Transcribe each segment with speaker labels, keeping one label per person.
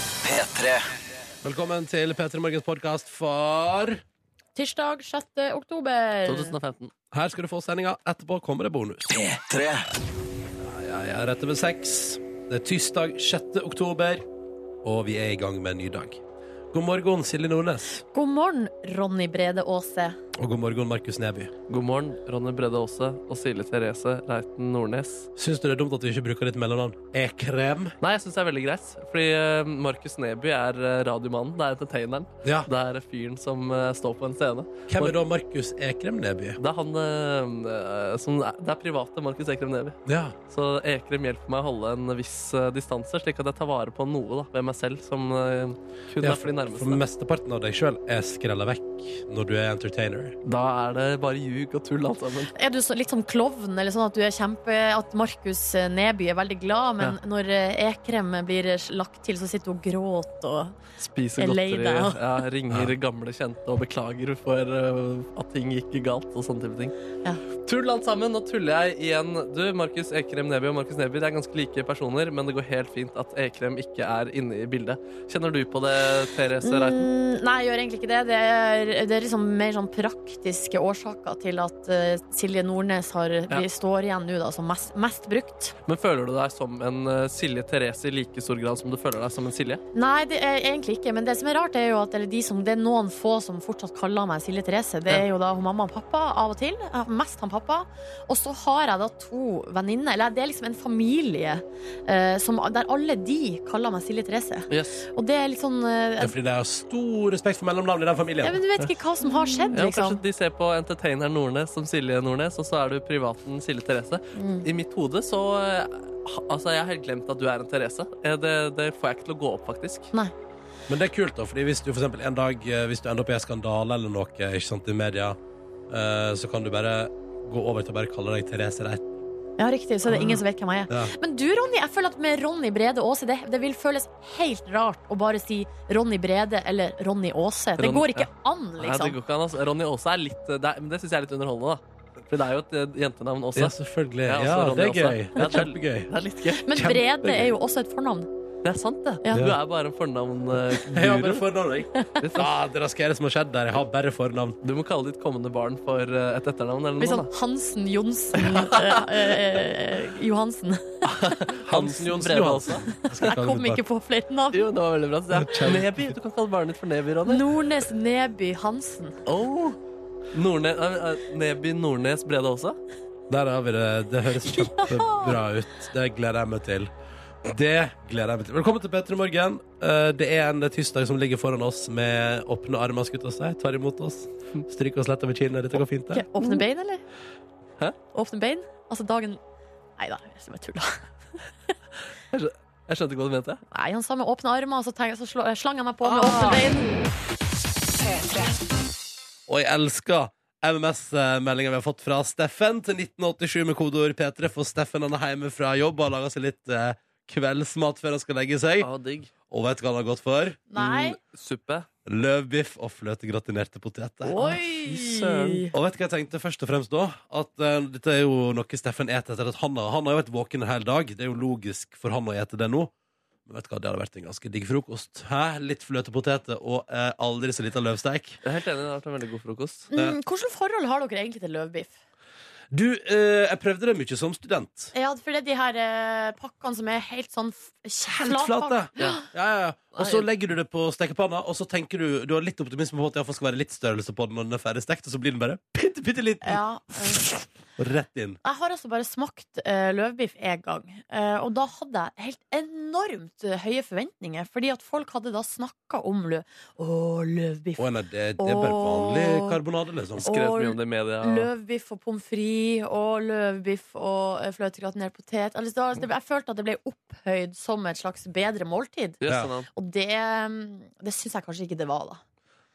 Speaker 1: P3.
Speaker 2: Velkommen til P3 Morgens podkast for
Speaker 3: Tirsdag 6. oktober.
Speaker 4: 2015.
Speaker 2: Her skal du få sendinga. Etterpå kommer det bonus.
Speaker 1: P3.
Speaker 2: Jeg er rett over seks. Det er tirsdag 6. oktober, og vi er i gang med en ny dag. God morgen, Silje Nordnes.
Speaker 3: God morgen, Ronny Brede Aase.
Speaker 2: Og god morgen, Markus Neby.
Speaker 4: God morgen, Ronny Bredde Aase og Silje Therese Reiten Nordnes.
Speaker 2: Syns du det er dumt at vi ikke bruker ditt mellomnavn? E-krem?
Speaker 4: Nei, jeg syns det er veldig greit, fordi eh, Markus Neby er eh, radiomannen. Det er entertaineren.
Speaker 2: Ja.
Speaker 4: Det er fyren som eh, står på en scene.
Speaker 2: Hvem er da Markus Ekrem Neby?
Speaker 4: Det er han eh, eh, som Det er private Markus Ekrem Neby.
Speaker 2: Ja.
Speaker 4: Så Ekrem hjelper meg å holde en viss eh, distanse, slik at jeg tar vare på noe da, ved meg selv som eh,
Speaker 2: Ja,
Speaker 4: kun er for de
Speaker 2: For
Speaker 4: nærmeste.
Speaker 2: mesteparten av deg sjøl er skrella vekk når du er entertainer.
Speaker 4: Da er det bare ljug og tull alt sammen.
Speaker 3: Er du så, litt sånn klovn, eller sånn at du er kjempe At Markus Neby er veldig glad, men når eh, Ekrem blir lagt til, så sitter hun og gråter og
Speaker 4: Spiser
Speaker 3: Jeg er lei
Speaker 4: godteri,
Speaker 3: deg.
Speaker 4: ja, ringer gamle kjente og beklager for eh, at ting gikk galt og sånne type ting.
Speaker 3: Ja.
Speaker 4: Tull alt sammen, nå tuller jeg igjen. Du, Markus Ekrem Neby og Markus Neby, det er ganske like personer, men det går helt fint at Ekrem ikke er inne i bildet. Kjenner du på det, Therese Reiten?
Speaker 3: Mm, Nei, jeg gjør egentlig ikke det. Det er, det er liksom mer sånn praktiske årsaker til at eh, Silje Nordnes har, vi står igjen nå da, som mest, mest brukt.
Speaker 4: Men føler du deg som en eh, Silje Therese i like stor grad som du føler deg som en Silje?
Speaker 3: Nei, det er egentlig ikke. Men det som er rart, er jo at eller de som, det er noen få som fortsatt kaller meg Silje Therese. Det er jo da hun mamma og pappa av og til. Eh, Mest han pappa. Og så har jeg da to venninner. Eller det er liksom en familie eh, som, der alle de kaller meg Silje Therese.
Speaker 4: Yes.
Speaker 3: Og det er litt sånn
Speaker 2: Det
Speaker 3: eh,
Speaker 2: er fordi de har stor respekt for mellomnavn i den
Speaker 3: ja,
Speaker 2: familien.
Speaker 3: men Du vet ikke hva som har skjedd,
Speaker 4: Ja,
Speaker 3: liksom.
Speaker 4: Kanskje de ser på entertaineren Nordnes som Silje Nordnes, og så er du privaten Silje Therese.
Speaker 3: Mm.
Speaker 4: I mitt hode så eh, ha- Altså, jeg har helt glemt at du er en Therese. Eh, Det, det får jeg ikke til å gå opp, faktisk.
Speaker 3: Nei.
Speaker 2: Men det er kult, da, fordi hvis du for eksempel en dag eh, Hvis du ender opp i en skandale eller noe ikke sant, i media, eh, så kan du bare gå over til å bare kalle deg Therese Reiten.
Speaker 3: Ja, riktig. Så er det ingen som vet hvem jeg er.
Speaker 2: Ja.
Speaker 3: Men du, Ronny, jeg føler at med Ronny Brede Aase, det, det vil føles helt rart å bare si Ronny Brede eller Ronny Aase. Det
Speaker 4: Ron-
Speaker 3: går ikke
Speaker 4: ja.
Speaker 3: an,
Speaker 4: Nei, det
Speaker 3: liksom.
Speaker 4: går ikke an. Altså. Ronny Aase er litt Det, er- men det syns jeg er litt underholdende, da. For det er jo et eh, jentenavn også.
Speaker 2: Ja, selvfølgelig.
Speaker 4: Ja,
Speaker 2: Ja,
Speaker 4: altså,
Speaker 2: det
Speaker 4: Ronny
Speaker 2: er gøy.
Speaker 4: også.
Speaker 2: Det
Speaker 4: Ja,
Speaker 2: er kjempegøy.
Speaker 4: Det er litt gøy.
Speaker 3: Men Brede er jo også et fornavn.
Speaker 4: Det er sant, det.
Speaker 3: Ja.
Speaker 4: Du er bare en fornavnguru. Liksom.
Speaker 2: Jeg har bare fornavn, jeg. Ja, det raske er det som har skjedd der. Jeg har bare fornavn.
Speaker 4: Du må kalle ditt kommende barn for eh, et etternavn eller
Speaker 3: Litt
Speaker 4: noe.
Speaker 3: sånn Hansen, Johnsen, eh, eh, Johansen.
Speaker 4: da. Hansen Johnsen
Speaker 2: Brede
Speaker 4: Johansen.
Speaker 2: Jeg skal
Speaker 3: Jeg
Speaker 2: kalle
Speaker 3: kom
Speaker 2: mitt
Speaker 3: ikke på flere navn.
Speaker 4: Jo, det var veldig bra. Så det er Neby. Du kan kalle barnet ditt for Neby, Ronny.
Speaker 3: Nordnes, Neby, Hansen.
Speaker 4: Oh. Nordnes, eh, eh, Neby Nordnes Brede også?
Speaker 2: barn. Der har vi det. Det høres kjempebra ut. Det gleder jeg meg til. Det gleder jeg meg til. Velkommen til P3 Morgen. Eh, Det er en tirsdag som ligger foran oss med åpne armer, skutt og seg. Tar imot oss. Stryker oss lett over kinnet. Dette går fint, det.
Speaker 3: Ok, Åpne bein, eller?
Speaker 4: Hæ?
Speaker 3: Åpne bein? Altså dagen Nei da, jeg skal bare tulla.
Speaker 4: Jeg skjønte ikke hva du mente.
Speaker 3: Nei, han sa med åpne armer, og så, tenk- så slå, slang jeg meg på med åpne bein.
Speaker 2: Og jeg elsker MMS-meldinga vi har fått fra Steffen til 1987 med kodeord P3, for Steffen han er hjemme fra jobb og har laga seg litt eh, kveldsmat før han skal legge seg.
Speaker 3: Ah,
Speaker 4: Å, digg.
Speaker 2: Og vet du hva han har gått for?
Speaker 3: Nei.
Speaker 4: Suppe.
Speaker 2: Løvbiff og fløtegratinerte poteter.
Speaker 3: Oi!
Speaker 2: Og vet du hva jeg tenkte først og fremst da? At eh, dette er jo noe Steffen eter etter at han har, han har jo vært våken en hel dag. Det er jo logisk for han å ete det nå. Men vet du hva, det hadde vært en ganske digg frokost. Hæ? Litt fløtepoteter og eh, aldri så lita løvsteik.
Speaker 4: Jeg er helt enig. Det har vært en veldig god frokost.
Speaker 3: Mm, Hvilket forhold har dere egentlig til løvbiff?
Speaker 2: Du, eh, jeg prøvde det mye som student.
Speaker 3: Ja, for det er de her eh, pakkene som er helt sånn f-
Speaker 2: Helt flate. Ja.
Speaker 4: Ja.
Speaker 2: Ja, ja. Og så legger du det på stekepanna, og så tenker du Du har litt optimisme på at det i hvert fall skal være litt størrelse på den når den er ferdig stekt, og så blir den bare bitte, bitte liten.
Speaker 3: Ja, eh.
Speaker 2: Og rett inn.
Speaker 3: Jeg har altså bare smakt eh, løvbiff én gang, eh, og da hadde jeg helt enormt eh, høye forventninger. Fordi at folk hadde da snakka om lø Å, løvbiff.
Speaker 2: Å nei, det, det er bare vanlig
Speaker 3: Åh.
Speaker 2: karbonade, liksom.
Speaker 3: Åh.
Speaker 4: Skrevet
Speaker 3: Og
Speaker 4: mye om det i media.
Speaker 3: Løvbiff og pommes frites og løvbiff og eh, fløtegratinert potet. Altså, det var- altså, det- jeg følte at det ble opphøyd som et slags bedre måltid.
Speaker 4: Yes,
Speaker 2: Ja.
Speaker 4: sånn.
Speaker 3: Og det, mm, det syns jeg kanskje ikke det var, da.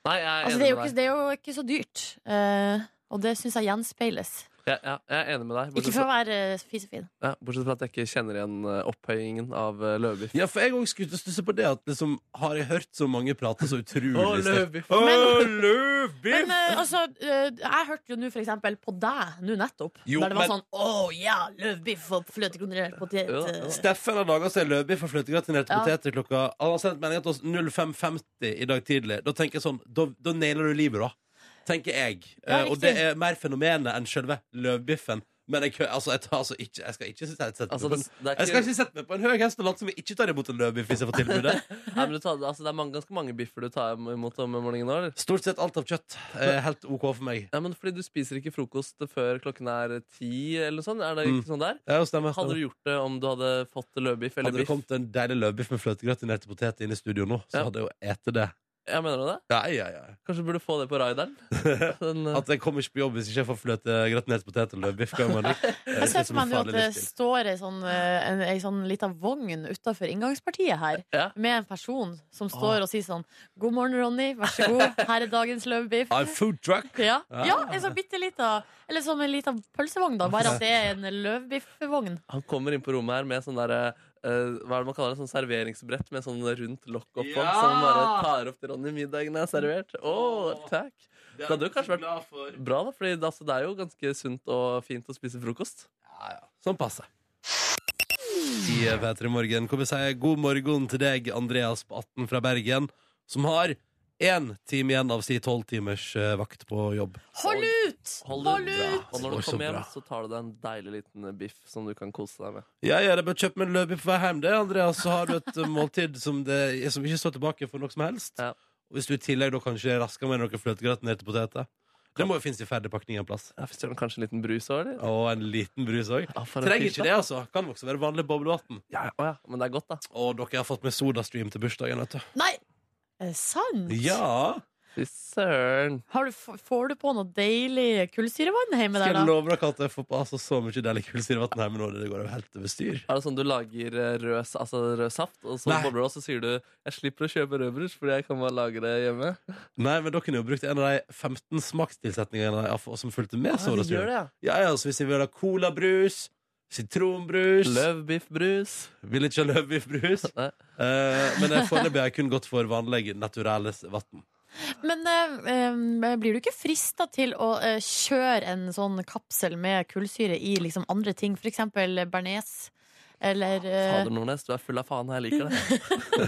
Speaker 4: Nei, jeg er
Speaker 3: Altså,
Speaker 4: enig
Speaker 3: det, er jo
Speaker 4: med
Speaker 3: ikke,
Speaker 4: deg.
Speaker 3: det er jo ikke så dyrt, eh, og det syns jeg gjenspeiles.
Speaker 4: Jeg, ja, jeg er enig med deg.
Speaker 3: Ikke
Speaker 4: Bortsett
Speaker 3: for å
Speaker 4: fra,
Speaker 3: være eh, fisefin.
Speaker 4: ja, bortsett fra at jeg ikke kjenner igjen eh, opphøyingen av eh, løvbiff.
Speaker 2: Ja, for jeg òg skulle til å stusse på det at liksom, har jeg hørt så mange prate så utrolig
Speaker 4: Å,
Speaker 2: sterkt?
Speaker 4: løvbiff.
Speaker 2: Å,
Speaker 3: Men- Men
Speaker 2: løvbiff!
Speaker 3: eh, altså, eh, jeg hørte jo nå for eksempel på deg nå nettopp.
Speaker 2: Jo,
Speaker 3: der det var
Speaker 2: men-
Speaker 3: sånn Å ja, løvbiff og fløtekondinert potet.
Speaker 4: Ja,
Speaker 3: eh,
Speaker 2: Steffen har laga seg løvbiff og fløtegratinerte
Speaker 3: Ja.
Speaker 2: poteter klokka Han har sendt melding til oss 05.50 i dag tidlig. Da tenker jeg sånn, da, da nailer du livet, da. Tenker jeg.
Speaker 3: Ja,
Speaker 2: Eh, og
Speaker 3: riktig.
Speaker 2: det er mer fenomenet enn selve løvbiffen. Men jeg, kø- altså, jeg, tar, altså, ikke, jeg skal ikke sette sette meg
Speaker 4: Altså,
Speaker 2: på
Speaker 4: det,
Speaker 2: en
Speaker 4: det er
Speaker 2: jeg skal
Speaker 4: ikke,
Speaker 2: ikke sette meg på en høy hest og late som jeg ikke tar imot en løvbiff hvis jeg får tilbudet.
Speaker 4: nei, men du tar, altså, det er mange, ganske mange biffer du tar imot om morgenen nå, eller?
Speaker 2: Stort sett alt av kjøtt er helt OK for meg.
Speaker 4: Ja, men fordi du spiser ikke frokost før klokken er ti, eller noe sånt. Er det
Speaker 2: Mm.
Speaker 4: ikke sånn der?
Speaker 2: Ja, stemmer, stemmer.
Speaker 4: Hadde du gjort det om du hadde fått løvbiff eller
Speaker 2: Hadde det
Speaker 4: biff?
Speaker 2: kommet en deilig løvbiff med fløtegratinerte poteter inn i studio nå, så
Speaker 4: Ja.
Speaker 2: hadde jeg jo ete det.
Speaker 4: Ja, mener du det?
Speaker 2: Ja, ja, ja.
Speaker 4: Kanskje du burde få det på raideren? Den, eh,
Speaker 2: At jeg kommer ikke på jobb hvis ikke jeg får fløtegratinerte poteter og Eh, løvbiff. Kan man ikke.
Speaker 3: Jeg ser for meg nå at det står ei sånn, eh, en, ei sånn lita vogn utafor inngangspartiet her.
Speaker 4: Ja.
Speaker 3: Med en person som står og sier sånn God morgen, Ronny. Vær så god. Her er dagens løvbiff.
Speaker 2: I'm Ah, food truck.
Speaker 3: Ja,
Speaker 2: Ah.
Speaker 3: ja en sånn bitte lita Eller som en lita pølsevogn, da. Bare at det er en løvbiffvogn.
Speaker 4: Han kommer inn på rommet her med sånn der eh, hva er det man kaller det? Sånn serveringsbrett med sånn rundt lokk oppå.
Speaker 2: Ja!
Speaker 4: Som bare tar opp til Ronny middagen er servert. Å, takk! Det hadde jo kanskje vært-
Speaker 2: glad for.
Speaker 4: Bra, da, for altså, det er jo ganske sunt og fint å spise frokost.
Speaker 2: Ja, ja. Sånn passe. I P3 Morgen kommer jeg si god morgen til deg, Andreas på 18 fra Bergen, som har én time igjen av si tolv timers eh, vakt på jobb.
Speaker 3: Hold ut!
Speaker 4: Hold
Speaker 3: Hold
Speaker 4: ut!
Speaker 3: ut!
Speaker 4: Og når
Speaker 2: Oi,
Speaker 4: du
Speaker 2: så
Speaker 4: kommer hjem,
Speaker 2: bra.
Speaker 4: så tar du deg en deilig liten biff som du kan kose deg med.
Speaker 2: Ja, ja, det er bare å kjøpe meg en løvbiff på vei hjem, det, Andreas. Så har du et eh, måltid som, det, som ikke står tilbake for noe som helst.
Speaker 4: Ja.
Speaker 2: Og hvis du i tillegg da kanskje rasker med noen fløtegratinerte poteter Det må jo finnes i ferdigpakning en plass.
Speaker 4: Ja, Fikk du kanskje en liten brus òg, eller?
Speaker 2: Og en liten brus òg.
Speaker 4: Ja, for en
Speaker 2: Trenger
Speaker 4: tirsdag.
Speaker 2: ikke det, altså. Kan også være vanlig boblevann.
Speaker 4: Ja, ja, å ja. Men det er godt, da.
Speaker 2: Og dere har fått med sodastream til bursdagen, vet du.
Speaker 3: Nei! Er det sant?
Speaker 2: Ja!
Speaker 4: Fy søren.
Speaker 3: Har du, f- får du på noe deilig kullsyrevann hjemme
Speaker 2: Skal
Speaker 3: der,
Speaker 2: jeg
Speaker 3: da?
Speaker 2: love dere at jeg får på altså, så mye deilig kullsyrevann her, men nå det går jo helt over styr.
Speaker 4: Er det sånn du lager eh, rød, s- altså rød saft, og så
Speaker 2: Nei.
Speaker 4: bobler det, og så sier du 'jeg slipper å kjøpe rødbrus fordi jeg kan bare lage det hjemme'?
Speaker 2: Nei, men dere kunne jo brukt en av de 15 smakstilsetningene jeg har fått- som fulgte med
Speaker 4: Ja, de gjør
Speaker 2: sodastream.
Speaker 4: det, ja.
Speaker 2: Ja, ja, så hvis jeg vil ha colabrus, sitronbrus
Speaker 4: Løvbiffbrus.
Speaker 2: Vil ikke ha løvbiffbrus.
Speaker 4: Nei.
Speaker 2: Eh, men jeg foreløpig har jeg kun gått for vanlig naturelles vann.
Speaker 3: Men eh, eh, blir du ikke frista til å eh, kjøre en sånn kapsel med kullsyre i liksom andre ting, f.eks. bearnés? Eller eh,
Speaker 4: Fader Nordnes, du er full av faen. Jeg liker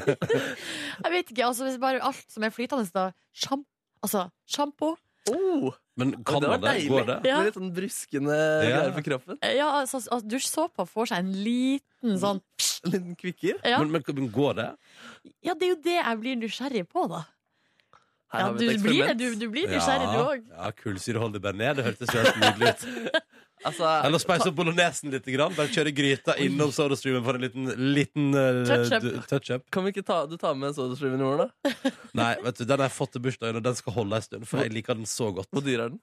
Speaker 4: det.
Speaker 3: Jeg vet ikke. altså hvis Bare alt som er flytende, da. Sjam, altså sjampo.
Speaker 4: Oh,
Speaker 2: Men kan
Speaker 4: det var
Speaker 2: man det?
Speaker 4: deilig.
Speaker 2: Går det?
Speaker 4: Det blir litt sånn bruskende
Speaker 2: Ja.
Speaker 4: greier på kroppen.
Speaker 3: Eh, Ja, altså, altså dusjsåpa får seg en liten sånn
Speaker 4: En liten kvikker.
Speaker 3: Ja.
Speaker 2: Men, men, men går det?
Speaker 3: Ja, det er jo det jeg blir nysgjerrig på, da.
Speaker 4: Her
Speaker 3: ja,
Speaker 4: har
Speaker 3: du,
Speaker 4: vi et
Speaker 3: blir det,
Speaker 4: eksperiment.
Speaker 3: du, du blir nysgjerrig, du òg.
Speaker 2: ja kullsyreholdig bearnés. Det hørtes jo helt nydelig ut.
Speaker 4: Altså,
Speaker 2: Eller speise opp bolognesen litt. Grann. Bare kjøre gryta innom sodastreamen for en liten, liten eh,
Speaker 3: Touch-up.
Speaker 2: du- touch-up.
Speaker 4: kan vi ikke ta, du ta med en sodastream i morgen, da?
Speaker 2: Nei, vet du, den har jeg fått til bursdagen, og den skal holde en stund. For jeg liker den så godt.
Speaker 4: Hvor dyr er den?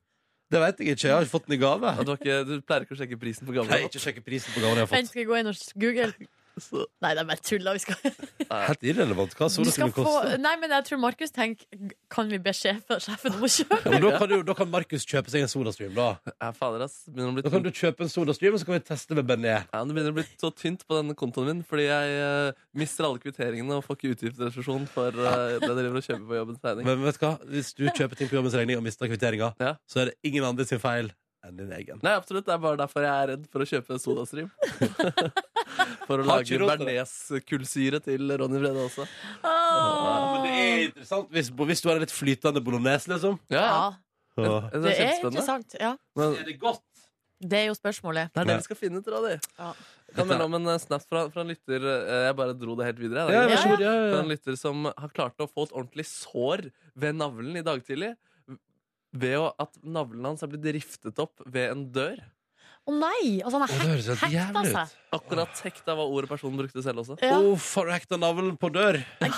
Speaker 2: Det vet jeg ikke. Jeg har ikke fått den i gave.
Speaker 4: At du, har ikke, du pleier ikke å sjekke prisen på gamle
Speaker 2: Jeg har ikke sjekket prisen på gaven jeg har
Speaker 3: Vent,
Speaker 2: fått.
Speaker 3: skal jeg gå inn og google?
Speaker 4: Så-
Speaker 3: Nei, det er bare tulla. Vi skal,
Speaker 2: Helt irrelevant. Hva
Speaker 3: vi skal
Speaker 2: sodastreamen
Speaker 3: få
Speaker 2: koster.
Speaker 3: Nei, men jeg tror Markus tenker Kan vi be sjefen, sjefen om å kjøpe?
Speaker 2: Ja, men da kan, du, da kan Markus kjøpe seg en sodastream. Da.
Speaker 4: Ja, fader, ass. Begynner å bli
Speaker 2: da kan
Speaker 4: tynt.
Speaker 2: du kjøpe en sodastream, og så kan vi teste med bearnés.
Speaker 4: Ja, men det begynner å bli så tynt på denne kontoen min, fordi jeg eh, mister alle kvitteringene og får ikke utgiftsrefusjon for eh, det jeg driver og kjøper på jobbens regning.
Speaker 2: Men vet du hva? Hvis du kjøper ting på jobbens regning og mister kvitteringa,
Speaker 4: Ja.
Speaker 2: så er det ingen andre sin feil enn din egen.
Speaker 4: Nei, absolutt. Det er bare derfor jeg er redd for å kjøpe sodastream. for å
Speaker 2: Har ikke råd til
Speaker 4: lage
Speaker 2: det.
Speaker 4: bearnéskullsyre til Ronny Brede også.
Speaker 2: Ja, men det er
Speaker 3: Åh.
Speaker 2: interessant hvis, hvis du har en litt flytende bolognese, liksom.
Speaker 3: Ja,
Speaker 2: Ja.
Speaker 4: Jeg synes
Speaker 3: det er
Speaker 4: kjempespennende.
Speaker 3: interessant. Ja.
Speaker 4: Men
Speaker 2: det godt?
Speaker 3: Det er jo spørsmålet.
Speaker 4: det er det vi skal finne ut, Ronny.
Speaker 3: Ja.
Speaker 4: Jeg Kan melde om en eh, snap fra, fra en lytter. eh, Jeg bare dro det helt videre. jeg.
Speaker 2: Ja,
Speaker 4: Det er
Speaker 2: vær så god. Ja,
Speaker 4: gøy.
Speaker 2: ja,
Speaker 4: Fra
Speaker 2: ja.
Speaker 4: en lytter som har klart å få et ordentlig sår ved navlen i dag tidlig. Ved å- at navlen hans er blitt riftet opp ved en dør.
Speaker 3: Å nei! Altså, han
Speaker 2: Å, det
Speaker 3: har
Speaker 2: høres helt
Speaker 3: hek- hekta
Speaker 2: jævlig ut.
Speaker 4: altså.
Speaker 3: seg.
Speaker 4: Akkurat hekta var ordet personen brukte selv også.
Speaker 3: Ja.
Speaker 2: Uff, har du hekta navlen på dør?
Speaker 4: Det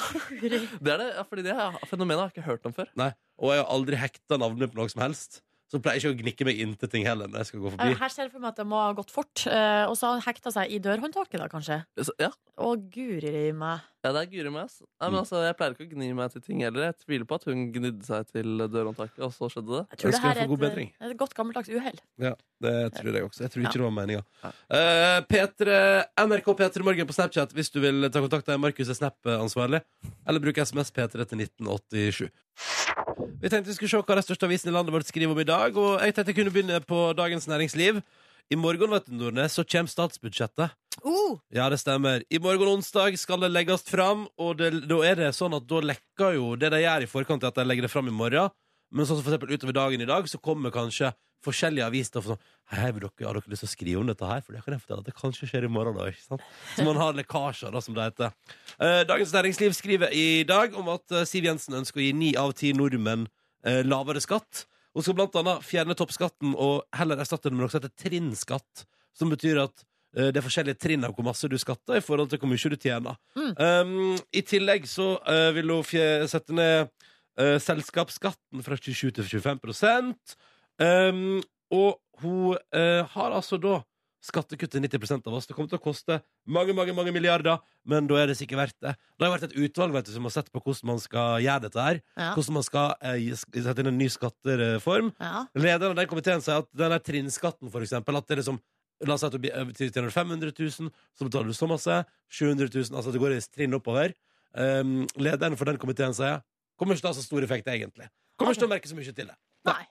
Speaker 4: er det, ja, fordi det er- fenomenet har jeg ikke hørt om før.
Speaker 2: Nei, og jeg har aldri hekta navnet på noe som helst. Så pleier jeg ikke å gnikke meg inn til ting heller når jeg skal gå
Speaker 3: Eh,
Speaker 2: forbi.
Speaker 3: Her ser jeg for meg at det må ha gått fort. eh, Og så har han hekta seg i dørhåndtaket, da, kanskje.
Speaker 4: Så, ja,
Speaker 3: Å, guri meg.
Speaker 4: ja, det er guri meg. ass. Nei, men altså, jeg pleier ikke å gni meg til ting heller. Jeg tviler på at hun gnidde seg til dørhåndtaket, og så skjedde det.
Speaker 3: Jeg tror
Speaker 2: Jeg
Speaker 3: det
Speaker 2: skal
Speaker 3: her
Speaker 2: få god
Speaker 3: er et, eh,
Speaker 2: bedring.
Speaker 3: et godt gammeldags uhell.
Speaker 2: Ja, det tror jeg også. Jeg tror ikke
Speaker 3: Ja.
Speaker 2: det var meninga.
Speaker 4: Nei.
Speaker 2: Eh, Petre- NRK P3 Morgen på Snapchat hvis du vil ta kontakt. Der Markus er Snap-ansvarlig. Eller bruk SMS P3 til 1987. Vi tenkte vi skulle se hva de største avisene i landet vårt skriver om i dag. Og jeg tenkte jeg kunne begynne på Dagens Næringsliv. I morgen vet du, Nordnes, så kommer statsbudsjettet.
Speaker 3: Uh,
Speaker 2: Ja, det stemmer. I morgen onsdag skal det legges fram, og det, da er det sånn at da lekker jo det de gjør i forkant, er at de legger det fram i morgen. Men sånn som for eksempel utover dagen i dag, så kommer kanskje forskjellige aviser og sånn Hei, hei, vil dere, har dere lyst til å skrive om dette her? For det kan jeg fortelle at det kanskje skjer i morgen, da. ikke sant? Så man har lekkasjer, da, som det heter. Eh, Dagens Næringsliv skriver i dag om at eh, Siv Jensen ønsker å gi ni av ti nordmenn eh, lavere skatt. Hun skal blant annet fjerne toppskatten og heller erstatte den med noe som heter trinnskatt. Som betyr at eh, det er forskjellige trinn av hvor masse du skatter i forhold til hvor mye du tjener. Um, I tillegg så eh, vil hun fje- sette ned eh, selskapsskatten fra 27 til 25 um, Og hun eh, har altså da skattekutt til 90 av oss. Det kommer til å koste mange mange, mange milliarder, men da er det sikkert verdt det. Det har vært et utvalg vet du, som har sett på hvordan man skal gjøre dette her.
Speaker 3: ja,
Speaker 2: Hvordan man skal eh, gi- sette inn en ny skattereform.
Speaker 3: ja.
Speaker 2: Lederen av den komiteen sier at den der trinnskatten, for eksempel, at det er liksom La oss si at du blir- eh, tjener 500 000, så betaler du så masse. 700 000, altså at det går i trinn oppover. Um, lederen for den komiteen sier kommer ikke til å ha så stor effekt, egentlig. Kommer ikke til å merke så mye til det.
Speaker 3: Nei.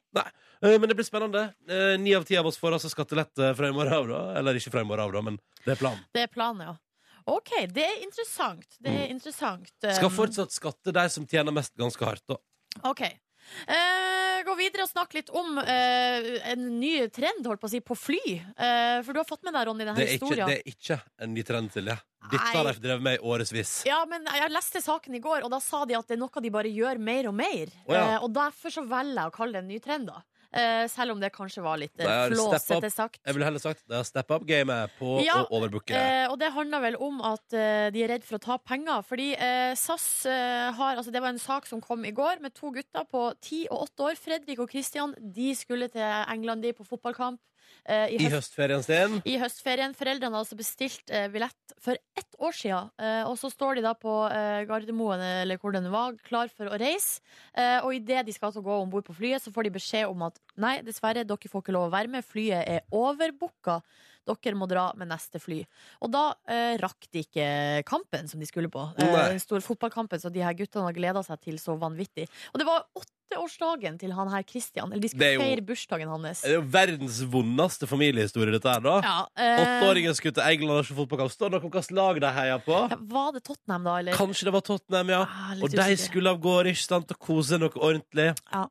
Speaker 2: Eh, Men det blir spennende. Eh, Ni av ti av oss får altså skattelette fra i morgen av, da. Eller ikke fra i morgen av, da, men det er planen.
Speaker 3: Det er planen, ja. OK, det er interessant. Det er interessant.
Speaker 2: Mm. Skal
Speaker 3: Um,
Speaker 2: fortsatt skatte de som tjener mest, ganske hardt, da.
Speaker 3: OK. Eh, gå videre og snakke litt om eh, en ny trend holdt på å si, på fly. Eh, for du har fått med deg, Ronny, denne
Speaker 2: Det er ikke,
Speaker 3: historien.
Speaker 2: det er ikke en ny trend til det. Dette har
Speaker 3: Nei.
Speaker 2: de drevet med i årevis.
Speaker 3: Ja, men Jeg leste saken i går, og da sa de at det er noe de bare gjør mer og mer.
Speaker 2: Å, ja.
Speaker 3: Eh, og Derfor så velger jeg å kalle det en ny trend. da Eh, Selv om det kanskje var litt
Speaker 2: Det
Speaker 3: eh,
Speaker 2: er step up.
Speaker 3: flåsete sagt.
Speaker 2: Jeg ville heller sagt det er step up-gamet på
Speaker 3: Ja,
Speaker 2: å overbooke.
Speaker 3: Eh, og det handler vel om at eh, de er redd for å tape penger. Fordi eh, SAS eh, har Altså, det var en sak som kom i går med to gutter på ti og åtte år. Fredrik og Christian. De skulle til England, de, på fotballkamp. eh, i,
Speaker 2: I
Speaker 3: høst,
Speaker 2: høstferien sin.
Speaker 3: I høstferien. Foreldrene hadde altså bestilt eh, billett for ett år siden. Eh, og så står de da på eh, Gardermoen eller hvor den var, klar for å reise. Eh, og idet de skal til å gå om bord på flyet, så får de beskjed om at nei, dessverre, dere får ikke lov å være med. Flyet er overbooka. Dere må dra med neste fly. Og da eh, rakk de ikke kampen som de skulle på. Eh,
Speaker 2: Nei.
Speaker 3: den store fotballkampen som de her guttene har gleda seg til så vanvittig. Og det var åtteårsdagen til han her Christian. Eller de
Speaker 2: Det er
Speaker 3: skulle
Speaker 2: jo-
Speaker 3: feire bursdagen hans.
Speaker 2: Det er jo verdens vondeste familiehistorie, dette her, da.
Speaker 3: Ja, eh,
Speaker 2: Åtteåringen skulle til England og ikke fotballkamp. Står det noe om hvilket lag de heier på?
Speaker 3: Var det Tottenham, da? Eller?
Speaker 2: Kanskje det var Tottenham, ja.
Speaker 3: Ah, litt
Speaker 2: Og de
Speaker 3: usikker.
Speaker 2: skulle av gårde, ikke sant, og kose noe ordentlig.
Speaker 3: Ja.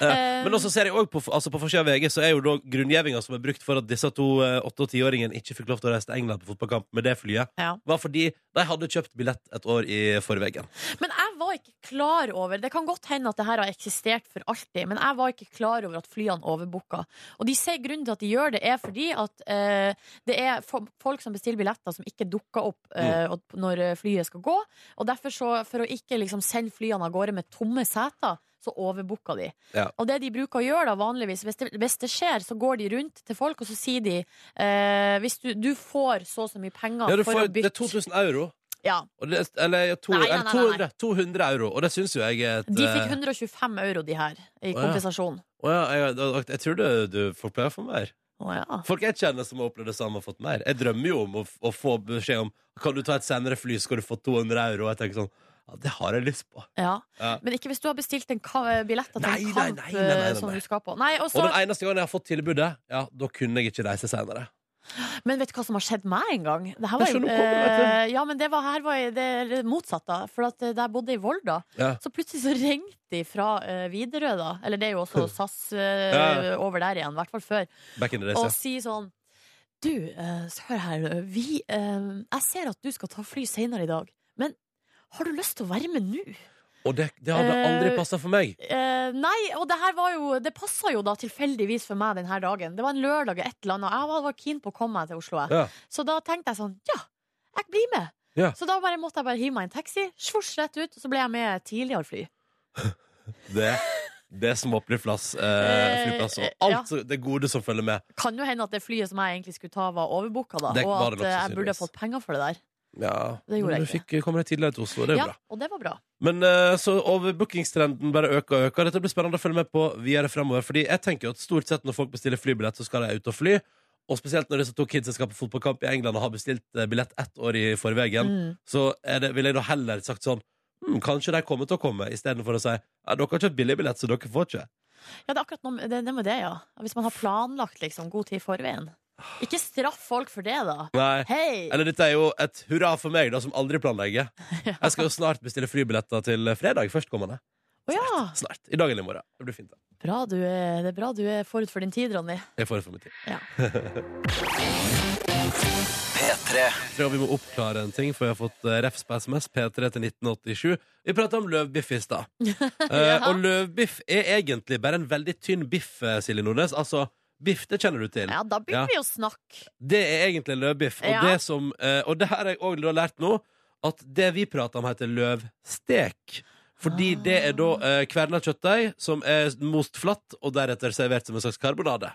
Speaker 2: Eh, Men
Speaker 3: Eh,
Speaker 2: også ser jeg også på, altså på forsida av VG så er jo da grunngivinga som er brukt for at disse to eh, åtte- og tiåringene ikke fikk lov til å reise til England på fotballkamp med det flyet,
Speaker 3: Ja.
Speaker 2: var fordi de hadde kjøpt billett et år i forveien.
Speaker 3: Men jeg var ikke klar over Det kan godt hende at det her har eksistert for alltid, men jeg var ikke klar over at flyene overbooka. Og de sier grunnen til at de gjør det, er fordi at eh, det er fo- folk som bestiller billetter som ikke dukker opp eh,
Speaker 2: Mm.
Speaker 3: og- når eh, flyet skal gå. Og derfor så, for å ikke liksom sende flyene av gårde med tomme seter, så overbooka de.
Speaker 2: Ja.
Speaker 3: Og det de bruker å gjøre da vanligvis, hvis det, hvis det skjer, så går de rundt til folk, og så sier de eh, Hvis du, du får så og så mye penger
Speaker 2: Ja, du
Speaker 3: Ah, for
Speaker 2: får,
Speaker 3: å
Speaker 2: det er
Speaker 3: bytte
Speaker 2: 2000 euro.
Speaker 3: ja,
Speaker 2: Og det, eller to,
Speaker 3: Nei, nei,
Speaker 2: eller
Speaker 3: nei, nei,
Speaker 2: 200, 200 euro, og det syns jo jeg er et
Speaker 3: De fikk
Speaker 2: eh,
Speaker 3: 125 euro, de her, i
Speaker 2: Å, ja.
Speaker 3: kompensasjon.
Speaker 2: Å ja, jeg, jeg, jeg tror det, du folk pleier å få mer.
Speaker 3: Å ja.
Speaker 2: Folk jeg kjenner som har opplevd det samme, har fått mer. Jeg drømmer jo om å, f- å få beskjed om Kan du ta et senere fly, skal du få 200 euro. Og jeg tenker sånn Ja, det har jeg lyst på.
Speaker 3: ja.
Speaker 2: Ja.
Speaker 3: Men ikke hvis du har bestilt en ka billetter til
Speaker 2: Nei,
Speaker 3: en
Speaker 2: nei,
Speaker 3: kamp
Speaker 2: nei, nei, nei, nei,
Speaker 3: eh, som
Speaker 2: nei.
Speaker 3: du skal på. Nei, og
Speaker 2: Og
Speaker 3: så-
Speaker 2: den eneste gangen jeg har fått tilbudet, ja, da kunne jeg ikke reise senere.
Speaker 3: men vet du hva som har skjedd meg en gang? Det her
Speaker 2: Jeg
Speaker 3: var, jo-
Speaker 2: skjønner hvor det er
Speaker 3: eh, ja, men det var, her var jeg- det er motsatt, da. For at eh, da jeg bodde i Volda,
Speaker 2: Ja.
Speaker 3: så plutselig så ringte de fra eh, Widerøe, da. Eller det er jo også SAS eh,
Speaker 2: Ja.
Speaker 3: over der igjen, i hvert fall før.
Speaker 2: Back in the
Speaker 3: og
Speaker 2: days,
Speaker 3: si sånn Du, eh, så hør her vi, eh, Jeg ser at du skal ta fly senere i dag Men har du lyst til å være med nå?
Speaker 2: ja. Og det, det hadde aldri
Speaker 3: Eh,
Speaker 2: passa for meg.
Speaker 3: Eh, nei, og det her var jo Det passet jo da tilfeldigvis for meg denne dagen Det var en lørdag og et eller annet og Jeg var, var keen på å komme meg til Oslo jeg.
Speaker 2: Ja.
Speaker 3: Så da tenkte jeg sånn, ja, jeg blir med
Speaker 2: Ja.
Speaker 3: Så da bare måtte jeg bare hive meg i en taxi Svors rett ut, og så ble jeg med tidligere fly
Speaker 2: Det Det som åpner flass, eh, flyplass og
Speaker 3: Eh, ja.
Speaker 2: alt så- det gode som følger med.
Speaker 3: Kan jo hende at det flyet som jeg egentlig skulle ta, var overbooka, da.
Speaker 2: Det
Speaker 3: Og
Speaker 2: var
Speaker 3: at
Speaker 2: det nok
Speaker 3: eh, jeg burde
Speaker 2: sannsynligvis.
Speaker 3: fått penger for det der.
Speaker 2: Ja,
Speaker 3: Det gjorde
Speaker 2: men
Speaker 3: jeg
Speaker 2: du fikk, kommer deg tidligere til Oslo, det er jo
Speaker 3: ja,
Speaker 2: bra.
Speaker 3: Og det var bra.
Speaker 2: Men eh, så overbookingstrenden bare øker og øker. Dette blir spennende å følge med på videre fremover. Fordi jeg tenker jo at stort sett når folk bestiller flybillett, så skal de ut og fly. Og spesielt når disse to kidsa skal på fotballkamp i England og har bestilt eh, billett ett år i forveien,
Speaker 3: Mm.
Speaker 2: så er det, ville jeg da heller sagt sånn hm, Kanskje de kommer til å komme, istedenfor å si ja, dere har kjøpt billig billett, så dere får ikke.
Speaker 3: Ja, det er akkurat noe med det, det, med det, ja. Hvis man har planlagt liksom, god tid i forveien. Ikke straff folk for det, da.
Speaker 2: Nei.
Speaker 3: Hei!
Speaker 2: Eller dette er jo et hurra for meg, da, som aldri planlegger. Jeg skal jo snart bestille flybilletter til fredag førstkommende.
Speaker 3: Å ja!
Speaker 2: Snart. I dag eller i morgen. Det blir fint. da.
Speaker 3: Bra du er, det er bra du er forut for din tid, Ronny.
Speaker 2: Jeg får det for min tid.
Speaker 3: Ja.
Speaker 2: Jeg tror vi må oppklare en ting, for jeg har fått eh, refs på SMS. P3 til 1987. Vi prata om løvbiff i stad. Eh, og løvbiff er egentlig bare en veldig tynn biff, eh, Silje Nordnes. Altså, biff, det kjenner du til.
Speaker 3: Ja, da begynner
Speaker 2: Ja.
Speaker 3: vi å snakke.
Speaker 2: Det er egentlig løvbiff. Og,
Speaker 3: Ja.
Speaker 2: det som, eh, og det her har jeg òg lært nå, at det vi prater om, heter løvstek. Fordi
Speaker 3: Ah.
Speaker 2: det er da eh, kverna kjøttdeig som er most flatt, og deretter servert som en slags karbonade.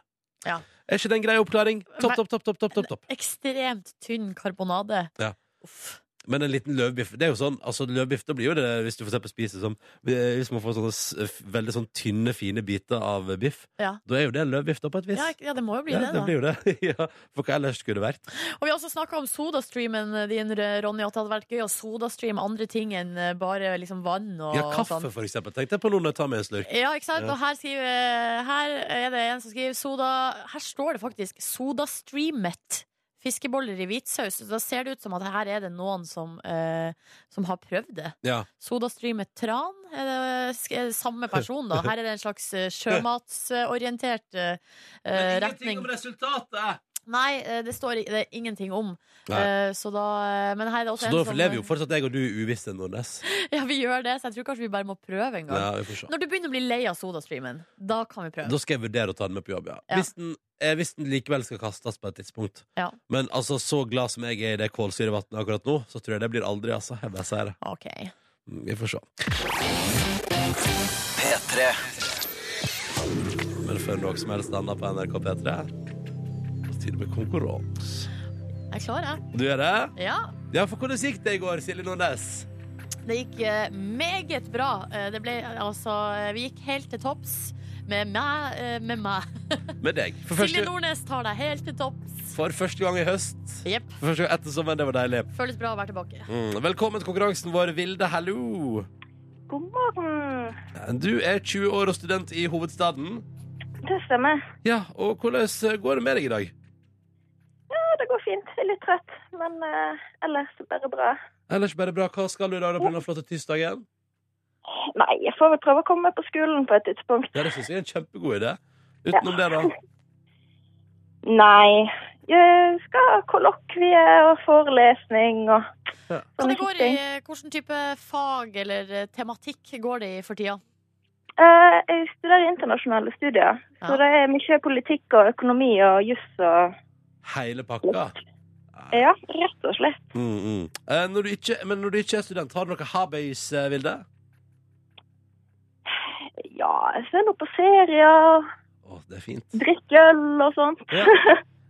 Speaker 3: Ja.
Speaker 2: Er ikke det en grei oppklaring? Topp,
Speaker 3: Men-
Speaker 2: topp, topp, topp, topp, topp, topp.
Speaker 3: Ekstremt tynn karbonade.
Speaker 2: Ja.
Speaker 3: Uff.
Speaker 2: Men en liten løvbiff Det er jo sånn, altså løvbiff da blir jo det Hvis du for eksempel spiser som eh, Hvis man får sånne s- f- veldig sånn tynne, fine biter av eh, biff
Speaker 3: Ja.
Speaker 2: Da er jo det en løvbiff da på et vis
Speaker 3: Ja, ja, det må jo bli
Speaker 2: Ja,
Speaker 3: det, da.
Speaker 2: blir jo det ja, For hva ellers skulle det vært
Speaker 3: Og vi har også snakka om sodastreamen eh, din, Ronny, at det hadde vært gøy å sodastreame andre ting enn eh, bare liksom vann og
Speaker 2: Ja, kaffe
Speaker 3: sånn.
Speaker 2: for eksempel Tenkte jeg på noen jeg tar med en slurk
Speaker 3: Ja, ikke sant?
Speaker 2: Ja.
Speaker 3: Og her, skriver, eh, her er det en som skriver soda Her står det faktisk 'sodastreamet'. Fiskeboller i hvitsaus. Så Da ser det ut som at her er det noen som, eh, som har prøvd det.
Speaker 2: Ja,
Speaker 3: Sodastreamet tran er det sk- er det samme person, da. Her er det en slags eh, sjømatsorientert eh, eh, retning.
Speaker 2: resultatet
Speaker 3: Nei, eh, det står i- det er ingenting om.
Speaker 2: Nei.
Speaker 3: Eh, Så da eh, Men her er det
Speaker 2: Så
Speaker 3: også en
Speaker 2: da
Speaker 3: som
Speaker 2: lever jo fortsatt jeg og du i uvisse Nordnes
Speaker 3: Ja, vi gjør det, så jeg tror kanskje vi bare må prøve en gang.
Speaker 2: Ja, vi får se
Speaker 3: Når du begynner å bli lei av sodastreamen, da kan vi prøve.
Speaker 2: Da skal jeg vurdere å ta den med på jobb, ja.
Speaker 3: Ja.
Speaker 2: Hvis, den, eh, hvis den likevel skal kastes på et tidspunkt.
Speaker 3: Ja.
Speaker 2: Men altså, så glad som jeg er i det kålsyrevannet akkurat nå, så tror jeg det blir aldri, altså. Jeg bare sier det.
Speaker 3: OK.
Speaker 2: Mm, Vi får se. Men før noe som helst annet på NRK P3 på tide med konkurranse.
Speaker 3: Jeg er klar, jeg.
Speaker 2: Du er det?
Speaker 3: Ja.
Speaker 2: Ja, for hvordan gikk det i går, Silje Nordnes?
Speaker 3: Det gikk eh, meget bra. Eh, Det ble eh, altså eh, Vi gikk helt til topps med meg. eh, Med meg.
Speaker 2: Med deg. For
Speaker 3: Silje
Speaker 2: første,
Speaker 3: Nordnes tar deg helt til topps.
Speaker 2: for første gang i høst.
Speaker 3: Jepp.
Speaker 2: For første gang etter sommeren. Det var deilig.
Speaker 3: Føles bra å være tilbake.
Speaker 2: Mm. Velkommen til konkurransen vår, Vilde. Hallo.
Speaker 1: God morgen.
Speaker 2: Du er 20 år og student i hovedstaden.
Speaker 1: Det stemmer.
Speaker 2: Ja, og hvordan går det med deg i dag?
Speaker 1: Ja, det går fint. Jeg er litt trøtt, men eh, ellers bare bra.
Speaker 2: Ellers bare bra. Hva skal du i dag da på denne flotte tirsdagen?
Speaker 1: Nei, jeg får vel prøve å komme meg på skolen på et tidspunkt.
Speaker 2: Ja, det synes jeg er en kjempegod idé. Utenom det, da?
Speaker 1: Nei. Jeg skal ha kollokvie og forelesning og
Speaker 2: Ja.
Speaker 3: Hva det
Speaker 1: sånne
Speaker 3: går i,
Speaker 1: ting.
Speaker 3: hvilken type fag eller eh, tematikk går det i for tida?
Speaker 1: Eh, jeg studerer internasjonale studier,
Speaker 3: Ja.
Speaker 1: så det er mye politikk og økonomi og juss og
Speaker 2: Hele pakka?
Speaker 1: Ja, rett og slett.
Speaker 2: Mm, mm. Eh, når du ikke, men når du ikke er student, har du noe hobbies, eh, Vilde?
Speaker 1: Ja, jeg ser nå på serier,
Speaker 2: Å, det er fint.
Speaker 1: drikker øl og sånt.
Speaker 2: Ja.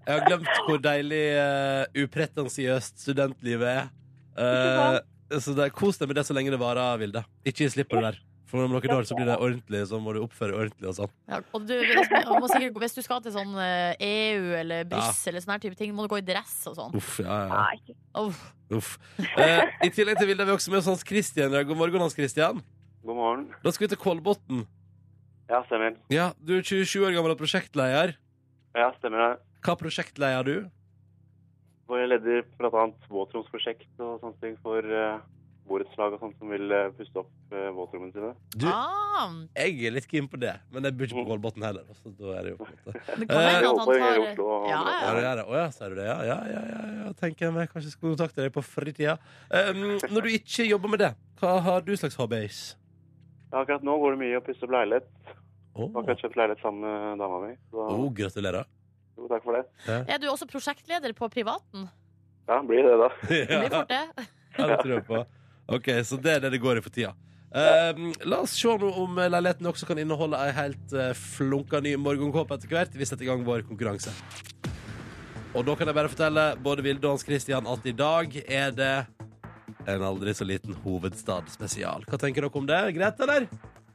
Speaker 2: Jeg har glemt hvor deilig eh, upretensiøst studentlivet er. Eh, så det, kos deg med det så lenge det varer, Vilde. Ikke gi slipp på det der. For om noen år så blir det ordentlig, så må du oppføre ordentlig og sånn.
Speaker 3: Ja, og du, hvis, du må sikkert, hvis du skal til sånn eh, EU eller Brussel eller sånne her type ting, må du gå i dress og sånn.
Speaker 2: Uff, ja, ja. ja.
Speaker 1: Nei,
Speaker 3: Uff.
Speaker 2: Uff. Eh, I tillegg til Vilde er vi også med oss Hans Christian. Ja, God morgen, Hans Christian.
Speaker 5: God morgen.
Speaker 2: Da skal vi til Kolbotn.
Speaker 5: Ja, stemmer.
Speaker 2: Ja, du er 27 år gammel og prosjektleder.
Speaker 5: Ja, stemmer det.
Speaker 2: Hva prosjektleder du?
Speaker 5: Vår leder blant annet våtromsprosjekt og sånne ting for eh, borettslag og sånt som vil eh, puste opp eh, våtrommene sine.
Speaker 2: Du,
Speaker 3: Ah,
Speaker 2: jeg er litt keen på det, men jeg bor ikke på Kolbotn heller. Så da er det jo på en måte.
Speaker 3: det kan
Speaker 2: Eh,
Speaker 3: hende at
Speaker 5: håper hele
Speaker 3: han
Speaker 5: Oslo og
Speaker 3: tar ja,
Speaker 5: andre
Speaker 2: Ja,
Speaker 3: ja.
Speaker 2: det er det. Å ja, sier du det? Ja, ja, ja. ja, ja. Tenker jeg meg. Kanskje jeg skulle kontakte deg på fritida. Um, når du ikke jobber med det, hva har du slags hobbies?
Speaker 5: Ja, akkurat nå går det mye å pusse opp leilighet.
Speaker 2: Å,
Speaker 5: Jeg har akkurat kjøpt leilighet sammen med dama mi. Så
Speaker 2: Å, gratulerer.
Speaker 5: jo, takk for det.
Speaker 3: Er du også prosjektleder på privaten?
Speaker 5: Ja, blir det da.
Speaker 3: Det
Speaker 2: Ja,
Speaker 3: blir
Speaker 2: Eh.
Speaker 3: fort det.
Speaker 2: det tror jeg på. OK, så det er det det går i for tida. Ehm, la oss se nå om eh, leiligheten også kan inneholde ei helt eh, flunka ny morgenkåpe etter hvert. Vi setter i gang vår konkurranse. Og da kan jeg bare fortelle både Vilde og Hans Christian at i dag er det en aldri så liten hovedstadspesial. Hva tenker dere om det? Greit, eller?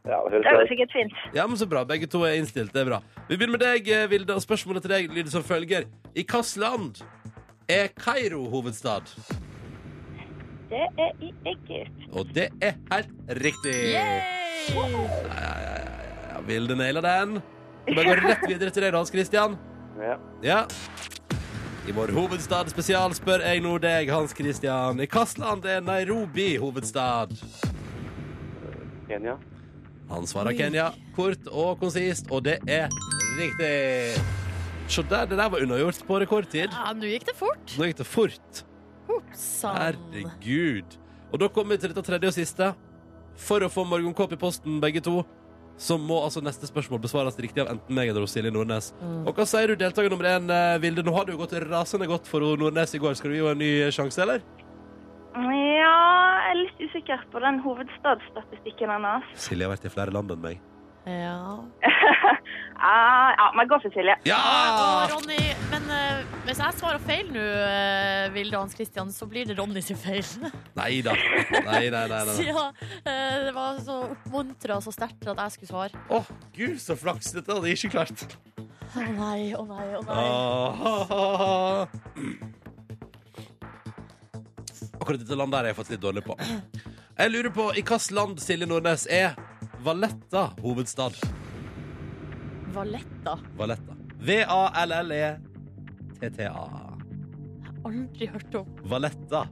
Speaker 5: Ja, det
Speaker 1: Det
Speaker 5: høres
Speaker 1: går
Speaker 5: bra ut.
Speaker 1: sikkert fint.
Speaker 2: Ja, men så bra. Begge to er innstilt. Det er bra. Vi begynner med deg, eh, Vilde. Og spørsmålet til deg lyder som følger. I hvilket land er Kairo hovedstad?
Speaker 1: Det er i Egypt.
Speaker 2: Og det er helt riktig.
Speaker 3: Yay!
Speaker 2: Ja, Vilde naila den. Vi bare går rett videre til deg, da, Hans Christian.
Speaker 5: Ja.
Speaker 2: Ja. I vår hovedstad spesial spør jeg nå deg, Hans Christian. I hvilket land er Nairobi hovedstad?
Speaker 5: Kenya.
Speaker 2: Han svarer Kenya. Kort og konsist, og det er riktig. Se der, det der var unnagjort på rekordtid.
Speaker 3: Ja, nå gikk det fort. Sånn.
Speaker 2: Nå gikk det fort.
Speaker 3: Sann.
Speaker 2: Herregud. Og da kommer vi til dette tredje og siste. For å få morgenkåp i posten, begge to, så må altså neste spørsmål besvares riktig av enten meg eller hos Silje Nordnes. Og hva sier du, deltaker nummer én, eh, Vilde? Nå har det jo gått rasende godt for hun Nordnes i går. Skal du gi henne en ny eh, sjanse, eller?
Speaker 1: Ja, jeg er litt usikker på den hovedstadsstatistikken hennes.
Speaker 2: Silje har vært i flere land enn meg.
Speaker 3: Ja.
Speaker 1: Ah, ja, men gå for Silje.
Speaker 3: Og
Speaker 2: Ja!
Speaker 3: Ronny, men eh, hvis jeg svarer feil nå, eh, Vilde og Hans Christian, så blir det Ronny sin feil.
Speaker 2: Nei da. Nei, nei, nei. nei.
Speaker 3: Siden eh, det var så oppmuntra så sterkt til at jeg skulle svare.
Speaker 2: Å, gud, så flaks. Dette hadde jeg ikke klart.
Speaker 3: Å nei, å nei, å nei.
Speaker 2: Ah. Akkurat dette landet her har jeg fått litt dårlig på. Jeg lurer på i hvilket land Silje Nordnes er Valletta hovedstad.
Speaker 3: Valletta.
Speaker 2: Valletta. V-a-l-l-e-t-t-a.
Speaker 3: Aldri hørt om.
Speaker 2: Valletta.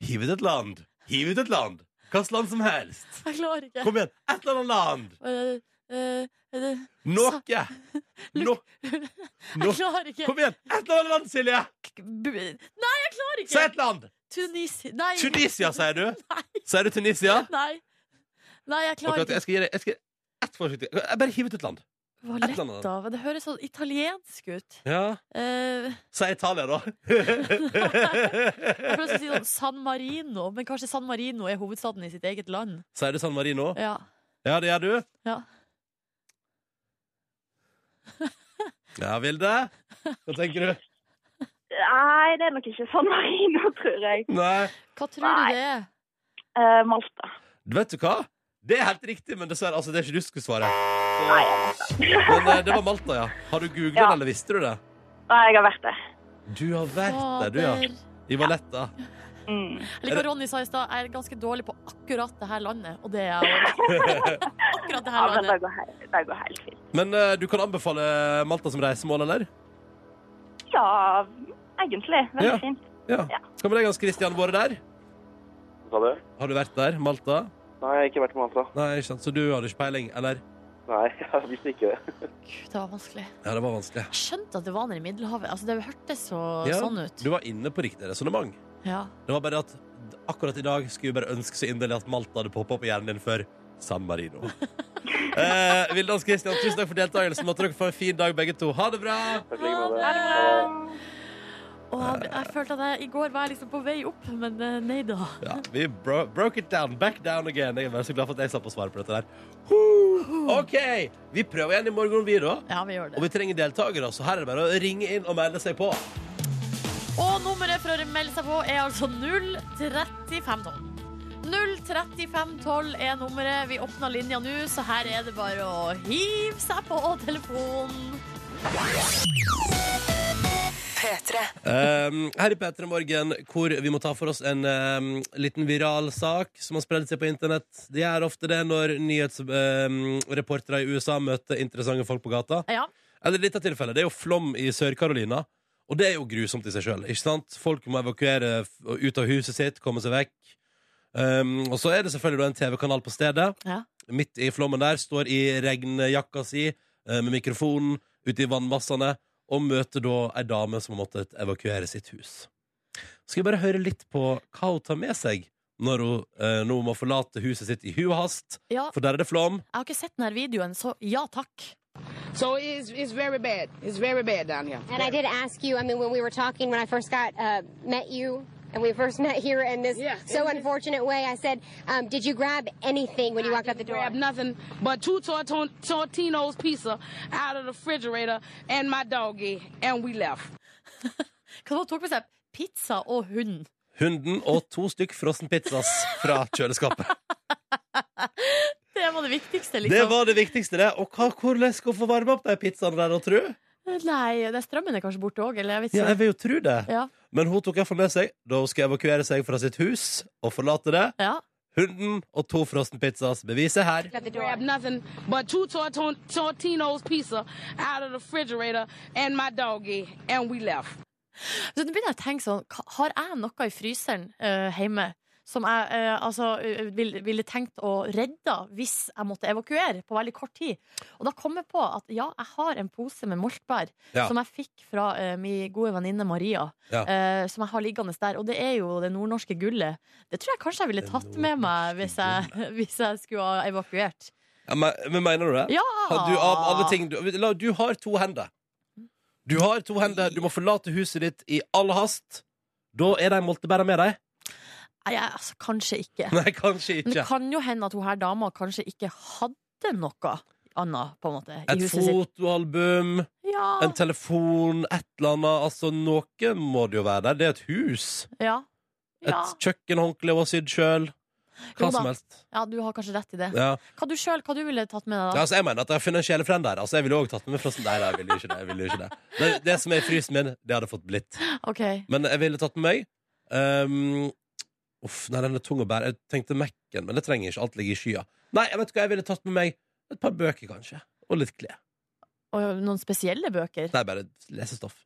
Speaker 2: Hiv ut et land. Hiv ut et land. Hvilket land som helst.
Speaker 3: Jeg klarer ikke.
Speaker 2: Kom igjen. Et eller annet land.
Speaker 3: Eh, eh, eh,
Speaker 2: Noe. No.
Speaker 3: jeg
Speaker 2: No.
Speaker 3: klarer ikke.
Speaker 2: Kom igjen. Et eller annet land, Silje.
Speaker 3: Bu- Nei, jeg klarer
Speaker 2: Si
Speaker 3: ikke!
Speaker 2: et land.
Speaker 3: Tunisia. Nei.
Speaker 2: Tunisia, sier du?
Speaker 3: Nei.
Speaker 2: Sier du Tunisia?
Speaker 3: Nei. Nei, jeg
Speaker 2: Ok,
Speaker 3: klarer
Speaker 2: ok, jeg skal gi deg jeg skal gi deg ett forsøk til. Jeg bare hiv ut et land.
Speaker 3: ikke.
Speaker 2: et eller annet.
Speaker 3: Valletta. Men det høres sånn italiensk ut.
Speaker 2: Ja.
Speaker 3: Eh,
Speaker 2: Si Italia, da.
Speaker 3: jeg prøvde å si sånn San Marino, men kanskje San Marino er hovedstaden i sitt eget land.
Speaker 2: Sier du San Marino?
Speaker 3: Ja.
Speaker 2: Ja, det gjør du.
Speaker 3: Ja.
Speaker 2: Ja, Vilde? Hva tenker du?
Speaker 1: Nei, det er nok ikke San Marino, tror jeg.
Speaker 2: Nei.
Speaker 3: Hva tror
Speaker 1: Nei.
Speaker 3: du det er?
Speaker 1: Eh, Malta.
Speaker 2: Vet du hva? Det er helt riktig, men dessverre, altså, det er ikke du som skulle svare. Men eh, det var Malta, ja. Har du googla
Speaker 1: Ja.
Speaker 2: det, eller visste du det?
Speaker 1: Nei, jeg har vært der.
Speaker 2: Du har vært der, du, ja.
Speaker 3: Fader.
Speaker 2: I Valletta.
Speaker 1: Mm.
Speaker 3: Eller hva Ronny sa i stad, jeg er ganske dårlig på akkurat det her landet. Og det er jeg også. Akkurat det
Speaker 1: Ja,
Speaker 3: her
Speaker 1: men det
Speaker 3: landet.
Speaker 1: går, he det går helt fint.
Speaker 2: Men eh, du kan anbefale Malta som reisemål, eller?
Speaker 1: Ja, egentlig. Veldig
Speaker 2: Ja.
Speaker 1: fint.
Speaker 2: Ja.
Speaker 1: Ja.
Speaker 2: Hva med deg, Hans Christian? Vært der?
Speaker 5: Hva sa du?
Speaker 2: Har du vært der? Malta?
Speaker 5: Nei, jeg har ikke vært på Malta.
Speaker 2: Nei, ikke sant. Så du hadde ikke peiling, eller?
Speaker 5: Nei, jeg visste ikke det.
Speaker 3: Gud, det var vanskelig.
Speaker 2: Ja, det var vanskelig.
Speaker 3: Jeg skjønte at det var nede i Middelhavet. Altså, det hørtes så
Speaker 2: Ja.
Speaker 3: sånn ut.
Speaker 2: Du var inne på riktig resonnement.
Speaker 3: Ja.
Speaker 2: Det var bare at d- akkurat i dag skulle jeg bare ønske så inderlig at Malta hadde poppa opp i hjernen din før San Marino. eh, Vilde Hans Christian, tusen takk for deltakelsen. Måtte dere få en fin dag, begge to. Ha det bra!
Speaker 5: Takk like med
Speaker 3: Ha
Speaker 5: det.
Speaker 3: Og jeg, jeg følte at jeg i går var jeg liksom på vei opp, men eh, nei da.
Speaker 2: Ja, vi bro broke it down. Back down again. Jeg er bare så glad for at jeg slapp å svare på dette der. Huh. OK, vi prøver igjen i morgen, vi, da.
Speaker 3: Ja, vi gjør
Speaker 2: Og
Speaker 3: det.
Speaker 2: vi trenger deltakere, så her er det bare å ringe inn og melde seg på.
Speaker 3: Og nummeret for å melde seg på er altså 03512. 03512 er nummeret. Vi åpner linja nå, så her er det bare å hive seg på telefonen.
Speaker 2: Um, her i P3 Morgen, hvor vi må ta for oss en um, liten viral sak som har spredd seg på internett. Det gjør ofte det når nyhetsreportere i USA møter interessante folk på gata.
Speaker 3: Ja.
Speaker 2: Eller i dette tilfellet, det er jo flom i Sør-Carolina. Og det er jo grusomt i seg sjøl. Folk må evakuere f- ut av huset sitt, komme seg vekk. Um, og så er det selvfølgelig da en TV-kanal på stedet.
Speaker 3: Ja.
Speaker 2: Midt i flommen der står i regnjakka si eh, med mikrofonen ute i vannmassene og møter da ei dame som har måttet evakuere sitt hus. Skal vi bare høre litt på hva hun tar med seg når hun eh, nå må forlate huset sitt i hu og hast,
Speaker 3: ja.
Speaker 2: for der er det flom.
Speaker 3: Jeg har ikke sett denne videoen, så ja takk.
Speaker 6: So it's, it's very bad. It's very bad down here.
Speaker 7: And I did ask you, I mean, when we were talking, when I first got, uh, met you, and and we first met here in this
Speaker 6: Yeah.
Speaker 7: so unfortunate way. I said, um, "Did you grab anything when you walked out the door?"
Speaker 6: Grab nothing but two torto- Tortino's pizza out of the refrigerator and my doggy, and we left.
Speaker 3: Hva tok med seg? Pizza og hund.
Speaker 2: Hunden og to stykk frossenpizzas fra kjøleskapet.
Speaker 3: Det var det viktigste,
Speaker 2: Det
Speaker 3: liksom.
Speaker 2: var det viktigste, det. Og hva, hvordan skal hun få varme opp de pizzaene der, da, tru?
Speaker 3: Nei, det er strømmen er kanskje borte òg, eller jeg vet
Speaker 2: Ja,
Speaker 3: ikke.
Speaker 2: jeg vil jo tro det.
Speaker 3: Ja.
Speaker 2: Men hun tok iallfall med seg, da hun skulle evakuere seg fra sitt hus og forlate det,
Speaker 3: Ja.
Speaker 2: hunden og to frossenpizzas. Beviset her.
Speaker 7: Out the door.
Speaker 6: Grab nothing but two torto- Tortino's pizza out of the refrigerator and my doggy, and we left.
Speaker 3: Så nå begynner jeg å tenke sånn, ka- har jeg noe i fryseren eh, hjemme som jeg eh, altså, eh, ville, ville tenkt å redde hvis jeg måtte evakuere på veldig kort tid? Og da kom jeg på at ja, jeg har en pose med moltbær
Speaker 2: Ja.
Speaker 3: som jeg fikk fra eh, min gode venninne Maria,
Speaker 2: Ja.
Speaker 3: eh, som jeg har liggende der. Og det er jo det nordnorske gullet. Det tror jeg kanskje jeg ville
Speaker 2: Det
Speaker 3: tatt med meg hvis
Speaker 2: nordnorske
Speaker 3: jeg, hvis jeg skulle ha evakuert.
Speaker 2: Ja, men, men mener du det?
Speaker 3: Ja!
Speaker 2: Har du, av alle ting, du, la- du har to hender. Du har to hender, du må forlate huset ditt i all hast. Da er de moltebæra med deg.
Speaker 3: Nei, jeg- altså, kanskje ikke.
Speaker 2: Nei, kanskje
Speaker 3: Men
Speaker 2: ikke.
Speaker 3: det kan jo hende at hun her dama kanskje ikke hadde noe annet, på en måte, i
Speaker 2: Et
Speaker 3: huset sitt. Ah.
Speaker 2: fotoalbum,
Speaker 3: Ja,
Speaker 2: en telefon, et eller annet. Altså, noe må det jo være der. Det er et hus.
Speaker 3: ja. Ja.
Speaker 2: Et kjøkkenhåndkle hun har sydd sjøl.
Speaker 3: Jo
Speaker 2: Hva
Speaker 3: da.
Speaker 2: som helst.
Speaker 3: ja, du har kanskje rett i det.
Speaker 2: Ja.
Speaker 3: Hva du sjøl, hva du ville tatt med
Speaker 2: Ja,
Speaker 3: deg, da?
Speaker 2: altså, jeg mener at jeg har funnet en sjelefrend der. Altså, jeg ville også tatt med meg frossen. Nei, nei, jeg ville jo ikke det. Jeg ville jo ikke det. det. Det som er i frysen min, det hadde fått blitt.
Speaker 3: Ok,
Speaker 2: Men jeg ville tatt med meg ehm, Uff, nei, den er tung å bære. Jeg tenkte Mac-en, men det trenger jeg ikke. Alt ligger i skya. Nei, jeg vet ikke hva jeg ville tatt med meg. Et par bøker, kanskje. Og litt klær.
Speaker 3: og Noen spesielle bøker?
Speaker 2: Nei, bare lesestoff.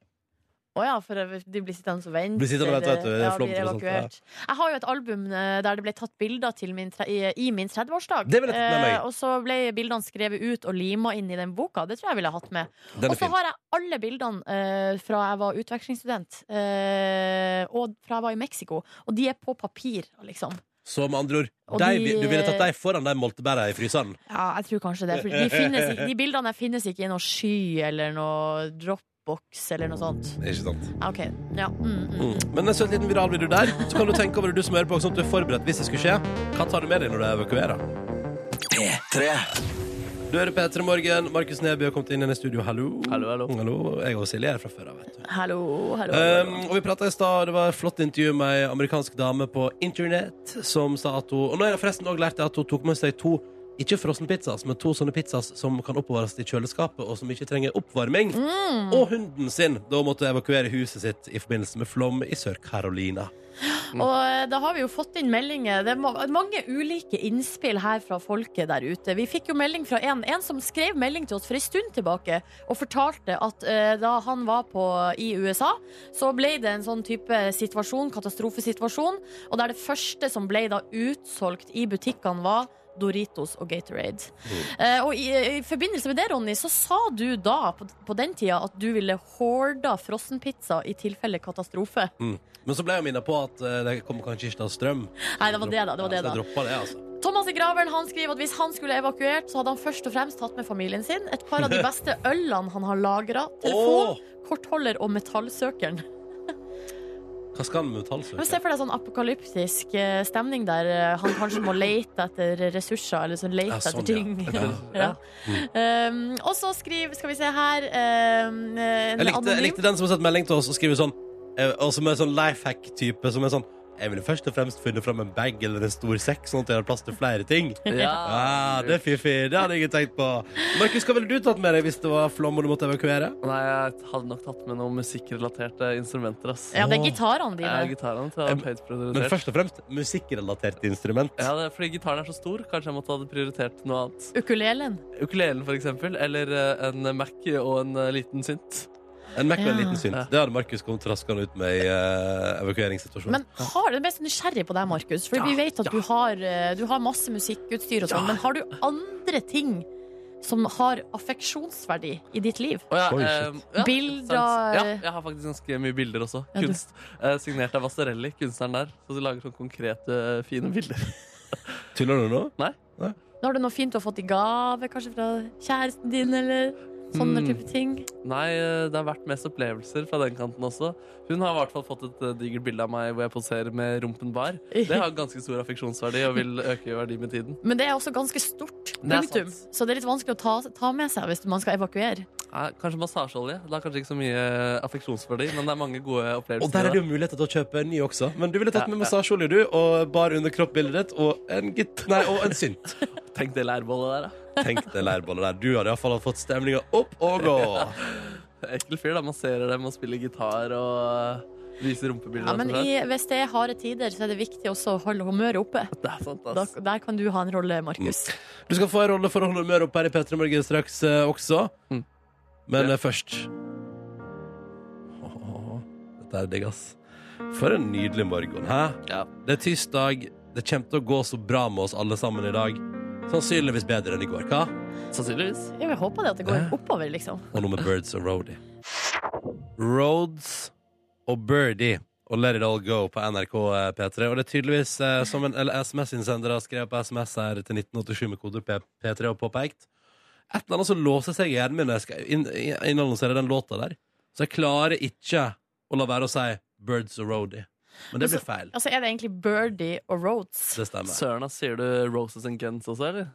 Speaker 3: Å ja, for de blir sittende og vente.
Speaker 2: Blir sittende og vente, vet du,
Speaker 3: Ja,
Speaker 2: flom
Speaker 3: blir
Speaker 2: og sånt, ja.
Speaker 3: evakuert. Jeg har jo et album eh, der det ble tatt bilder til min tre, i, i min 30-årsdag.
Speaker 2: Det ville jeg tatt med meg.
Speaker 3: Eh, og så ble bildene skrevet ut og lima inn i den boka. Det tror jeg jeg ville hatt med.
Speaker 2: Den
Speaker 3: Og
Speaker 2: er
Speaker 3: så
Speaker 2: fin.
Speaker 3: har jeg alle bildene eh, fra jeg var utvekslingsstudent, eh, og fra jeg var i Mexico. Og de er på papir, liksom.
Speaker 2: Så med andre ord,
Speaker 3: Og
Speaker 2: de,
Speaker 3: de-
Speaker 2: du ville tatt deg foran de moltebæra i fryseren.
Speaker 3: Ja, jeg tror kanskje det. For de, finnes, ikke- de bildene der finnes ikke i noe sky eller noe dropbox eller noe sånt.
Speaker 2: Ikke sant?
Speaker 3: Ja, OK. Ja. Mm, mm.
Speaker 2: Mm. Men en søt liten viralvideo der, så kan du tenke over det du som hører på, sånn at du er forberedt hvis det skulle skje. Hva tar du med deg når du evakuerer? Du hører P3 Morgen. Markus Neby har kommet inn i studio. Hallo.
Speaker 4: Hallo, hallo.
Speaker 2: Jeg og Silje er fra før av, vet du.
Speaker 3: Hallo, hallo.
Speaker 2: Um, og vi pratet i stad, det var et flott intervju med ei amerikansk dame på internett som sa at hun Og nå har jeg forresten òg lært at hun tok med seg to ikke frossenpizzas, men to sånne pizzas som kan oppbevares i kjøleskapet, og som ikke trenger oppvarming.
Speaker 3: Mm.
Speaker 2: Og hunden sin. Da måtte hun evakuere huset sitt i forbindelse med flom i Sør-Carolina. Mm.
Speaker 3: Og eh, da har vi jo fått inn meldinger. Det er ma- mange ulike innspill her fra folket der ute. Vi fikk jo melding fra en, en som skrev melding til oss for en stund tilbake og fortalte at eh, da han var på, i USA, så ble det en sånn type situasjon, katastrofesituasjon, og der det første som ble da utsolgt i butikkene var Doritos og Gatorade.
Speaker 2: Mm.
Speaker 3: Eh, og i, I forbindelse med det, Ronny, så sa du da på, på den tida at du ville horda frossenpizza i tilfelle katastrofe.
Speaker 2: Men så ble jeg minnet på at eh, det kommer kanskje ikke til å ha strøm.
Speaker 3: Nei, det var det, da. Det var det,
Speaker 2: Ja,
Speaker 3: da.
Speaker 2: så jeg droppet det, altså.
Speaker 3: Thomas i Graveren han skriver at hvis han skulle evakuert, så hadde han først og fremst tatt med familien sin et par av de beste ølene han har lagra, telefon,
Speaker 2: Åh!
Speaker 3: kortholder og metallsøkeren.
Speaker 2: Hva skal han med metallsøker?
Speaker 3: Men Se for deg sånn apokalyptisk eh, stemning der eh, han kanskje må lete etter ressurser, eller sånn lete
Speaker 2: Ja, sånn,
Speaker 3: etter ting.
Speaker 2: ja.
Speaker 3: Ja. Um, og så skriver, skal vi se her um, en
Speaker 2: Jeg likte, jeg
Speaker 3: anonym-
Speaker 2: likte den som har sett melding til oss og skriver sånn eh, Og som er sånn lifehack-type Som er sånn Jeg ville først og fremst finne frem en bag eller en stor sekk Sånn at jeg har plass til flere ting Ja, det er fiffig, det hadde jeg ikke tenkt på Markus, hva ville du tatt med deg hvis det var flom og du måtte evakuere?
Speaker 4: Nei, jeg hadde nok tatt med noen musikkrelaterte instrumenter, ass.
Speaker 3: Ja, det er gitarene dine.
Speaker 4: Ja, gitaren tror jeg hadde høyt prioritert.
Speaker 2: Men først og fremst, musikkrelatert instrument
Speaker 4: Ja, det er fordi gitaren er så stor. Kanskje jeg måtte ha prioritert noe annet.
Speaker 3: Ukulelen.
Speaker 4: Ukulelen, for eksempel. Eller eh, en Mac og en eh, liten synt.
Speaker 2: En Mac med en
Speaker 3: Ja.
Speaker 2: liten synt
Speaker 4: Ja.
Speaker 2: Det hadde Markus kommet raskende ut med i eh, evakueringssituasjonen
Speaker 3: Men har, jeg er mest nysgjerrig på deg, Markus. For vi vet at du, har, eh, du har masse musikkutstyr og sånn. Men har du andre ting som har affeksjonsverdi i ditt liv?
Speaker 4: Å ja,
Speaker 2: Oi,
Speaker 4: eh,
Speaker 2: shit.
Speaker 4: ja,
Speaker 3: Bilder.
Speaker 4: sant. Ja, jeg har faktisk ganske mye bilder også.
Speaker 3: Ja, du-
Speaker 4: Kunst. Eh, signert av Vasarelli, kunstneren der. Så de lager sånn konkrete, fine bilder.
Speaker 2: Tuller du nå?
Speaker 3: Har du noe fint du har fått i gave, kanskje fra kjæresten din, eller? Sånne
Speaker 4: Mm.
Speaker 3: type ting.
Speaker 4: Nei, eh, det har vært mest opplevelser fra den kanten også. Hun har i hvert fall fått et eh, digert bilde av meg hvor jeg poserer med rumpen bar. Det har ganske stor affeksjonsverdi og vil øke i verdi med tiden.
Speaker 3: Men det er også ganske stort
Speaker 4: er
Speaker 3: punktum,
Speaker 4: sant.
Speaker 3: så det er litt vanskelig å ta, ta med seg hvis man skal evakuere.
Speaker 4: Nei, kanskje massasjeolje. Det har kanskje ikke så mye eh, affeksjonsverdi, men det er mange gode
Speaker 2: Og der
Speaker 4: opplevelser.
Speaker 2: er det jo muligheter til å kjøpe en ny også. Men du ville tatt
Speaker 4: Ja,
Speaker 2: med
Speaker 4: ja.
Speaker 2: massasjeolje, du, og bar under kroppbildet ditt, og en gitt... Nei, og en synt.
Speaker 4: da. Tenk det lærbollet der, da.
Speaker 2: Tenk det lærbollet der. Du hadde iallfall fått stemninga opp og gå.
Speaker 4: Ekkel fyr, da. Masserer dem og spiller gitar og viser rumpebilder.
Speaker 3: Ja, men
Speaker 4: rett og slett.
Speaker 3: i, hvis det er harde tider, så er det viktig også å holde humøret oppe.
Speaker 4: Det er sant,
Speaker 3: Da,
Speaker 4: ass.
Speaker 3: der kan du ha en rolle, Markus.
Speaker 2: Du skal få en rolle for å holde humøret oppe her i P3 Morgen straks eh, også.
Speaker 4: Mm.
Speaker 2: Men
Speaker 4: Ja.
Speaker 2: eh, først Åh, Dette er digg, ass. For en nydelig morgen, hæ?
Speaker 4: Ja.
Speaker 2: Det er tirsdag. Det kommer til å gå så bra med oss alle sammen i dag. Sannsynligvis bedre enn i går, hva?
Speaker 4: Sannsynligvis.
Speaker 3: Ja, Jeg håper det at det går oppover, liksom.
Speaker 2: Og nå med Birds og Roadie. Roads og Birdie og Let It All Go på NRK eh, P3. Og det er tydeligvis, eh, som en SMS-innsender har skrevet på SMS her til 1987 med koder P P3 og påpekt, et eller annet som låser seg i hjernen min når jeg skal inn- inn- innannonsere den låta der. Så jeg klarer ikke å la være å si Birds og Roadie. Men det blir feil.
Speaker 3: Altså, er det egentlig Birdie og Rhodes?
Speaker 2: Det stemmer.
Speaker 4: Søren, ass. Sier du Roses and Guns også, eller?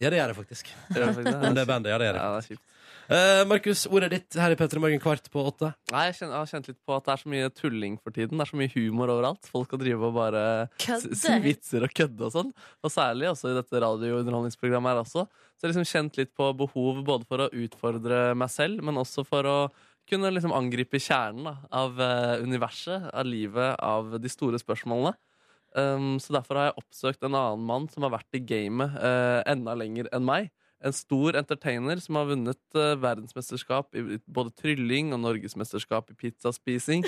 Speaker 2: Ja, det gjør jeg faktisk.
Speaker 4: Gjør du faktisk
Speaker 2: Men det er bandet. Ja, det gjør jeg.
Speaker 4: Ja, det er kjipt.
Speaker 2: Eh, Markus, ordet er ditt her i P3 Morgen kvart på åtte.
Speaker 4: Nei, jeg, kjenner, jeg har kjent litt på at det er så mye tulling for tiden. Det er så mye humor overalt. Folk kan drive og bare s-
Speaker 3: Kødde.
Speaker 4: si vitser og kødde og sånn. Og særlig også i dette radiounderholdningsprogrammet her også. Så jeg har liksom kjent litt på behov både for å utfordre meg selv, men også for å kunne liksom angripe kjernen da, av eh, universet, av livet, av de store spørsmålene. Um, så derfor har jeg oppsøkt en annen mann som har vært i gamet eh, enda lenger enn meg. En stor entertainer som har vunnet eh, verdensmesterskap i både trylling og norgesmesterskap i pizzaspising.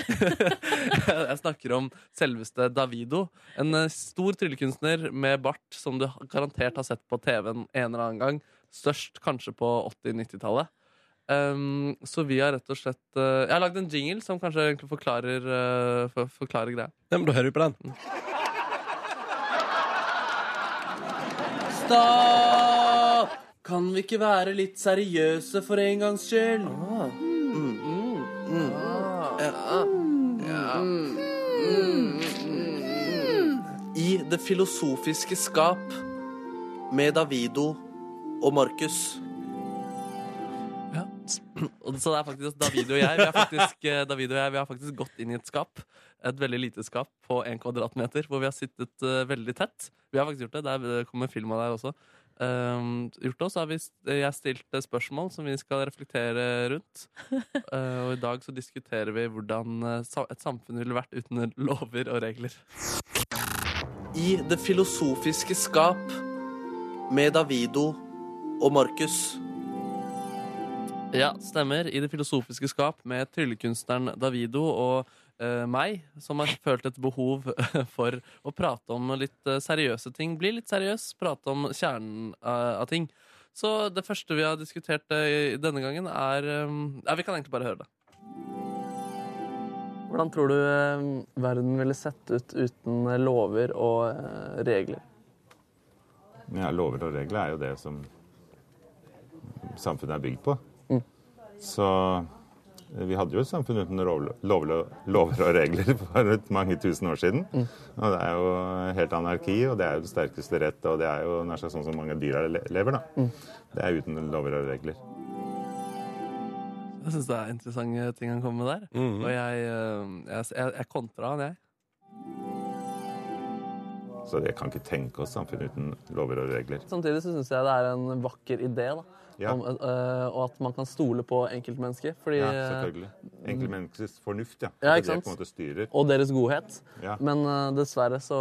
Speaker 4: jeg snakker om selveste Davido. En eh, stor tryllekunstner med bart som du garantert har sett på TV-en en eller annen gang. Størst kanskje på 80-90-tallet. Um, så vi har rett og slett eh, Jeg har lagd en jingle som kanskje egentlig forklarer, eh, for, forklarer greia.
Speaker 2: Nei, men da hører vi på den.
Speaker 4: Stopp! Kan vi ikke være litt seriøse for en gangs skyld? I Det filosofiske skap med Davido og Markus. Ja. Og Så det er faktisk Davido og jeg. Vi er faktisk, eh, Davido og jeg, vi har faktisk gått inn i et skap. Et veldig lite skap på en kvadratmeter, hvor vi har sittet eh, veldig tett. Vi har faktisk gjort det. Der eh, kommer film av det her også. Ehm, gjort det, og så har vi, s- jeg stilt eh, spørsmål som vi skal reflektere rundt. Eh, og i dag så diskuterer vi hvordan eh, sa- et samfunn ville vært uten lover og regler. I Det filosofiske skap med Davido og Markus. Ja, stemmer. I Det filosofiske skap med tryllekunstneren Davido og eh, meg, som har følt et behov for å prate om litt eh, seriøse ting. Bli litt seriøs, prate om kjernen eh, av ting. Så det første vi har diskutert eh, denne gangen, er eh, Ja, vi kan egentlig bare høre det. Hvordan tror du eh, verden ville sett ut uten lover og eh, regler?
Speaker 8: Ja, lover og regler er jo det som samfunnet er bygd på.
Speaker 4: Mm.
Speaker 8: Så eh, vi hadde jo et samfunn uten lov, lov, lover og regler for et mange tusen år siden.
Speaker 4: Mm.
Speaker 8: Og det er jo helt anarki, og det er jo det sterkeste rett, og det er jo nær sagt sånn som mange dyr le- lever, da. Det er uten lover og regler.
Speaker 4: Jeg syns det er interessante ting han kommer med der.
Speaker 8: Mhm.
Speaker 4: Og jeg, eh, jeg, jeg, jeg kontra han, jeg.
Speaker 8: Så jeg kan ikke tenke oss samfunn uten lover og regler.
Speaker 4: Samtidig så syns jeg det er en vakker idé, da.
Speaker 8: Ja,
Speaker 4: Om, eh, og at man kan stole på enkeltmennesket. Fordi, eh,
Speaker 8: ja selvfølgelig. Enkeltmenneskets fornuft, ja.
Speaker 4: Ja,
Speaker 8: Det er
Speaker 4: ikke
Speaker 8: det
Speaker 4: sant?
Speaker 8: på en måte styrer.
Speaker 4: og deres godhet.
Speaker 8: Ja.
Speaker 4: Men eh, dessverre så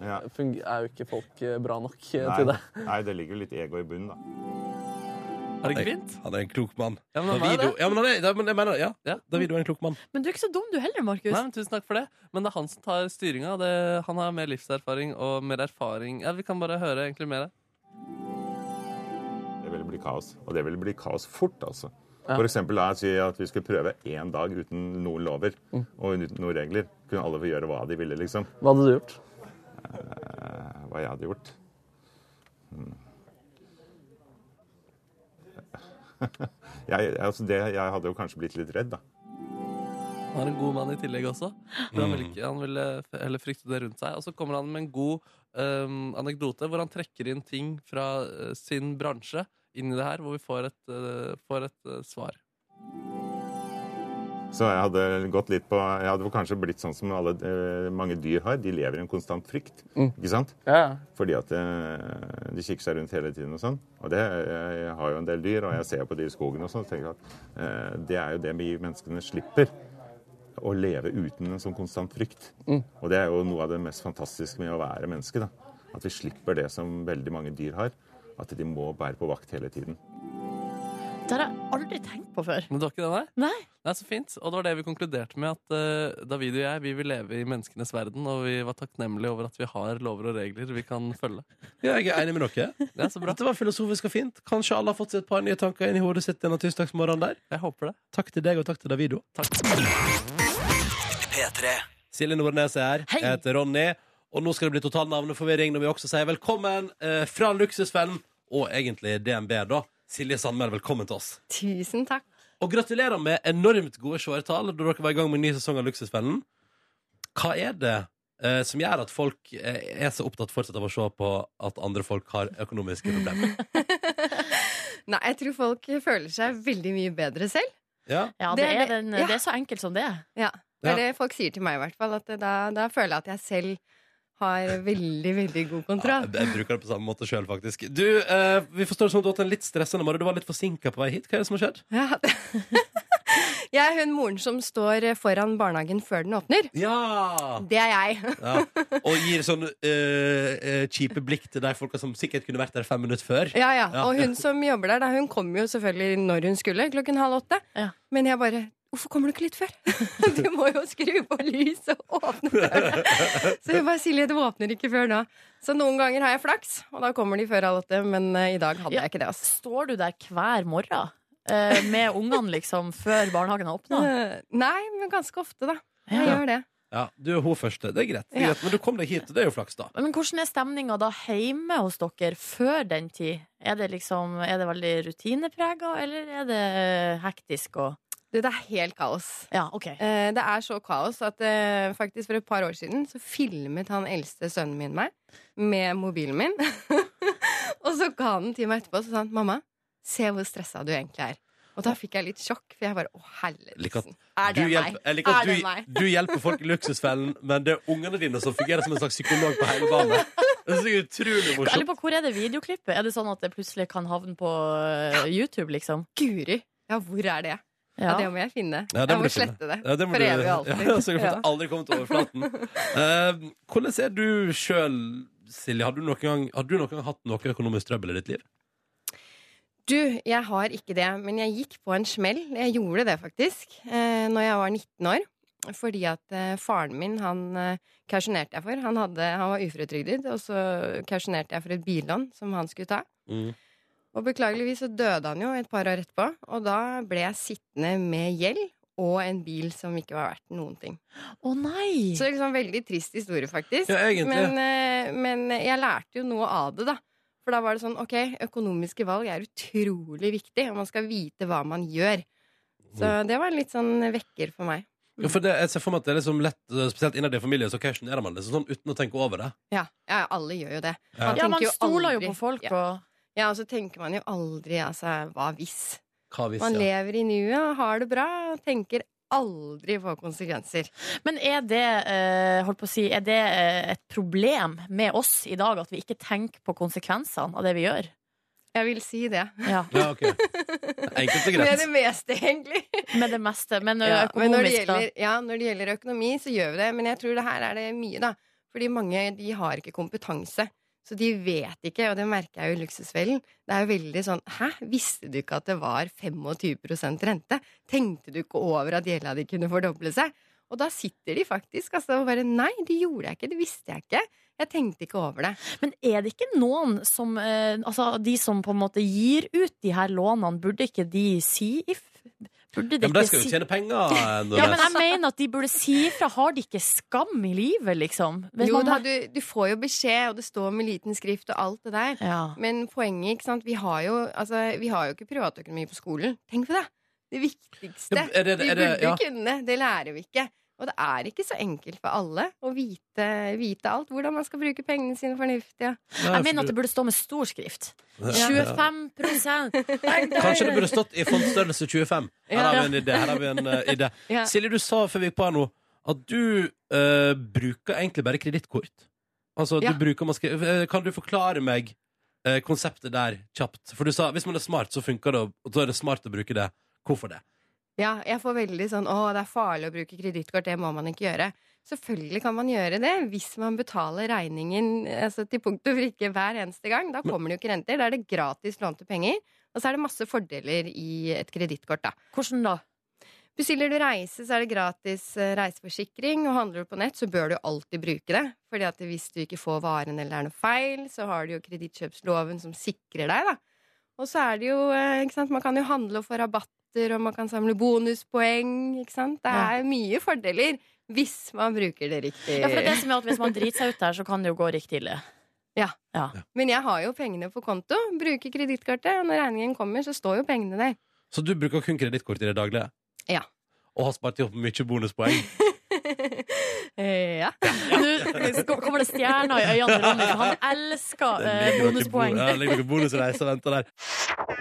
Speaker 8: Ja.
Speaker 4: eh, fung- er jo ikke folk eh, bra nok eh, til
Speaker 8: Nei,
Speaker 4: det.
Speaker 8: nei, det ligger jo litt ego i bunnen, da.
Speaker 4: Er det ikke fint?
Speaker 2: Han er en klok mann.
Speaker 4: Ja, men han er
Speaker 2: Davido,
Speaker 4: det.
Speaker 2: ja, men han er, ja, men jeg mener, ja.
Speaker 4: Ja.
Speaker 2: Davido er en klok mann.
Speaker 3: Men du er ikke så dum du heller, Markus.
Speaker 4: Nei, men Tusen takk for det. Men det er han som tar styringa. Det- Han har mer livserfaring og mer erfaring. Ja, Vi kan bare høre egentlig mer.
Speaker 8: Det ville bli kaos. Og det ville bli kaos fort, altså. For eksempel la oss si at vi skulle prøve én dag uten noen lover
Speaker 4: Mm.
Speaker 8: og uten noen regler. Kunne alle få gjøre hva de ville, liksom.
Speaker 4: Hva hadde du gjort?
Speaker 8: Eh, Hva jeg hadde gjort. Mm. jeg, altså det, jeg hadde jo kanskje blitt litt redd, da.
Speaker 4: Han er en god mann i tillegg også. For han vil, ikke, han vil eh, f- heller frykte det rundt seg. Og så kommer han med en god eh, anekdote hvor han trekker inn ting fra eh, sin bransje inn i det her, hvor vi får et, eh, får et eh, svar.
Speaker 8: Så jeg hadde gått litt på Jeg hadde vel kanskje blitt sånn som alle, eh, mange dyr har. De lever i en konstant frykt. Ikke sant?
Speaker 9: Ja,
Speaker 8: Fordi at eh, de kikker seg rundt hele tiden og sånn. Og det, jeg, jeg har jo en del dyr, og jeg ser på dyr i skogen og sånn, og tenker at eh, det er jo det vi menneskene slipper. Å leve uten en sånn konstant frykt. Og det er jo noe av det mest fantastiske med å være menneske. da. At vi slipper det som veldig mange dyr har. At de må være på vakt hele tiden.
Speaker 3: Det har jeg aldri tenkt på før.
Speaker 4: Men det var ikke det, nei?
Speaker 3: Nei.
Speaker 4: Nei, så fint. Og det var det vi konkluderte med, at eh, David og jeg vi vil leve i menneskenes verden, og vi var takknemlige over at vi har lover og regler vi kan følge.
Speaker 2: Ja, jeg er enig med dere.
Speaker 4: Det er så bra.
Speaker 2: Dette var filosofisk og fint. Kanskje alle har fått seg et par nye tanker inn i hodet sitt denne tirsdagsmorgenen der.
Speaker 4: Jeg håper det.
Speaker 2: Takk til deg, og takk til Davido.
Speaker 4: Takk.
Speaker 2: Silje Nordnes er her.
Speaker 3: Hei.
Speaker 2: Jeg heter Ronny. Og nå skal det bli total navneforvirring når vi også sier velkommen eh, fra Luksusfellen, og egentlig DNB, da. Silje Sandmæl, velkommen til oss.
Speaker 10: Tusen takk.
Speaker 2: Og gratulerer med enormt gode seertall da dere var i gang med en ny sesong av Luksusfellen. Hva er det eh, som gjør at folk eh, er så opptatt fortsatt av å se på at andre folk har økonomiske problemer?
Speaker 10: Nei, jeg tror folk føler seg veldig mye bedre selv.
Speaker 2: Ja,
Speaker 3: Ja, det,
Speaker 10: Det er
Speaker 3: er den,
Speaker 10: det- ja.
Speaker 3: det er så enkelt som det.
Speaker 10: Ja. Det
Speaker 2: Ja.
Speaker 10: er det folk sier til meg, i hvert fall. At det- da, da føler jeg at jeg selv har veldig, veldig god
Speaker 2: ja
Speaker 10: kontroll.
Speaker 2: jeg, jeg bruker det på samme måte sjøl, faktisk. Du, eh, vi forstår det som at du har hatt en litt stressende morgen. Du var litt forsinka på vei hit. Hva er det som har skjedd?
Speaker 10: Ja. Jeg er hun moren som står foran barnehagen før den åpner.
Speaker 2: Ja!
Speaker 10: Det er jeg.
Speaker 2: Ja. Og gir sånn eh, eh, kjipe blikk til de folka som sikkert kunne vært der fem minutter før.
Speaker 10: Ja, ja.
Speaker 2: Ja.
Speaker 10: Og hun som jobber der, da, hun kom jo selvfølgelig når hun skulle, klokken halv åtte.
Speaker 3: Ja.
Speaker 10: Men jeg bare Hvorfor kommer du ikke litt før? Du må jo skru på lyset og åpne døra. Så hun bare Silje, det åpner ikke før nå. Så noen ganger har jeg flaks, og da kommer de før halv åtte. Men eh, i dag hadde
Speaker 3: Ja.
Speaker 10: jeg ikke det, altså.
Speaker 3: Står du der hver morgen eh, med ungene, liksom, før barnehagen har åpna?
Speaker 10: Eh, Nei, men ganske ofte, da. Jeg
Speaker 3: Ja.
Speaker 10: gjør det.
Speaker 2: Ja, Du er hun første. Det er greit. Det er
Speaker 10: Ja.
Speaker 2: greit. Men du kom deg hit, og det er jo flaks, da.
Speaker 3: Men hvordan er stemninga da hjemme hos dere før den tid? Er det liksom Er det veldig rutineprega, eller er det eh, hektisk og
Speaker 10: Du, det er helt kaos.
Speaker 3: Ja, OK.
Speaker 10: Eh, Det er så kaos at eh, faktisk for et par år siden så filmet han eldste sønnen min meg med mobilen min. og så ga han den til meg etterpå og sa han, 'mamma, se hvor stressa du egentlig er'. Og da fikk jeg litt sjokk, for jeg bare 'å,
Speaker 2: Like at
Speaker 10: helvete'. Er
Speaker 2: Du
Speaker 10: det meg?
Speaker 2: hjelper, jeg liker at
Speaker 10: er det meg?
Speaker 2: du, du hjelper folk i luksusfellen, men det er ungene dine som fungerer som en slags psykolog på hjemmebane. Det synes jeg er utrolig
Speaker 3: Jeg lurer
Speaker 2: morsomt.
Speaker 3: på Hvor er det videoklippet? Er det sånn at det plutselig kan havne på eh, YouTube, liksom?
Speaker 10: Guri! Ja, hvor er det? Ja,
Speaker 3: Ja.
Speaker 10: det må jeg finne.
Speaker 2: Ja, det må du
Speaker 10: jeg må
Speaker 2: finne.
Speaker 10: slette det.
Speaker 2: Ja, det må
Speaker 10: for
Speaker 2: du-
Speaker 10: evig og alltid.
Speaker 2: Ja, så jeg
Speaker 10: Ja.
Speaker 2: har aldri kommet over overflaten. Eh, hvordan er du sjøl, Silje? Har du, noen gang, har du noen gang hatt noe økonomisk trøbbel i ditt liv?
Speaker 10: Du, jeg har ikke det, men jeg gikk på en smell. Jeg gjorde det faktisk eh, når jeg var 19 år. Fordi at eh, faren min, han eh, kausjonerte jeg for. Han, hadde, han var uføretrygdet, og så kausjonerte jeg for et billån som han skulle ta.
Speaker 2: Mm.
Speaker 10: Og beklageligvis så døde han jo et par år etterpå, og da ble jeg sittende med gjeld. Og en bil som ikke var verdt noen ting.
Speaker 3: Å nei!
Speaker 10: Så liksom veldig trist historie, faktisk.
Speaker 2: Ja, egentlig.
Speaker 10: Men, eh, men jeg lærte jo noe av det, da. For da var det sånn, ok, økonomiske valg er utrolig viktig, og man skal vite hva man gjør. Så
Speaker 2: Mm.
Speaker 10: det var en litt sånn vekker for meg.
Speaker 2: Ja, for det, jeg ser for meg at det er liksom lett, eh, Spesielt innad i familien så kausjonerer man det sånn uten å tenke over det.
Speaker 10: Ja, ja alle gjør jo det.
Speaker 2: Ja.
Speaker 3: Ja, man
Speaker 10: tenker jo
Speaker 3: stoler jo
Speaker 10: aldri-
Speaker 3: på folk,
Speaker 10: Ja.
Speaker 3: og
Speaker 10: Ja, og så tenker man jo aldri, altså, hva hvis?
Speaker 2: Hva hvis,
Speaker 10: Man
Speaker 2: ja.
Speaker 10: lever i nuet og har det bra, og tenker aldri på konsekvenser.
Speaker 3: Men er det, eh, holdt på å si, er det eh, et problem med oss i dag at vi ikke tenker på konsekvensene av det vi gjør?
Speaker 10: Jeg vil si det.
Speaker 3: Ja,
Speaker 2: Ja, ok. Enkelt og
Speaker 10: Med
Speaker 2: greit.
Speaker 10: det meste, egentlig.
Speaker 3: Med det meste. Men eh,
Speaker 10: Ja, men når
Speaker 3: økonomisk,
Speaker 10: det,
Speaker 3: da.
Speaker 10: gjelder, ja, når det gjelder økonomi, så gjør vi det. Men jeg tror det her er det mye, da. Fordi mange de har ikke kompetanse. Så de vet ikke, og det merker jeg jo i Luksusfellen. Det er jo veldig sånn Hæ, visste du ikke at det var 25 rente? Tenkte du ikke over at gjelda di kunne fordoble seg? Og da sitter de faktisk altså, og bare Nei, det gjorde jeg ikke, det visste jeg ikke. Jeg tenkte ikke over det.
Speaker 3: Men er det ikke noen som eh, Altså, de som på en måte gir ut de her lånene, burde ikke de si if? Burde
Speaker 2: Ja,
Speaker 3: det
Speaker 2: men de
Speaker 3: ikke
Speaker 2: skal jo
Speaker 3: si
Speaker 2: tjene penger. eh,
Speaker 9: Ja,
Speaker 2: Nordnes.
Speaker 9: men jeg mener at de burde si ifra. Har de ikke skam i livet, liksom? Hvis
Speaker 10: Jo
Speaker 9: man
Speaker 10: da,
Speaker 9: har-
Speaker 10: du, du får jo beskjed, og det står med liten skrift og alt det der.
Speaker 9: Ja.
Speaker 10: Men poenget, ikke sant, vi har jo, altså, vi har jo ikke privatøkonomi på skolen. Tenk på det! Det viktigste
Speaker 2: Ja, er det-
Speaker 10: vi
Speaker 2: er
Speaker 10: burde
Speaker 2: det- ja.
Speaker 10: kunne, det lærer vi ikke. Og det er ikke så enkelt for alle å vite, vite alt. Hvordan man skal bruke pengene sine fornuftig. Ja.
Speaker 2: Nei, for
Speaker 3: Jeg mener
Speaker 2: du-
Speaker 3: at det burde stå med stor skrift.
Speaker 2: Ja.
Speaker 3: 25
Speaker 2: Kanskje det burde stått i fondsstørrelse 25. Her har vi en idé. Her har vi en eh, idé.
Speaker 10: Ja.
Speaker 2: Silje, du sa før vi gikk på her nå at du eh, bruker egentlig bare kredittkort. Altså,
Speaker 10: Ja.
Speaker 2: du bruker man skal, eh, Kan du forklare meg eh, konseptet der kjapt? For du sa hvis man er smart, så funker det, og da er det smart å bruke det. Hvorfor det?
Speaker 10: Ja, jeg får veldig sånn 'Å, det er farlig å bruke kredittkort. Det må man ikke gjøre'. Selvfølgelig kan man gjøre det hvis man betaler regningen altså, til punkt og prikke hver eneste gang. Da kommer det jo ikke renter. Da er det gratis lånte penger. Og så er det masse fordeler i et kredittkort, da.
Speaker 9: Hvordan da?
Speaker 10: Bestiller du reise, så er det gratis eh, reiseforsikring. Og handler du på nett, så bør du jo alltid bruke det. Fordi at hvis du ikke får varen eller det er noe feil, så har du jo kredittkjøpsloven som sikrer deg, da. Og så er det jo, eh, ikke sant, man kan jo handle og få rabatter, og man kan samle bonuspoeng, ikke sant. Det er mye fordeler hvis man bruker det riktig.
Speaker 3: Ja, for det er det som er at Hvis man driter seg ut der, så kan det jo gå riktig ille.
Speaker 10: Men jeg har jo pengene på konto, bruker kredittkortet, og når regningen kommer, så står jo pengene der.
Speaker 2: Så du bruker kun kredittkort i det daglige?
Speaker 10: Ja.
Speaker 2: Og har spart opp mye bonuspoeng?
Speaker 10: Eh, ja.
Speaker 3: Nå kommer det stjerner i øynene til Ronny. for Han elsker
Speaker 2: Det
Speaker 3: eh,
Speaker 2: ligger noen
Speaker 3: bonuspoeng.
Speaker 2: bo- Ja, det ligger noen bonusreiser og venter der.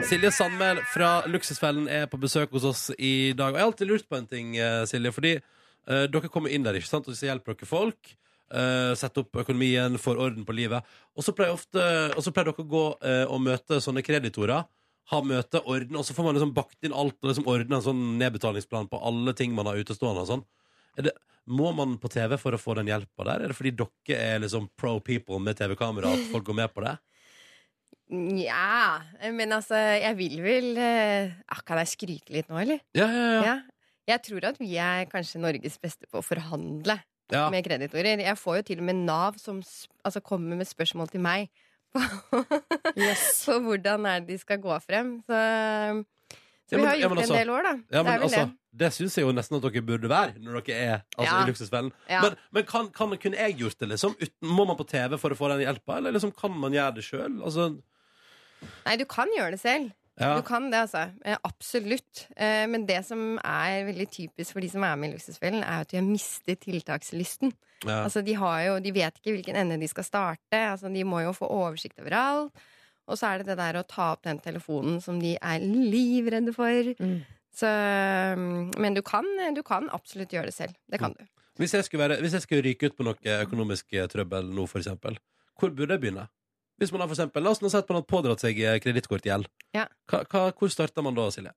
Speaker 2: Silje Sandmæl fra Luksusfellen er på besøk hos oss i dag. Og jeg har alltid lurt på en ting, eh, Silje. Fordi eh, dere kommer inn der, ikke sant? og så hjelper dere folk. Uh, Sette opp økonomien, får orden på livet. Og så pleier, ofte, og så pleier dere å gå eh, og møte sånne kreditorer. Ha møte, ordne, og så får man liksom bakt inn alt og liksom ordne en sånn nedbetalingsplan på alle ting man har utestående og sånn. Er det, må man på TV for å få den hjelpa der? Er det fordi dere er liksom pro people med TV-kamera at folk går med på det?
Speaker 10: Nja, men altså, jeg vil vel eh, ah, Kan jeg skryte litt nå, eller?
Speaker 2: Ja, ja, ja.
Speaker 10: Ja. Jeg tror at vi er kanskje Norges beste på å forhandle
Speaker 2: Ja.
Speaker 10: med kreditorer. Jeg får jo til og med Nav som s- altså, kommer med spørsmål til meg på, på hvordan er det de skal gå frem. Så, ehm,
Speaker 2: Ja,
Speaker 10: så vi
Speaker 2: men-
Speaker 10: har
Speaker 2: ja,
Speaker 10: gjort
Speaker 2: men
Speaker 10: det
Speaker 2: altså-
Speaker 10: en del år, da.
Speaker 2: Ja,
Speaker 10: det
Speaker 2: men
Speaker 10: er vel
Speaker 2: altså, det syns jeg jo nesten at dere burde være når dere er altså,
Speaker 10: Ja.
Speaker 2: i luksusfellen.
Speaker 10: Ja.
Speaker 2: Men, men kan, kan, kunne jeg gjort det, liksom? Uten, må man på TV for å få den hjelpa, eller liksom, kan man gjøre det sjøl? Altså,
Speaker 10: det. Nei, du kan gjøre det selv.
Speaker 2: ja.
Speaker 10: Du kan det, altså. Eh, absolutt. Eh, men det som er veldig typisk for de som er med i Luksusfellen, er at de har mistet tiltakslysten.
Speaker 2: Ja.
Speaker 10: Altså, de, har jo, de vet ikke hvilken ende de skal starte. Altså, de må jo få oversikt over alt. Og så er det det der å ta opp den telefonen som de er livredde for.
Speaker 3: Mm.
Speaker 10: Så, mm, men du kan, du kan absolutt gjøre det selv. Det kan du.
Speaker 2: hvis, jeg skulle være, hvis jeg skulle ryke ut på noe økonomisk eh, trøbbel nå, for eksempel, hvor burde jeg begynne? Hvis man har for eksempel, La oss nå si at man har pådratt seg eh, kredittkortgjeld.
Speaker 10: Ja.
Speaker 2: Hva- hva- Hvor starter man da, Silje?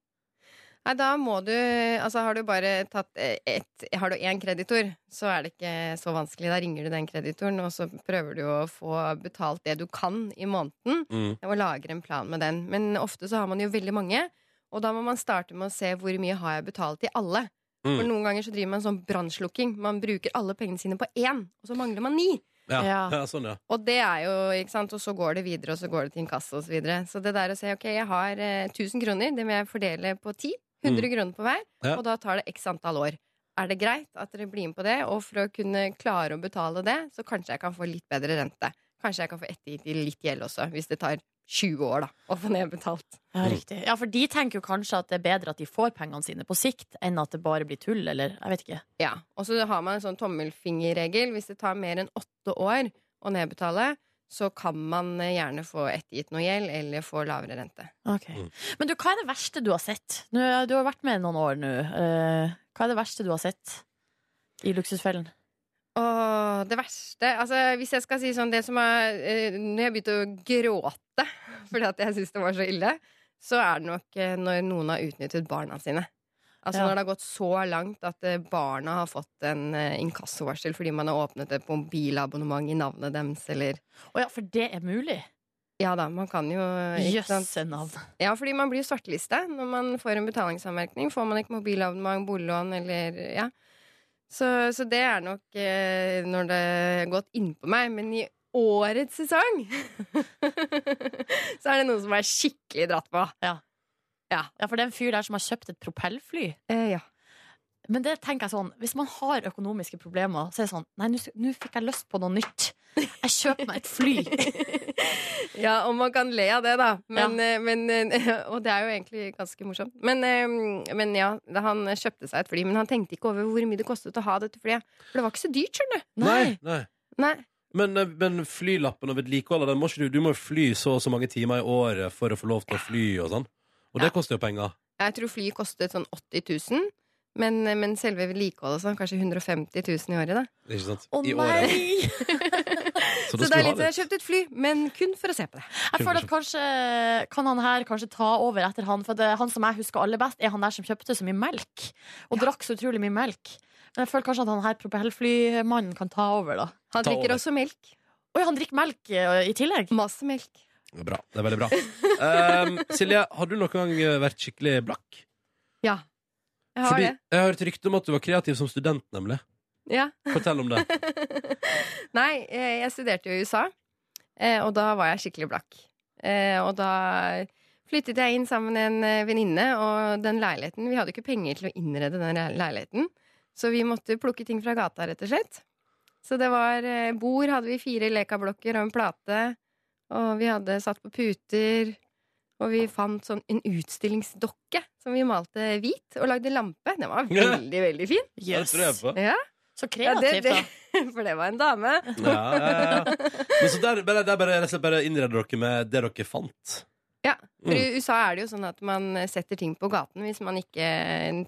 Speaker 10: Nei, da må du Altså, har du bare tatt eh, ett Har du én kreditor, så er det ikke så vanskelig. Da ringer du den kreditoren, og så prøver du å få betalt det du kan i måneden.
Speaker 2: Mm.
Speaker 10: Og lager en plan med den. Men ofte så har man jo veldig mange, og da må man starte med å se hvor mye har jeg betalt til alle.
Speaker 2: Mm.
Speaker 10: For noen ganger så driver man sånn brannslukking. Man bruker alle pengene sine på én, og så mangler man ni.
Speaker 2: Ja. Ja.
Speaker 3: Ja.
Speaker 2: sånn, ja.
Speaker 10: Og det er jo, ikke sant, og så går det videre, og så går det til inkasso osv. Så, videre. så det der å si ok, jeg har eh, 1000 kroner, det må jeg fordele på 10. 100 kroner på hver,
Speaker 2: Ja.
Speaker 10: og da tar det x antall år. Er det greit at dere blir med på det? Og for å kunne klare å betale det, så kanskje jeg kan få litt bedre rente. Kanskje jeg kan få ettergitt litt gjeld også, hvis det tar 20 år da, å få nedbetalt.
Speaker 3: Ja, riktig. Ja, for de tenker jo kanskje at det er bedre at de får pengene sine på sikt, enn at det bare blir tull, eller jeg vet ikke.
Speaker 10: Ja, Og så har man en sånn tommelfingerregel. Hvis det tar mer enn åtte år å nedbetale, så kan man eh, gjerne få ettergitt noe gjeld, eller få lavere rente.
Speaker 2: Mm.
Speaker 3: Men du, hva er det verste du har sett? Nå, du har vært med noen år nå. Eh, hva er det verste du har sett i Luksusfellen?
Speaker 10: Åh, det verste Altså, hvis jeg skal si sånn Det som er eh, Når jeg begynte å gråte fordi at jeg syntes det var så ille, så er det nok eh, når noen har utnyttet barna sine. Altså
Speaker 3: Ja.
Speaker 10: når det har gått så langt at eh, barna har fått en eh, inkassovarsel fordi man har åpnet et mobilabonnement i navnet deres, eller
Speaker 3: Å ja, for det er mulig?
Speaker 10: Ja da, man kan jo ikke sant?
Speaker 3: Jøsse navn.
Speaker 10: Ja, fordi man blir jo svarteliste når man får en betalingsanmerkning. Får man ikke mobilabonnement, boliglån eller Ja. Så, så det er nok eh, når det har gått innpå meg. Men i årets sesong så er det noen som er skikkelig dratt på.
Speaker 3: Ja. Ja. for det er en fyr der som har kjøpt et propellfly. Men det tenker jeg sånn, hvis man har økonomiske problemer, så er det sånn Nei, nå s- nå fikk jeg lyst på noe nytt. Jeg kjøper meg et fly.
Speaker 10: Ja, og man kan le av det, da. Men, eh, men, eh, og det er jo egentlig ganske morsomt. Men, eh, men ja, da han kjøpte seg et fly, men han tenkte ikke over hvor mye det kostet å ha dette flyet. For det var ikke så dyrt, skjønner du.
Speaker 2: Nei. Nei.
Speaker 10: Nei.
Speaker 2: Men, eh, men flylappen og vedlikeholdet, den må ikke du Du må jo fly så og så mange timer i året for å få lov til å fly og sånn. Og det koster jo penger.
Speaker 10: Jeg tror flyet kostet sånn 80 000. Men, men selve vedlikeholdet og sånn, kanskje 150 000 i året, da.
Speaker 2: Ikke sant?
Speaker 10: Å,
Speaker 2: I
Speaker 10: nei.
Speaker 2: året. Så da
Speaker 10: Så, det er
Speaker 2: skulle
Speaker 10: litt
Speaker 2: du ha
Speaker 10: jeg har kjøpt et fly, men kun for å se på det.
Speaker 3: Jeg føler at kanskje Kan han her kanskje ta over etter han? For det, han som jeg husker aller best, er han der som kjøpte så mye melk. Og drakk så utrolig mye melk. Men jeg føler kanskje at han her propellflymannen kan ta over, da.
Speaker 10: Han Ta drikker over. også melk.
Speaker 3: Oi, han drikker melk eh, i tillegg?
Speaker 10: Masse melk.
Speaker 2: det. Bra. Det er veldig bra. Um, Silje, har du noen gang eh, vært skikkelig blakk?
Speaker 10: Ja. Jeg har
Speaker 2: Fordi jeg har hørt rykte om at du var kreativ som student, nemlig.
Speaker 10: det. Ja.
Speaker 2: Fortell om det.
Speaker 10: Nei, eh, jeg studerte jo i USA, eh, og da var jeg skikkelig blakk. Eh, Og da flyttet jeg inn sammen med en eh, venninne, og den leiligheten Vi hadde ikke penger til å innrede den le- leiligheten, så vi måtte plukke ting fra gata, rett og slett. Så det var eh, bord, hadde vi fire lekablokker og en plate, og vi hadde satt på puter. Og vi fant sånn en utstillingsdokke som vi malte hvit, og lagde lampe. Den var veldig, veldig fin.
Speaker 2: Ja, det tror jeg på.
Speaker 10: Ja.
Speaker 3: Så
Speaker 2: kreativt, da.
Speaker 10: For det var en dame.
Speaker 2: Ja, ja, ja. Men så der, bare, der bare, rett og slett bare innreder dere med det dere fant.
Speaker 10: Ja, for
Speaker 2: Mm.
Speaker 10: i USA er det jo sånn at man setter ting på gaten hvis man ikke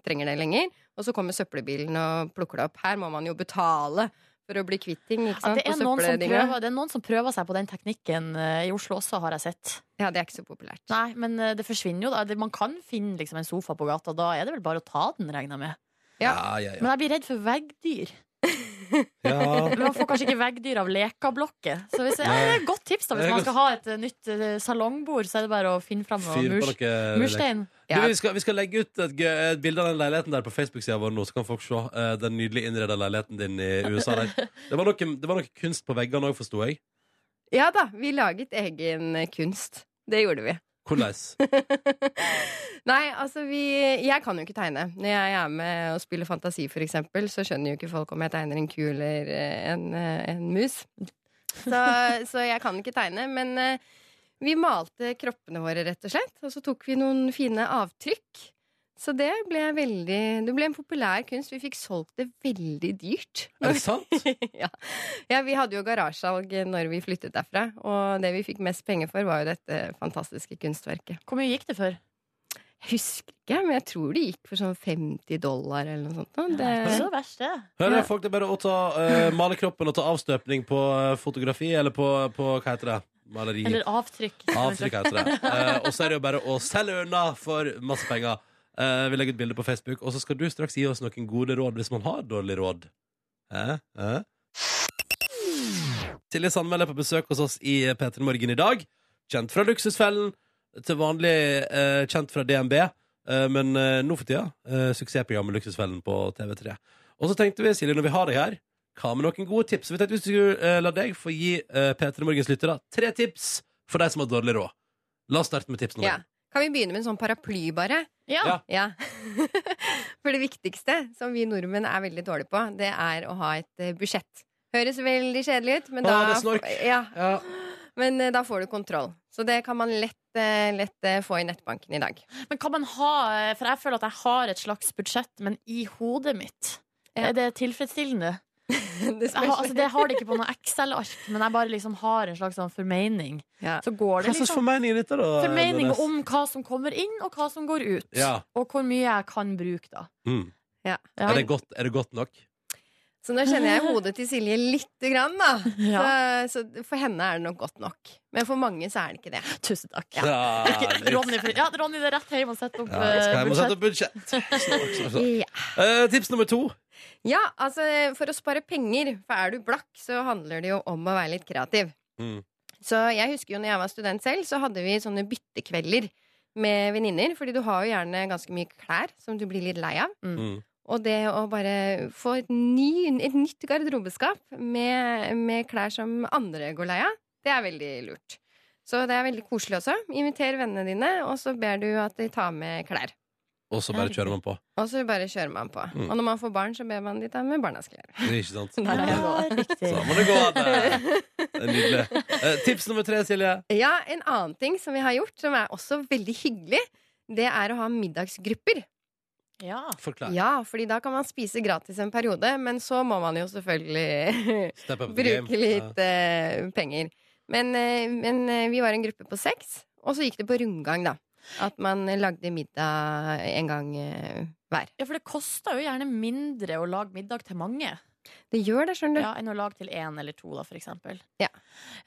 Speaker 10: trenger det lenger, og så kommer søppelbilen og plukker det opp. Her må man jo betale for å bli kvitt ting,
Speaker 3: Ja,
Speaker 10: ikke
Speaker 3: Altså,
Speaker 10: sant?
Speaker 3: det, er
Speaker 10: på
Speaker 3: noen som
Speaker 10: søppeldinga.
Speaker 3: prøver, det er noen som prøver seg på den teknikken eh, i Oslo også, har jeg sett.
Speaker 10: Ja, det er ikke så populært.
Speaker 3: Nei, men eh, det forsvinner jo da. Det- Man kan finne liksom, en sofa på gata, da er det vel bare å ta den, regner jeg med.
Speaker 2: Ja, ja,
Speaker 3: Men jeg blir redd for veggdyr. Men man får kanskje ikke veggdyr av lekablokker. Så hvis, ja, det er et godt tips da
Speaker 2: Det
Speaker 3: hvis
Speaker 2: er
Speaker 3: man
Speaker 2: godt.
Speaker 3: skal ha et eh, nytt eh, salongbord, så er det bare å finne fram noe
Speaker 2: Fyr på
Speaker 3: murs,
Speaker 2: dere.
Speaker 3: murstein.
Speaker 2: Du, vi, skal, vi skal legge ut et, gøy, et bilde av den leiligheten der på Facebook-sida vår nå, så kan folk se eh, den nydelig innreda leiligheten din i USA. Der. Det, var noe, det var noe kunst på veggene òg, forsto jeg.
Speaker 10: Ja da, vi laget egen kunst. Det gjorde vi.
Speaker 2: Hvordan?
Speaker 10: Nei, altså vi Jeg kan jo ikke tegne. Når jeg er med og spiller fantasi, for eksempel, så skjønner jo ikke folk om jeg tegner en ku eller eh, en, eh, en mus. Så, så jeg kan ikke tegne. Men eh, vi malte kroppene våre, rett og slett. Og så tok vi noen fine avtrykk. Så det ble veldig Det ble en populær kunst. Vi fikk solgt det veldig dyrt.
Speaker 2: Er det sant?
Speaker 10: ja. ja. Vi hadde jo garasjesalg når vi flyttet derfra, og det vi fikk mest penger for, var jo dette fantastiske kunstverket.
Speaker 3: Hvor mye gikk det for?
Speaker 10: Jeg husker ikke, men jeg tror det gikk for sånn 50 dollar eller noe sånt. nå.
Speaker 2: Eh,
Speaker 3: Det er ikke så
Speaker 10: Det,
Speaker 3: verst, det.
Speaker 2: Hører folk det er bare å ta, eh, male kroppen og ta avstøpning på eh, fotografi, eller på, på hva heter det? Maleri.
Speaker 3: Eller avtrykk.
Speaker 2: Avtrykk heter det. Eh, og så er det jo bare å selge unna for masse penger. Eh, vi legger ut bilde på Facebook, og så skal du straks gi oss noen gode råd hvis man har dårlig råd. Eh? Eh? Silje Sandmæl er på besøk hos oss i P3 Morgen i dag. Kjent fra Luksusfellen, til vanlig eh, kjent fra DNB. eh, men eh, nå for tida eh, suksessprogrammet Luksusfellen på TV3. Og så tenkte vi, Silje, når vi har deg her, hva med noen gode tips? Vi tenkte vi skulle eh, la deg få gi eh, P3 Morgens lyttere tre tips for deg som har dårlig råd. La oss starte med tips nummer
Speaker 10: ja. Kan vi begynne med en sånn paraply, bare?
Speaker 2: Ja.
Speaker 10: For det viktigste, som vi nordmenn er veldig dårlige på, det er å ha et eh, budsjett. Høres veldig kjedelig ut, men da,
Speaker 11: Å, det er snork.
Speaker 10: Ja.
Speaker 2: Ja.
Speaker 10: Men eh, da får du kontroll. Så det kan man lett, eh, lett eh, få i nettbanken i dag.
Speaker 3: Men kan man ha eh, For jeg føler at jeg har et slags budsjett, men i hodet mitt. Er det tilfredsstillende?
Speaker 10: det,
Speaker 3: jeg har, altså, det har det ikke på noe Excel-ark, men jeg bare liksom har en slags sånn formening. Så går
Speaker 2: Hva
Speaker 3: det
Speaker 2: slags
Speaker 3: liksom
Speaker 2: formening er dette, da?
Speaker 3: Formening
Speaker 2: Nordnes?
Speaker 3: om hva som kommer inn, og hva som går ut.
Speaker 2: Ja.
Speaker 3: Og hvor mye jeg kan bruke, da.
Speaker 2: Mm.
Speaker 10: Ja.
Speaker 2: Er, det godt, er det godt nok?
Speaker 10: Så nå kjenner jeg hodet til Silje lite grann, da. Så, så for henne er det nok godt nok. Men for mange så er det ikke det.
Speaker 3: Tusen takk.
Speaker 2: Ja, litt.
Speaker 3: Ronny, for- ja, Ronny, det er rett hjem å sette opp
Speaker 2: Ja, jeg skal
Speaker 3: eh,
Speaker 2: hjem og sette
Speaker 3: budsjett.
Speaker 2: opp budsjett. Snakk, snakk, snakk.
Speaker 10: Ja.
Speaker 2: Eh, tips nummer to.
Speaker 10: Ja, altså for å spare penger, for er du blakk, så handler det jo om å være litt kreativ. Så jeg husker jo når jeg var student selv, så hadde vi sånne byttekvelder med venninner. Fordi du har jo gjerne ganske mye klær som du blir litt lei av. Og det å bare få et, ny, et nytt garderobeskap med, med klær som andre går lei av, det er veldig lurt. Så det er veldig koselig også. Inviter vennene dine, og så ber du at de tar med klær.
Speaker 2: Og så bare kjører man på.
Speaker 10: Og så bare kjører man på.
Speaker 2: Mm.
Speaker 10: Og når man får barn, så ber man de ta med barnas klær.
Speaker 2: Ikke sant?
Speaker 10: Der er det
Speaker 3: riktig.
Speaker 2: Så må det gå an. Det er nydelig. Eh, tips nummer tre, Silje.
Speaker 10: Ja, en annen ting som vi har gjort, som er også veldig hyggelig, det er å ha middagsgrupper.
Speaker 3: Ja.
Speaker 2: Forklar.
Speaker 10: Ja, fordi da kan man spise gratis en periode, men så må man jo selvfølgelig
Speaker 2: Step up the game.
Speaker 10: bruke litt
Speaker 2: Ja.
Speaker 10: eh, penger. Men, eh, men eh, vi var en gruppe på seks, og så gikk det på rundgang, da. At man lagde middag en gang eh, hver.
Speaker 3: Ja, for det koster jo gjerne mindre å lage middag til mange
Speaker 10: Det gjør det, skjønner du.
Speaker 3: ja, enn å lage til én eller to, da, for eksempel.
Speaker 10: Ja.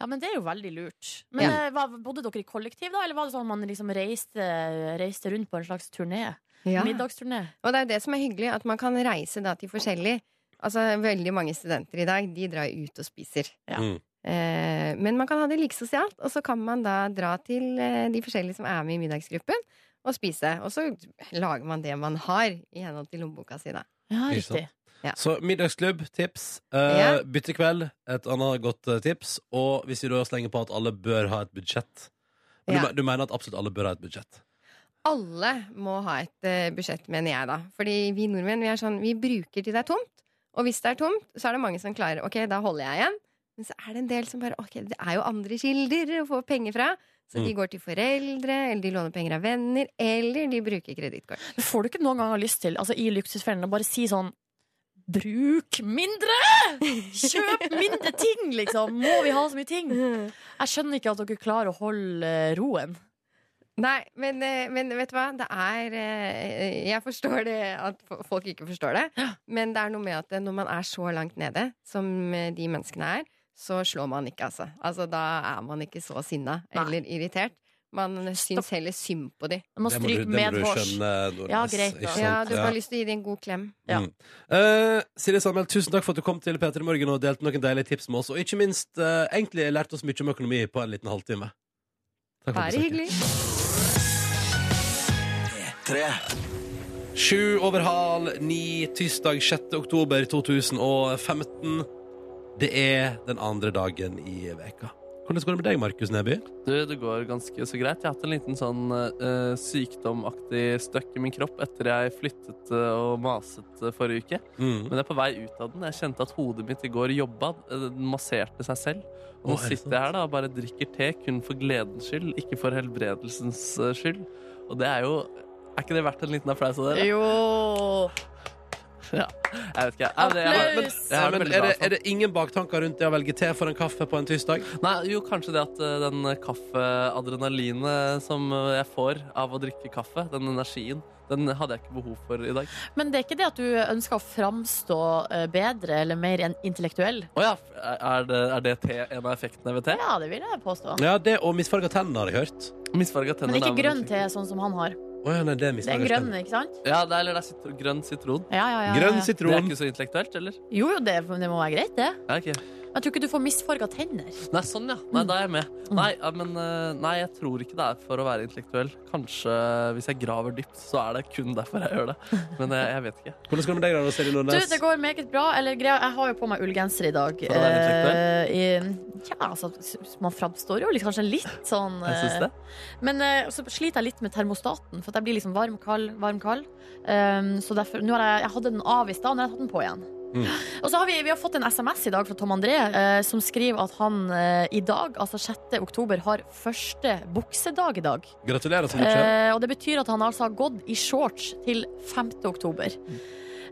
Speaker 3: Ja, men det er jo veldig lurt. Men
Speaker 10: Ja.
Speaker 3: eh, hva- Bodde dere i kollektiv, da, eller var det sånn at man liksom reiste, reiste rundt på en slags turné?
Speaker 10: Ja.
Speaker 3: Middagsturné?
Speaker 10: Og det er jo det som er hyggelig, at man kan reise da til forskjellig. Altså, veldig mange studenter i dag, de drar jo ut og spiser.
Speaker 2: Mm.
Speaker 10: Eh, men man kan ha det like sosialt, og så kan man da dra til eh, de forskjellige som er med i middagsgruppen, og spise. Og så lager man det man har, i henhold til lommeboka si, da.
Speaker 3: Ja,
Speaker 2: Ikke sant?
Speaker 3: riktig.
Speaker 10: Ja.
Speaker 2: Så middagsklubb, tips. Eh,
Speaker 10: Ja.
Speaker 2: Byttekveld, et annet godt eh, tips. Og hvis vi da slenger på at alle bør ha et budsjett. Men
Speaker 10: Ja.
Speaker 2: Du, me- du mener at absolutt alle bør ha et budsjett?
Speaker 10: Alle må ha et eh, budsjett, mener jeg, da. Fordi vi nordmenn, vi er sånn, vi bruker til det er tomt. Og hvis det er tomt, så er det mange som klarer Ok, da holder jeg igjen. Men så er det en del som bare Ok, det er jo andre kilder å få penger fra. Så de
Speaker 2: Mm.
Speaker 10: går til foreldre, eller de låner penger av venner, eller de bruker kredittkort.
Speaker 3: Men Får du ikke noen gang lyst til, altså i luksusfellen, å bare si sånn Bruk mindre! Kjøp mindre ting, liksom! Må vi ha så mye ting? Jeg skjønner ikke at dere klarer å holde eh, roen.
Speaker 10: Nei, men, eh, men vet du hva? Det er eh, Jeg forstår det at fo- folk ikke forstår det. Men det er noe med at eh, når man er så langt nede som eh, de menneskene er, så slår man ikke, altså. altså da er man ikke så sinna
Speaker 3: Nei.
Speaker 10: eller irritert. Man syns heller synd på de.
Speaker 3: Man må
Speaker 2: Det må du,
Speaker 3: stryke
Speaker 2: det må du
Speaker 3: medhårs.
Speaker 2: skjønne, Nordnes.
Speaker 3: Ja, greit da.
Speaker 2: Ikke sant?
Speaker 10: Ja, du har lyst til å gi dem en god klem.
Speaker 3: Ja.
Speaker 2: Mm. Eh, Silje Sandmæl, tusen takk for at du kom til P3 Morgen og delte noen deilige tips med oss. Og ikke minst eh, egentlig lært oss mye om økonomi på en liten halvtime. Takk for
Speaker 10: Bare
Speaker 2: besøket.
Speaker 10: hyggelig.
Speaker 2: Sju over halv ni tirsdag 6. oktober 2015. Det er den andre dagen i veka. Hvordan går det med deg, Markus Neby?
Speaker 4: Du, det går ganske så greit. Jeg har hatt en liten sånn eh, sykdomaktig støkk i min kropp etter jeg flyttet eh, og maset eh, forrige uke.
Speaker 2: Mm.
Speaker 4: Men jeg er på vei ut av den. Jeg kjente at hodet mitt i går jobba. eh, Den masserte seg selv.
Speaker 2: Å,
Speaker 4: Og nå
Speaker 2: er det
Speaker 4: sitter jeg her da og bare drikker te kun for gledens skyld, ikke for helbredelsens eh, skyld. Og det er jo Er ikke det verdt en liten applaus av dere?
Speaker 3: Jo!
Speaker 4: Ja, jeg vet ikke. Ja, det- jeg, har-
Speaker 3: Applaus!
Speaker 4: jeg har det
Speaker 2: Men
Speaker 4: veldig
Speaker 2: er,
Speaker 4: bra, sånn. altså.
Speaker 2: det, er det ingen baktanker rundt det å velge te for en kaffe på en tirsdag?
Speaker 4: Nei, jo, kanskje det at eh, den kaffeadrenalinet som eh, jeg får av å drikke kaffe, den energien, den hadde jeg ikke behov for i dag.
Speaker 3: Men det er ikke det at du ønsker å framstå eh, bedre eller mer en- intellektuell?
Speaker 4: Å ja, er det, er det te, en av effektene ved te?
Speaker 3: Ja, det vil jeg påstå.
Speaker 2: Ja, det og misfarga tenner har jeg hørt.
Speaker 4: Misfarga tenner.
Speaker 3: Men ikke
Speaker 4: er vel-
Speaker 3: grønn te, sånn som han har.
Speaker 2: Å ja, nei, det er
Speaker 3: Det er
Speaker 2: misfarga
Speaker 3: grønn,
Speaker 2: tenner.
Speaker 3: ikke sant?
Speaker 4: Ja, det er, eller det er sitro, grønn sitron.
Speaker 3: Ja, ja, ja, ja.
Speaker 2: Grønn
Speaker 4: Det er
Speaker 2: sitron.
Speaker 4: ikke så intellektuelt, eller?
Speaker 3: Jo, jo, det, det må være greit, det.
Speaker 4: Ja, ok.
Speaker 3: Men jeg tror ikke du får misfarga tenner.
Speaker 4: Nei, sånn ja. Nei, da er jeg med.
Speaker 3: Mm.
Speaker 4: Nei, ja, men, eh, nei, jeg tror ikke det er for å være intellektuell. Kanskje eh, hvis jeg graver dypt, så er det kun derfor jeg gjør det. Men eh, jeg vet ikke.
Speaker 2: Hvordan går det med deg, da, Silje
Speaker 3: Du,
Speaker 2: Nordnes?
Speaker 3: det går meget bra. Eller greia, jeg har jo på meg ullgenser i dag.
Speaker 4: å være
Speaker 3: Eh, i, ja, altså, s- man framstår jo litt- kanskje litt sånn
Speaker 4: Jeg syns
Speaker 3: eh,
Speaker 4: det.
Speaker 3: Men eh, så sliter jeg litt med termostaten, for at jeg blir liksom varm, kald, varm, kald. Um, så derfor, nå har jeg, jeg hadde den av i stad, nå har jeg tatt den på igjen.
Speaker 2: Mm.
Speaker 3: Og så har vi, vi har fått en SMS i dag fra Tom André, eh, som skriver at han eh, i dag, altså 6. oktober, har første buksedag i dag.
Speaker 2: Gratulerer så mye.
Speaker 3: Eh, og det betyr at han altså har gått i shorts til 5. oktober.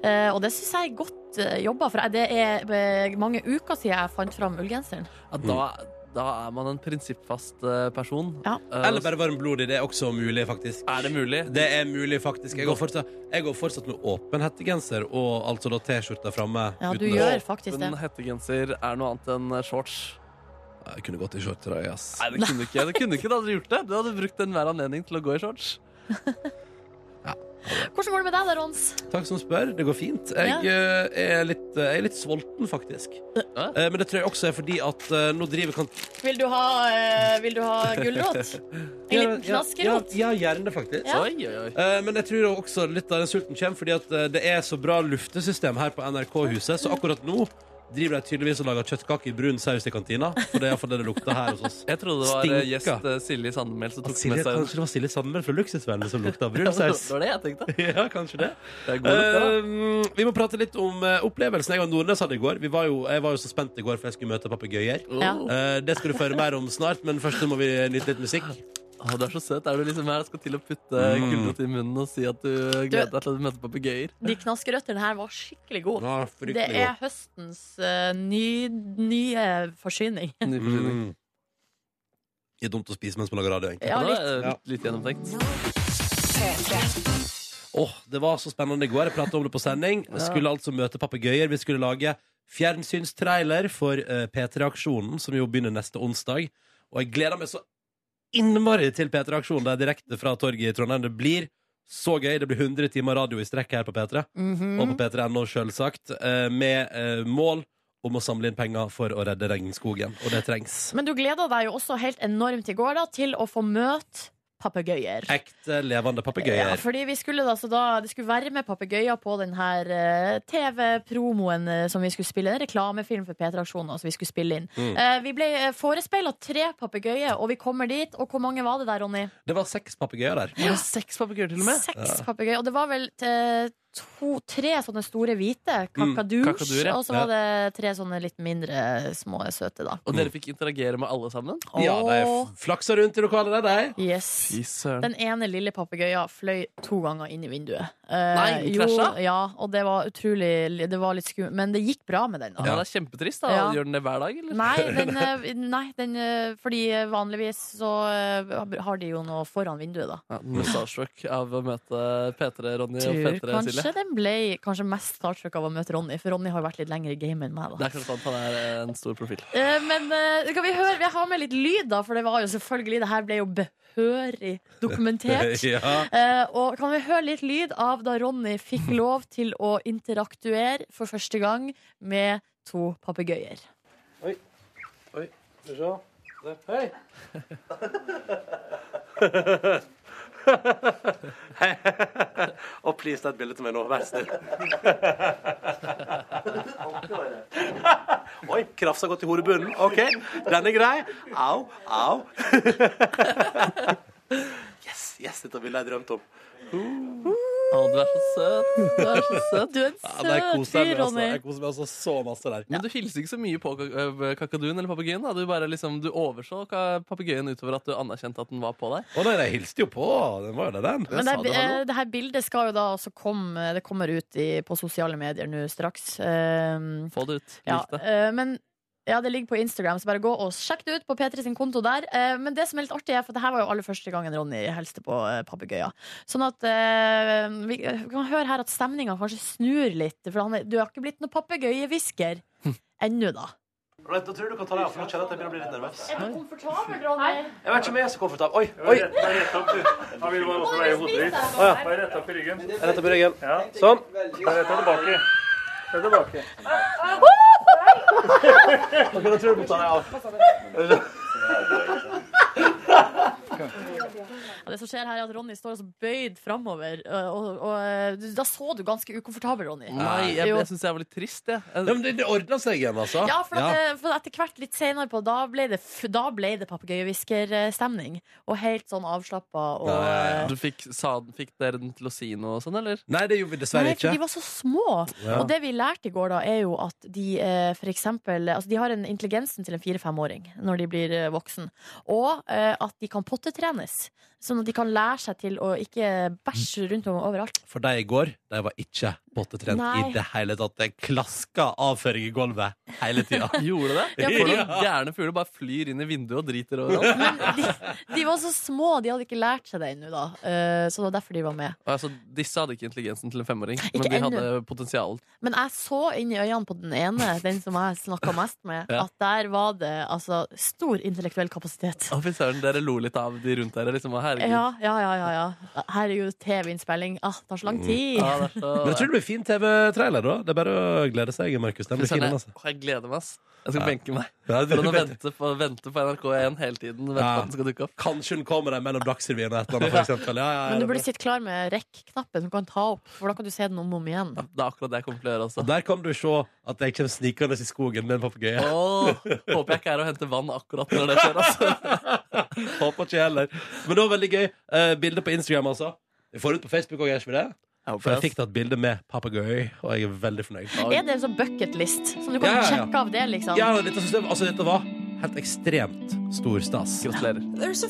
Speaker 3: Eh, og det syns jeg er godt eh, jobba, for jeg- det er eh, mange uker siden jeg fant fram ullgenseren.
Speaker 4: Ja, da, da er man en prinsippfast eh, person.
Speaker 3: Ja.
Speaker 4: Eh,
Speaker 2: Eller bare varmblodig. Det er også mulig, faktisk.
Speaker 4: Er det mulig?
Speaker 2: Det er mulig, faktisk. Jeg går fortsatt, jeg går fortsatt med åpen hettegenser og altså da T-skjorta framme.
Speaker 3: Ja, du
Speaker 2: uten å-
Speaker 3: gjør faktisk det.
Speaker 4: En hettegenser er noe annet enn eh, shorts.
Speaker 2: Jeg kunne gått i shorts i dag, ass.
Speaker 4: Nei, det kunne ikke, det kunne ikke da du gjort det. Du hadde brukt enhver anledning til å gå i shorts.
Speaker 3: Hvordan går det med deg da, Rons?
Speaker 2: Takk som spør. Det går fint. Jeg, eh, er, litt, eh, jeg er litt sulten, faktisk.
Speaker 4: Ja.
Speaker 2: Eh, Men det tror jeg også er fordi at eh, nå driver kan...
Speaker 3: Vil du ha, eh, vil du ha gulrot? En liten
Speaker 2: Ja, ja,
Speaker 3: knaskerot?
Speaker 2: ja, gjerne, faktisk.
Speaker 3: Ja.
Speaker 4: Oi, oi, oi.
Speaker 2: Eh, Men jeg tror også litt av den sulten kommer fordi at eh, det er så bra luftesystem her på NRK-huset, så akkurat nå driver de tydeligvis og lager kjøttkaker i brun saus i kantina. For det er iallfall det det lukter her hos oss.
Speaker 4: Jeg trodde det var eh, gjest eh, Silje Sandmæl som tok
Speaker 2: Silje,
Speaker 4: med seg
Speaker 2: kanskje det var Silje Sandmæl fra Luksusvennene som lukta
Speaker 4: Ja,
Speaker 2: brun
Speaker 4: det
Speaker 2: saus.
Speaker 4: var det jeg tenkte.
Speaker 2: Ja, kanskje det.
Speaker 4: er god lukt, det,
Speaker 2: Eh, vi må prate litt om eh, opplevelsen jeg og Nordnes hadde i går. Vi var jo, jeg var jo så spent i går, for jeg skulle møte papegøyer.
Speaker 4: Ja.
Speaker 2: Eh, det skal du få høre mer om snart, men først så må vi nyte litt musikk.
Speaker 4: Å, du er så søt. Er du liksom her og skal til å putte
Speaker 2: Mm.
Speaker 4: gulrot i munnen og si at du gleder deg til at du møter papegøyer?
Speaker 3: De knaskerøttene her var skikkelig gode.
Speaker 2: Ja,
Speaker 3: Det er høstens eh, ny, nye forsyning.
Speaker 2: Mm. Det er dumt å spise mens man lager radio, egentlig.
Speaker 3: Ja, litt.
Speaker 4: Ja. eh, Litt gjennomtenkt.
Speaker 2: Åh, Det var så spennende i går. Jeg pratet om det på sending. Jeg skulle altså møte papegøyer. Vi skulle lage fjernsynstrailer for eh, P3-aksjonen, som jo begynner neste onsdag. Og jeg gleder meg så innmari til P3-aksjonen. Det er direkte fra torget i Trondheim. Det blir så gøy. Det blir 100 timer radio i strekk her på P3.
Speaker 11: Mhm.
Speaker 2: Og på p3.no, sjølsagt. eh, med eh, mål om å samle inn penger for å redde regnskogen. Og det trengs.
Speaker 3: Men du gleda deg jo også helt enormt i går da, til å få møte papegøyer.
Speaker 2: Ekte, levende
Speaker 3: Ja,
Speaker 2: papegøyer.
Speaker 3: fordi vi skulle da, så da, Det skulle være med papegøyer på den her eh, TV-promoen eh, som vi skulle spille. En reklamefilm for P3-aksjonen som vi skulle spille inn.
Speaker 2: Mm.
Speaker 3: Eh, vi ble eh, forespeila tre papegøyer, og vi kommer dit. Og hvor mange var det der, Ronny?
Speaker 2: Det var seks papegøyer der.
Speaker 4: Ja, seks papegøyer til og med.
Speaker 3: Seks papegøyer. Og det var vel eh, to, tre sånne store hvite.
Speaker 4: Mm,
Speaker 3: Kakadurs.
Speaker 4: kakaduer, ja.
Speaker 3: Og så var det tre sånne litt mindre små søte, da.
Speaker 4: Og
Speaker 2: Mm.
Speaker 4: dere fikk interagere med alle sammen?
Speaker 3: Ja, de
Speaker 2: flaksa rundt i lokalet der,
Speaker 3: de. Yes.
Speaker 4: Fy søren.
Speaker 3: Den ene lille papegøya fløy to ganger inn i vinduet. Eh,
Speaker 4: Nei, den
Speaker 3: jo,
Speaker 4: krasja?
Speaker 3: Ja, og det var utrolig Det var litt skummelt. Men det gikk bra med den. da.
Speaker 4: Ja, det er kjempetrist. da
Speaker 3: Ja.
Speaker 4: Gjør den det hver dag, eller?
Speaker 3: Nei, den, eh, nei den, eh, fordi vanligvis så eh, har de jo noe foran vinduet, da.
Speaker 4: Ja, den ble starstruck av å møte P3 Ronny og
Speaker 3: Tror
Speaker 4: P3
Speaker 3: kanskje
Speaker 4: Silje.
Speaker 3: den ble kanskje mest starstruck av å møte Ronny, for Ronny har jo vært litt lenger i gamet enn meg. da
Speaker 4: Det er kanskje sant han er en stor profil.
Speaker 3: Eh, Men eh, skal vi høre, jeg har med litt lyd da For det var jo selvfølgelig, det her ble jo behørig dokumentert
Speaker 2: Ja.
Speaker 3: Eh, Og kan vi høre litt lyd av da Ronny fikk lov til å interaktuere For første gang med to papegøyer
Speaker 5: Oi. Oi. Skal vi se. Der. Hei.
Speaker 2: Hei. Og please, ta et bilde til meg nå. Vær så snill. Oi, krafsa gått i hodebunnen. OK, den er grei. Au, au. Yes, yes, dette ville jeg drømt om.
Speaker 4: Å, du er så søt. Du er så søt.
Speaker 3: Du er en
Speaker 2: Ja, men jeg koser meg, altså. Jeg koser meg altså så masse der.
Speaker 4: Men du hilser ikke så mye på kak- øh, kakaduen eller papegøyen. da. Du bare liksom, du overså ka- papegøyen utover at du anerkjente at den var på deg.
Speaker 2: Å nei, jeg hilste jo på. Den var jo det, den.
Speaker 3: Men det, her- eh, det her bildet skal jo da også komme Det kommer ut i, på sosiale medier nå straks Eh,
Speaker 4: Få det ut.
Speaker 3: Ja,
Speaker 4: Lik det.
Speaker 3: eh, men ja, det ligger på Instagram, så bare gå og sjekk det ut på P3 sin konto der. Eh, Men det som er litt artig, er for det her var jo aller første gangen Ronny helste på eh, papegøyer. Sånn at eh, vi kan høre her at stemninga kanskje snur litt, for han er, du har ikke blitt noen papegøyehvisker ennå, da.
Speaker 2: Da tror jeg du kan ta deg av, for nå kjenner jeg at jeg begynner å bli litt nervøs.
Speaker 3: Komfortabel, Ronny?
Speaker 2: Jeg vet ikke om jeg er så komfortabel. Oi, oi!
Speaker 12: Bare rett opp i ryggen.
Speaker 2: Jeg retter på ryggen. Sånn.
Speaker 12: Bare rett tilbake. Se tilbake.
Speaker 2: Ok, da tror jeg du må ta deg av.
Speaker 3: Ja, det som skjer her, er at Ronny står altså bøyd framover, eh, og, og eh, du- da så du ganske ukomfortabel, Ronny.
Speaker 4: Nei, jeg,
Speaker 3: Jo.
Speaker 4: jeg syns jeg var litt trist, jeg.
Speaker 2: Ja, men det, det ordna seg igjen, altså.
Speaker 3: Ja, for, at, eh, for etter hvert litt senere på Da ble det, f- da ble det papegøyehvisker-stemning. Og helt sånn avslappa og
Speaker 4: Du fikk, sa, den- fikk dere den til å si noe sånn, eller?
Speaker 2: Nei, det gjorde vi
Speaker 3: Nei, for de var så små.
Speaker 4: Ja.
Speaker 3: Og det vi lærte i går, da, er jo at de eh, for eksempel altså De har en intelligensen til en fire-femåring når de blir eh, voksen. Og eh, at de kan pottetrenes. Sånn at de kan lære seg til å ikke bæsje rundt om overalt.
Speaker 2: For de i går, de var ikke pottetrent
Speaker 3: Nei.
Speaker 2: i det hele tatt. Det klaska avføring i gulvet hele tida.
Speaker 4: Gjorde det?
Speaker 2: Ja,
Speaker 4: Ja,
Speaker 2: for-
Speaker 4: for noen gærne fugler bare flyr inn i vinduet og driter overalt.
Speaker 3: De var så små, de hadde ikke lært seg det ennå, da. Eh, så det var derfor de var med.
Speaker 4: Altså, disse hadde ikke intelligensen til en femåring, men
Speaker 3: Ikke
Speaker 4: de
Speaker 3: ennå.
Speaker 4: hadde potensial.
Speaker 3: Men jeg så inn i øynene på den ene, den som jeg snakka mest med,
Speaker 4: Ja.
Speaker 3: at der var det altså stor intellektuell kapasitet.
Speaker 4: Å, fy søren, dere lo litt av de rundt dere. Liksom, å, herregud.
Speaker 3: Ja, ja, ja, ja, ja. Herregud, TV-innspilling. Ah, det tar så lang tid.
Speaker 4: Ja, det er
Speaker 2: Men
Speaker 4: så
Speaker 2: jeg tror Mm. det blir fin TV-trailer, da. Det er bare å glede seg, Markus. Den blir fin,
Speaker 4: Søren,
Speaker 2: den,
Speaker 4: jeg,
Speaker 2: altså.
Speaker 4: Åh, jeg gleder meg. ass. Jeg skal
Speaker 2: Ja.
Speaker 4: benke meg.
Speaker 2: Ja, du-
Speaker 4: For å vente på, vente på NRK1 hele tiden. Vente på
Speaker 2: Ja.
Speaker 4: at den skal dukke opp.
Speaker 2: Kanskje hun kommer der mellom Dagsrevyen og et eller annet, for eksempel. Ja, ja, ja,
Speaker 3: Men du
Speaker 2: det er
Speaker 3: burde sitte klar med rekk-knappen du kan ta opp, for da kan du se den om og om igjen.
Speaker 4: bra. Det er akkurat det jeg kommer til å gjøre altså.
Speaker 2: Og
Speaker 4: også.
Speaker 2: der kan du se at jeg kommer snikende i skogen med en papegøye.
Speaker 4: Åh, håper jeg ikke er å hente vann akkurat når det skjer. Altså.
Speaker 2: Håper ikke jeg heller. Men det var veldig gøy. Eh, bilde på Instagram, altså. Vi får ut på Facebook òg, gjør ikke vi det?
Speaker 4: håper
Speaker 2: For jeg
Speaker 4: det,
Speaker 2: fikk da et bilde med papegøye, og jeg er veldig fornøyd.
Speaker 3: Er det en sånn bucketlist? Som du kan
Speaker 2: Ja, ja, ja.
Speaker 3: sjekke av det, liksom?
Speaker 2: Ja, dette, synes jeg, altså, dette var helt ekstremt stor stas.
Speaker 4: Gratulerer.
Speaker 11: There's a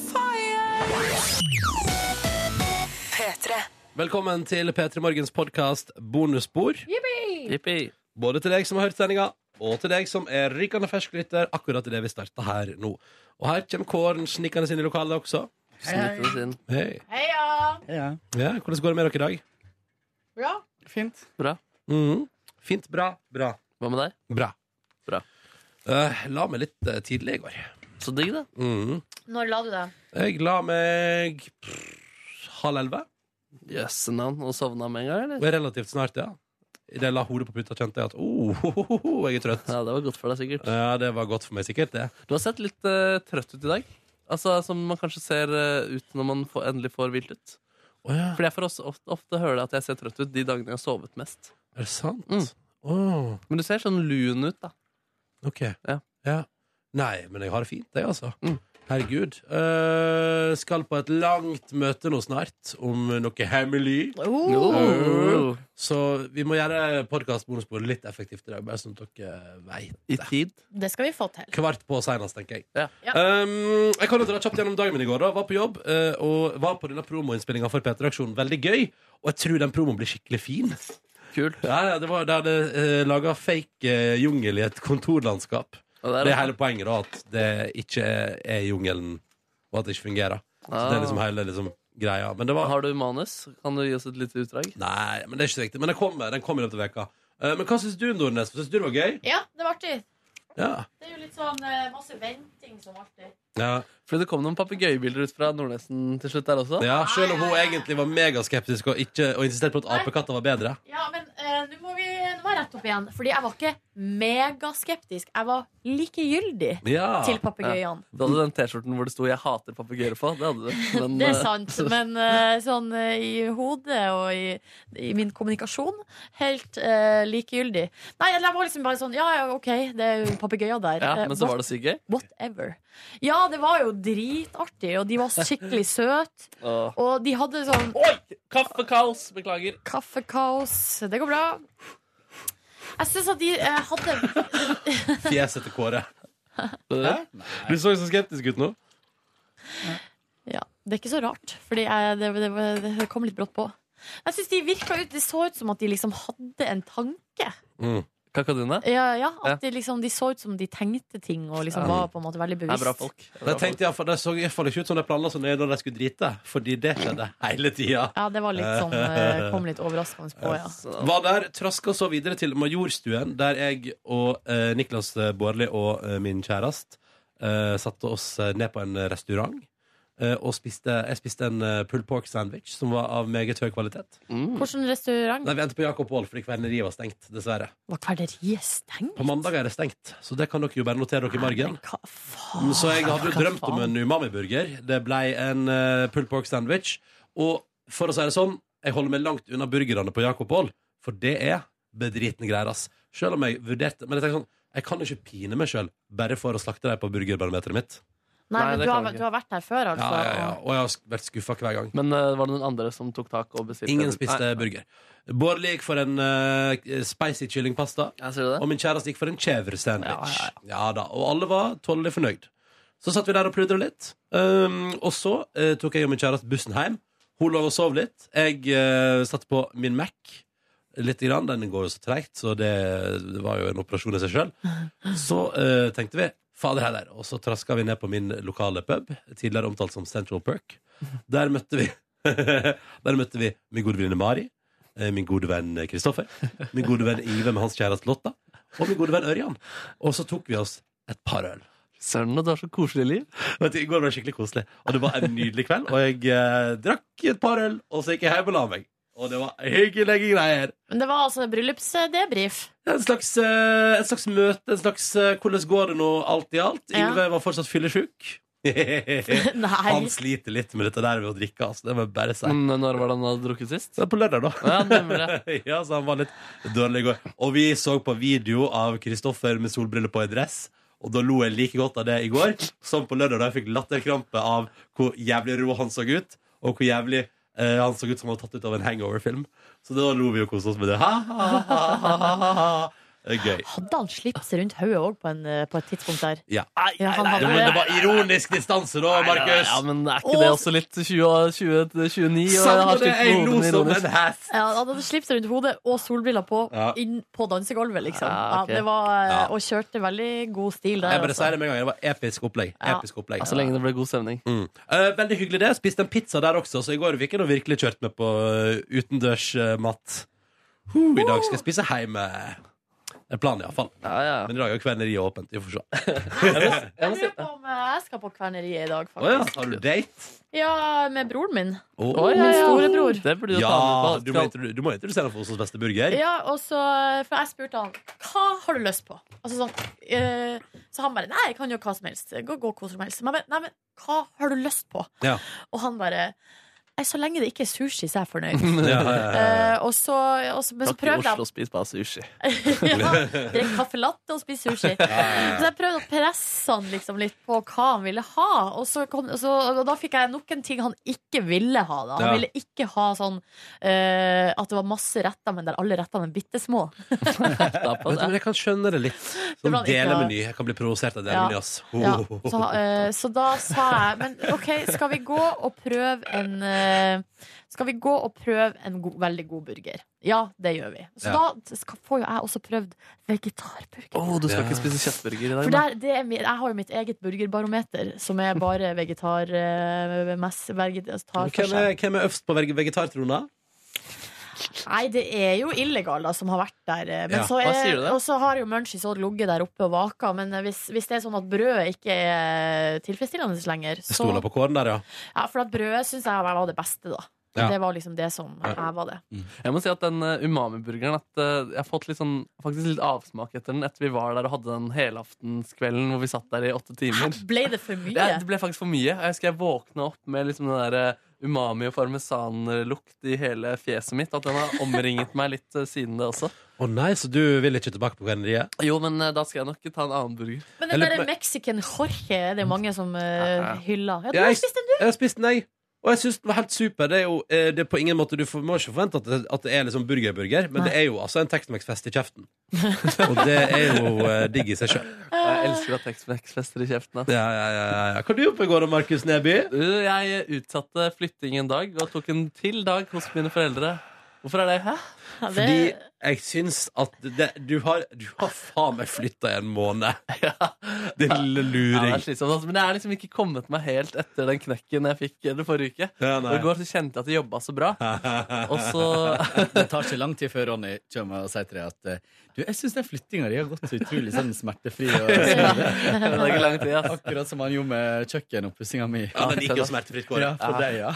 Speaker 11: fire. P3.
Speaker 2: Velkommen til P3 Morgens podkast Bonusspor. Både til deg som har hørt sendinga, og til deg som er rykende fersk lytter akkurat idet vi starter her nå. Og her kommer Kåren snikende inn i lokalet også.
Speaker 4: Hei, hei.
Speaker 2: Hei.
Speaker 3: Heia!
Speaker 2: Ja, hvordan går det med dere i dag?
Speaker 3: Bra.
Speaker 13: Fint.
Speaker 4: Bra.
Speaker 2: Mhm. Fint, bra, bra.
Speaker 4: Hva med deg?
Speaker 2: Bra.
Speaker 4: Bra.
Speaker 2: Eh, la meg litt eh, tidlig i går.
Speaker 4: Så digg, da.
Speaker 2: Mhm.
Speaker 3: Når la du deg?
Speaker 2: Jeg la meg pff, halv elleve.
Speaker 4: Jøsse navn. Og sovna med en gang,
Speaker 2: Og
Speaker 4: eller?
Speaker 2: Relativt snart, ja. Idet jeg la hodet på puta, kjente jeg at oh, ho, ho, ho, ho, jeg er trøtt.
Speaker 4: Ja, det var godt for deg, sikkert.
Speaker 2: Ja, det var godt for meg, sikkert. det
Speaker 4: Du har sett litt eh, trøtt ut i dag. Altså, Som man kanskje ser eh, ut når man får, endelig får hvilt ut. Fordi jeg får også ofte, ofte høre at jeg ser trøtt ut de dagene jeg har sovet mest.
Speaker 2: Er det sant?
Speaker 4: Mm. Men du ser sånn lun ut, da.
Speaker 2: OK. Ja. Nei, men jeg har det fint, jeg, altså. Herregud. Eh, skal på et langt møte nå snart om noe hemmelig.
Speaker 4: Oh.
Speaker 2: Eh, Så vi må gjøre podkast-bonusbordet litt effektivt i dag, bare sånn at dere veit
Speaker 4: I tid?
Speaker 3: Det skal vi få til.
Speaker 2: Kvart på senest, tenker jeg.
Speaker 3: Ja.
Speaker 2: Um, jeg kan jo dra kjapt gjennom dagen min i går. da Var på jobb eh, og var på denne promoinnspillinga for P3-aksjonen. Veldig gøy. Og jeg tror den promoen blir skikkelig fin.
Speaker 4: Kult
Speaker 2: ja, ja, Det var der det uh, laga fake eh, jungel i et kontorlandskap. det,
Speaker 4: Og
Speaker 2: er
Speaker 4: der også.
Speaker 2: hele poenget, da. At det ikke er, er jungelen, og at det ikke fungerer. Så
Speaker 4: Ah.
Speaker 2: det er liksom hele liksom, greia. Men det var
Speaker 4: Har du manus? Kan du gi oss et lite utdrag?
Speaker 2: Nei, men det er ikke så viktig. Men den kommer, den kommer i løpet av veka. Eh, men hva syns du, Nordnes? Syns du det var gøy?
Speaker 3: Ja, det var artig.
Speaker 2: Ja.
Speaker 3: Det er jo litt sånn eh, masse venting som alltid.
Speaker 4: Fordi det kom noen papegøyebilder ut fra Nordnesen til slutt der også.
Speaker 2: Ja, Selv om hun egentlig var megaskeptisk og, ikke, og insisterte på at apekatter var bedre.
Speaker 3: Ja, men eh, nå må vi nå må jeg rette opp igjen. Fordi jeg var ikke megaskeptisk. Jeg var likegyldig til papegøyene.
Speaker 4: Ja. Du hadde den T-skjorten hvor det sto 'Jeg hater papegøyer' på. Det hadde du. Men,
Speaker 3: Det er
Speaker 4: eh,
Speaker 3: sant, men eh, sånn eh, i hodet og i, i min kommunikasjon helt eh, likegyldig. Nei, jeg var liksom bare sånn Ja, ja, OK, det er jo papegøyer der.
Speaker 4: ja,
Speaker 3: Eh,
Speaker 4: men så
Speaker 3: what-
Speaker 4: var det sykt gøy.
Speaker 3: Whatever. Ja, det var jo dritartig, og de var skikkelig søte.
Speaker 4: Åh.
Speaker 3: Og de hadde sånn
Speaker 4: Oi! Kaffekaos! Beklager.
Speaker 3: Kaffekaos. Det går bra. Jeg syns at de eh, hadde
Speaker 2: Fjeset til Kåre. Du så jo så skeptisk ut nå.
Speaker 3: Ja, det er ikke så rart, fordi jeg, det, det, det, det kom litt brått på. Jeg synes de virka ut, Det så ut som at de liksom hadde en tanke.
Speaker 4: Kakadune?
Speaker 3: Ja, ja
Speaker 4: Ja.
Speaker 3: At de, liksom, de så ut som de tenkte ting og liksom
Speaker 2: Ja.
Speaker 3: var på en måte veldig bevisst.
Speaker 2: Det, tenkte jeg, for det så i hvert fall ikke ut som de planla så nøye da de skulle drite. Fordi det skjedde hele tida.
Speaker 3: Ja, det var litt sånn eh, Kom litt overraskende på, ja.
Speaker 2: Var der, traska så videre til Majorstuen, der jeg og eh, Niklas eh, Bårli og eh, min kjærest eh, satte oss eh, ned på en restaurant. eh, og spiste, jeg spiste en eh, pulled pork sandwich som var av meget høy kvalitet.
Speaker 3: Hvilken restaurant?
Speaker 2: Nei, vi endte på Jakob Aall fordi kverneriet var stengt, dessverre.
Speaker 3: Var kverneriet stengt?
Speaker 2: På mandag er det stengt, så det kan dere jo bare notere dere i margen.
Speaker 3: Mm,
Speaker 2: Så jeg hadde jo
Speaker 3: Hva
Speaker 2: drømt om
Speaker 3: faen?
Speaker 2: en umami-burger. Det ble en eh, pulled pork sandwich. Og for å si det sånn, jeg holder meg langt unna burgerne på Jakob Aall, for det er bedritne greier, ass. Selv om jeg vurderte Men jeg tenker sånn, jeg kan ikke pine meg sjøl bare for å slakte dem på burgerbarometeret mitt.
Speaker 3: Nei,
Speaker 4: Nei,
Speaker 3: men
Speaker 4: det
Speaker 3: du
Speaker 4: kan
Speaker 3: har,
Speaker 4: vi ikke.
Speaker 3: du har vært her før,
Speaker 2: Ja,
Speaker 3: altså.
Speaker 2: ja, ja. Og jeg har vært skuffa hver gang.
Speaker 4: Men eh, var det noen andre som tok tak og bestilte?
Speaker 2: Ingen spiste
Speaker 4: Nei.
Speaker 2: burger. Bård gikk for en eh, spicy kyllingpasta. Og min kjæreste gikk for en chèvre sandwich. Ja, da, Og alle var tålelig fornøyd. Så satt vi der og pludra litt. Um, og så eh, tok jeg og min kjæreste bussen hjem. Hun lå og sov litt. Jeg eh, satte på min Mac litt. Grann. Den går jo så treigt, så det, det var jo en operasjon i seg sjøl. Så eh, tenkte vi Fader heller. Og så traska vi ned på min lokale pub, tidligere omtalt som Central Perk. Der møtte vi Der møtte vi min gode venninne Mari, eh, min gode venn Kristoffer, min gode venn Ive med hans kjæreste Lotta, og min gode venn Ørjan. Og så tok vi oss et par øl.
Speaker 4: Søren, du har så koselig liv.
Speaker 2: Vet du, I går var det skikkelig koselig, og det var en nydelig kveld. Og jeg eh, drakk et par øl, og så gikk jeg hjem og la meg. Og det var hyggelige greier.
Speaker 3: Men det var altså bryllupsdebrief.
Speaker 2: En slags, eh, et slags møte, en slags eh, hvordan går det nå, alt i alt.
Speaker 3: Ja.
Speaker 2: Yngve var fortsatt fyllesjuk. Han sliter litt med dette der med å drikke, altså. Det må jeg bare si.
Speaker 4: Men eh, Når var det han hadde drukket sist?
Speaker 2: Det var på lørdag, da.
Speaker 4: Ja, nemlig.
Speaker 2: ja, så han var litt dårlig i går. Og vi så på video av Kristoffer med solbriller på i dress. Og da lo jeg like godt av det i går som på lørdag, da jeg fikk latterkrampe av hvor jævlig rå han så ut, og hvor jævlig eh, han så ut som han var tatt ut av en hangover-film. Så da lo vi og koste oss med det. Ha, ha, ha, ha, ha, ha. Det er Gøy.
Speaker 3: Hadde han slips rundt hodet òg på, en, eh, på et tidspunkt der?
Speaker 2: Ja.
Speaker 3: Ja, han
Speaker 2: Nei,
Speaker 3: hadde
Speaker 2: men det
Speaker 3: det.
Speaker 2: var ironisk distanse, da, Markus.
Speaker 4: Ja, men er ikke det også litt 20, og 20, 29? Og
Speaker 2: Savner
Speaker 4: har
Speaker 2: det,
Speaker 4: slitt
Speaker 2: jeg
Speaker 4: med
Speaker 2: lo
Speaker 4: hodene
Speaker 2: som
Speaker 4: ironisk?
Speaker 2: en hest.
Speaker 3: Ja, han hadde slips rundt hodet og solbriller på
Speaker 2: Ja.
Speaker 3: inn på dansegulvet, liksom.
Speaker 2: Ja, ok.
Speaker 3: ja, det var, eh,
Speaker 2: Ja.
Speaker 3: Og kjørte veldig god stil der.
Speaker 2: Jeg bare
Speaker 3: altså.
Speaker 2: sier det med en gang. Det var episk opplegg.
Speaker 3: Ja.
Speaker 2: Episk opplegg.
Speaker 4: Ja, så lenge det ble god stemning.
Speaker 2: Mm. Eh, veldig hyggelig det. Jeg Spiste en pizza der også, så i går fikk jeg nå virkelig kjørt meg på eh, utendørs eh, matt. Huh, I dag skal jeg spise hjemme. Det er planen, iallfall.
Speaker 4: Ja, ja.
Speaker 2: Men i dag er jo kverneriet åpent. Vi får se.
Speaker 3: Jeg lurer på om eh, jeg skal på kverneriet i dag,
Speaker 2: Å ja,
Speaker 3: faktisk.
Speaker 2: har du date?
Speaker 3: ja. med broren min.
Speaker 2: Oh.
Speaker 3: Min storebror.
Speaker 4: Det burde du
Speaker 2: ja,
Speaker 4: ta med på.
Speaker 2: du må, intro- du må introdusere ham for Oslos beste burger.
Speaker 3: Ja, og så, eh, For jeg spurte han hva har du lyst på. Altså sånn, eh, så han bare nei, jeg kan jo hva som helst. Gå, gå hvor som helst. Men jeg bare, nei, men hva har du lyst på?
Speaker 2: Ja.
Speaker 3: Og han bare «Nei, Så lenge det ikke er sushi, så er jeg fornøyd.
Speaker 4: Ja, ja, ja, ja.
Speaker 3: Eh, og så, og så, men så
Speaker 4: Takk til
Speaker 3: prøvde jeg
Speaker 4: Oslo og spis bare sushi.
Speaker 3: ja, Drikk kaffe latte og spise sushi.
Speaker 4: ja.
Speaker 3: Så jeg prøvde å presse han liksom litt på hva han ville ha. Og, så kom, så, og da fikk jeg nok en ting han ikke ville ha. Da. Han
Speaker 2: Ja.
Speaker 3: ville ikke ha sånn eh, at det var masse retter, men der alle rettene er bitte små.
Speaker 2: Vet du, men jeg kan skjønne det litt.
Speaker 3: Det
Speaker 2: Sånn
Speaker 3: var ikke-
Speaker 2: delemeny. Jeg kan bli provosert av delemeny, ass. Ho,
Speaker 4: Oh.
Speaker 3: Ja.
Speaker 2: ho, ho,
Speaker 3: Så,
Speaker 2: ho.
Speaker 3: eh, så da sa jeg Men OK, skal vi gå og prøve en eh, Skal vi gå og prøve en go veldig god burger? Ja, det gjør vi. Så
Speaker 4: Ja.
Speaker 3: da skal, får jo jeg også prøvd vegetarburger.
Speaker 4: Å, du skal
Speaker 2: Ja.
Speaker 4: ikke spise kjøttburger i dag?
Speaker 3: For
Speaker 4: da?
Speaker 3: der, det er, mi- jeg har jo mitt eget burgerbarometer, som er bare vegetar... eh, mess- vegetar for
Speaker 2: Hvem er,
Speaker 3: seg.
Speaker 2: hvem er øverst på veg- vegetartrona?
Speaker 3: Nei, det er jo illegale som har vært der. eh, Men
Speaker 2: Ja,
Speaker 3: så
Speaker 2: hva sier
Speaker 3: er,
Speaker 2: du det?
Speaker 3: og så har jo Munchies også ligget der oppe og vaka. Men eh, hvis, hvis det er sånn at brødet ikke er tilfredsstillende lenger,
Speaker 2: Jeg
Speaker 3: så
Speaker 2: stoler på kåren der, ja.
Speaker 3: ja, For at brødet syns jeg var det beste, da.
Speaker 4: Ja.
Speaker 3: Det var liksom det som heva det.
Speaker 4: Jeg må si at den eh, umami-burgeren at eh, Jeg har fått litt sånn, faktisk litt avsmak etter den etter vi var der og hadde den helaftenskvelden hvor vi satt der i åtte timer.
Speaker 3: Ble det for mye?
Speaker 4: Ja, det ble faktisk for mye. Jeg husker jeg våkna opp med liksom den der eh, umami- og parmesanlukt i hele fjeset mitt. At den har omringet meg litt eh, siden det også.
Speaker 2: Å nei, så du vil ikke tilbake på kverneriet?
Speaker 4: Jo, men eh, da skal jeg nok ta en annen burger.
Speaker 3: Men den derre Mexican Jorge er det mange som eh, hyller. Ja,
Speaker 2: Mm.
Speaker 3: du
Speaker 2: Ja,
Speaker 3: har
Speaker 2: jeg-
Speaker 3: spist den, du!
Speaker 2: Jeg har spist den, jeg. Og jeg syns den var helt super. Det er jo eh, det er på ingen måte, Du får- må ikke forvente at det, at det er liksom burger-burger, men
Speaker 3: Nei.
Speaker 2: det er jo altså en Texmax-fest i kjeften. Og det er jo eh, digg i seg sjøl.
Speaker 4: Jeg elsker å ha Tex-Mex-fester i kjeften. altså. ass.
Speaker 2: Ja, ja, ja, ja, ja. Hva du gjorde på i går, da, Markus Neby?
Speaker 4: Du, Jeg utsatte flytting en dag og tok en til dag hos mine foreldre. Hvorfor er det? Hæ?
Speaker 2: Fordi jeg syns at det, du, har, du har faen meg flytta i en måned. Din lille
Speaker 4: Ja, det
Speaker 2: luring.
Speaker 4: er slitsomt, altså. Men jeg er liksom ikke kommet meg helt etter den knekken jeg fikk den forrige uke.
Speaker 2: Ja, nei.
Speaker 4: og I går så kjente jeg at det jobba så bra. Og så
Speaker 13: det tar ikke lang tid før Ronny kommer og sier til deg at eh, du, jeg syns den flyttinga di har gått så utrolig sånn smertefri. Og
Speaker 4: Det tar ikke lang tid, ass.
Speaker 13: Akkurat som han gjorde med kjøkkenoppussinga mi.
Speaker 2: Ja, den gikk jo smertefritt,
Speaker 13: Ja,
Speaker 2: Kåre.
Speaker 13: for deg, ja.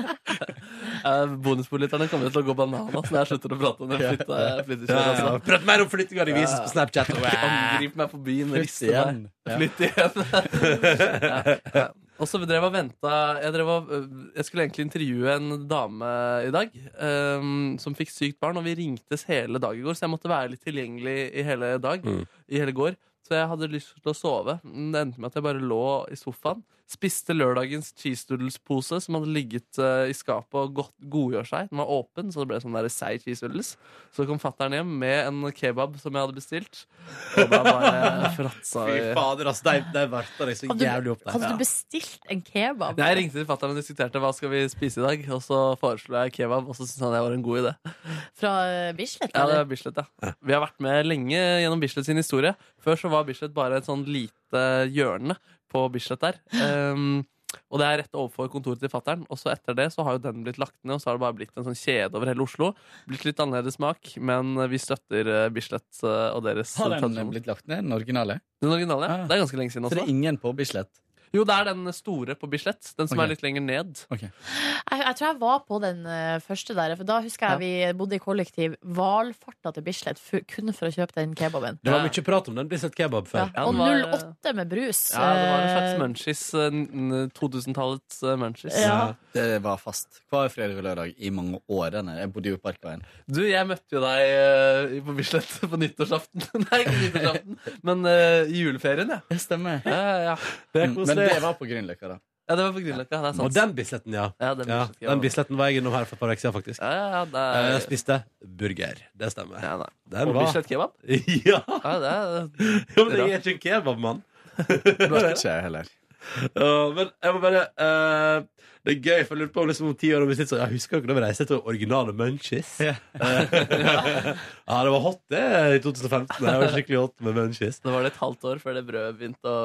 Speaker 4: eh, Bonuspoliterne kommer til å gå banan ass, når jeg slutter å prate om det. Flytte, flyttekjøret
Speaker 2: Ja, ja.
Speaker 4: også.
Speaker 2: Prat mer om flyttinga di, vises på Snapchat.
Speaker 4: Angrip meg på byen,
Speaker 2: Flytt
Speaker 4: riste meg.
Speaker 2: igjen. Ja.
Speaker 4: Flytt igjen. ja. ja. Og så drev jeg og venta jeg, drev og, øh, jeg skulle egentlig intervjue en dame i dag øhm, som fikk sykt barn, og vi ringtes hele dag i går, så jeg måtte være litt tilgjengelig i hele dag.
Speaker 2: Mm.
Speaker 4: I hele går Så jeg hadde lyst til å sove. Men det endte med at jeg bare lå i sofaen. Spiste lørdagens cheese doodles-pose som hadde ligget øh, i skapet og godt, godgjør seg. Den var åpen, så det ble sånn der seig cheese doodles. Så kom fatter'n hjem med en kebab som jeg hadde bestilt. Og da bare fratsa
Speaker 2: Fy
Speaker 4: vi.
Speaker 2: fader, altså. De, de varta deg så
Speaker 3: Hadde
Speaker 2: jævlig
Speaker 3: du,
Speaker 2: opp der.
Speaker 3: hadde du bestilt en kebab?
Speaker 4: Jeg ringte til fatter'n og diskuterte hva skal vi spise i dag. Og så foreslo jeg kebab, og så syntes han det var en god idé.
Speaker 3: Fra eh, Bislett?
Speaker 4: Ja, det
Speaker 3: eller?
Speaker 4: er Bislett, ja. Vi har vært med lenge gjennom Bislett sin historie. Før så var Bislett bare et sånn lite hjørne på Bislett der. Ehm, og det er rett overfor kontoret til fatter'n. Og så etter det så har jo den blitt lagt ned, og så har det bare blitt en sånn kjede over hele Oslo. Blitt litt annerledes smak, men vi støtter eh, Bislett eh, og deres
Speaker 13: Har den
Speaker 4: tradisjon.
Speaker 13: blitt lagt ned, den originale?
Speaker 4: Den originale? Det er ganske lenge siden
Speaker 13: Så
Speaker 4: også.
Speaker 13: det er ingen på Bislett?
Speaker 4: Jo, det er den store på Bislett. Den som
Speaker 13: Ok.
Speaker 4: er litt lenger ned.
Speaker 3: Jeg, jeg tror jeg var på den eh, første der, for da husker jeg vi bodde i kollektiv valfarta til Bislett fu- kun for å kjøpe den kebaben.
Speaker 2: Det var mye prat om den Bislett kebab før.
Speaker 4: Ja,
Speaker 3: Og
Speaker 4: den var-
Speaker 3: 08 med brus.
Speaker 4: Ja, det var en slags
Speaker 3: eh,
Speaker 4: munchies. eh, n- 2000-tallets eh, munchies.
Speaker 3: Ja.
Speaker 13: Det var fast hver fredag og lørdag i mange årene. Jeg bodde jo i Parkveien.
Speaker 4: Du, jeg møtte jo deg eh, på Bislett på nyttårsaften. Nei, ikke nyttårsaften, men eh, i juleferien, ja.
Speaker 13: Det stemmer.
Speaker 4: Ja, ja, ja.
Speaker 2: Det er
Speaker 13: Mm,
Speaker 2: koselig.
Speaker 13: Men det var på Grünerløkka, da.
Speaker 4: Ja, det var på Grünerløkka. Det er sant.
Speaker 2: Og den Bisletten, ja.
Speaker 4: Ja, den
Speaker 2: ja,
Speaker 4: Bisletten, ja.
Speaker 2: den Bisletten var jeg innom her for et par uker siden, faktisk.
Speaker 4: Ja, ja, ja, det
Speaker 2: Eh,
Speaker 4: er-
Speaker 2: Jeg spiste burger. Det stemmer.
Speaker 4: Ja, da.
Speaker 2: Den
Speaker 4: Og
Speaker 2: var-
Speaker 4: Bislett kebab?
Speaker 2: ja.
Speaker 4: Ja, det er
Speaker 2: Jo, men jeg er ikke en kebabmann.
Speaker 13: Ikke jeg heller.
Speaker 2: Ja, men jeg må bare eh, Det er gøy, for jeg lurte på om liksom om ti år om vi sitter sånn, Jeg husker ikke da vi reiste til originale munchies. Ja. det var hot, det, i 2015. Det var skikkelig hot med munchies.
Speaker 4: Det var det et halvt år før det brødet begynte å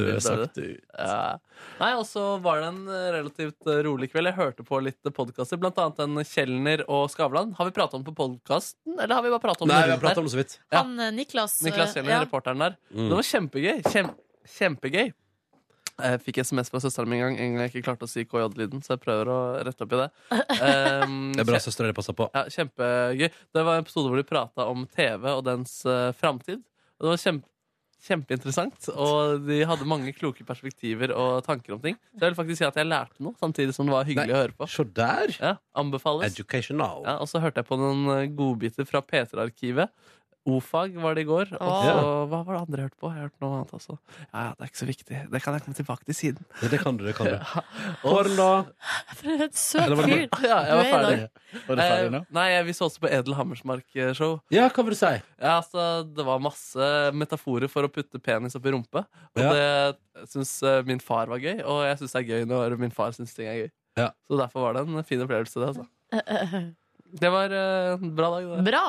Speaker 2: Dø
Speaker 4: begynte å-
Speaker 2: sakte
Speaker 4: Ja. Eh, Nei, og så var det en relativt eh, rolig kveld. Jeg hørte på litt podkaster, blant annet en Kjelner og Skavlan. Har vi pratet om på podkasten, eller har vi bare pratet om
Speaker 2: Nei,
Speaker 4: Sånn det
Speaker 2: vi har
Speaker 4: rundt
Speaker 2: pratet
Speaker 4: her?
Speaker 2: om det så vidt.
Speaker 4: Ja.
Speaker 3: Han eh, Niklas, eh,
Speaker 4: Niklas Kjellner,
Speaker 3: ja.
Speaker 4: reporteren der.
Speaker 2: Mm.
Speaker 4: Det var kjempegøy. Kjem, kjempegøy. Jeg fikk SMS fra søsteren min en gang en gang jeg ikke klarte å si KJ-lyden, så jeg prøver å rette opp i det. Um,
Speaker 2: Det er bra søstera di passer på.
Speaker 4: ja, kjempegøy. Det var en episode hvor de prata om TV og dens uh, framtid. Og det var kjempe, kjempeinteressant, og de hadde mange kloke perspektiver og tanker om ting. Så jeg vil faktisk si at jeg lærte noe, samtidig som det var hyggelig å høre på.
Speaker 2: Så der
Speaker 4: ja, Anbefales.
Speaker 2: Educational.
Speaker 4: Ja, og så hørte jeg på noen uh, godbiter fra P3-arkivet. O-fag var det i går. Og
Speaker 2: Åh.
Speaker 4: så,
Speaker 2: Ja.
Speaker 4: hva var det andre jeg hørte på? Jeg hørte noe annet også. Ja, ja, det er ikke så viktig. Det kan jeg komme tilbake til siden.
Speaker 2: Det, kan du, det kan du.
Speaker 4: Porno.
Speaker 3: For en søt
Speaker 4: Eller var
Speaker 3: fyr.
Speaker 4: det bare- Ja, jeg
Speaker 3: Du
Speaker 4: var
Speaker 3: er i dag.
Speaker 4: ferdig.
Speaker 13: Var du ferdig
Speaker 4: Eh,
Speaker 13: nå?
Speaker 4: Nei, jeg- vi så også på Edel eh, Hammersmark-show.
Speaker 2: Ja, hva vil du si?
Speaker 4: Ja, altså, Det var masse metaforer for å putte penis opp i rumpe. Og det syns eh, min far var gøy, og jeg syns det er gøy når min far syns ting er gøy.
Speaker 2: Ja.
Speaker 4: Så derfor var det en fin opplevelse, det. altså
Speaker 3: Eh, eh,
Speaker 4: Det var eh, en bra dag. Det.
Speaker 3: Bra!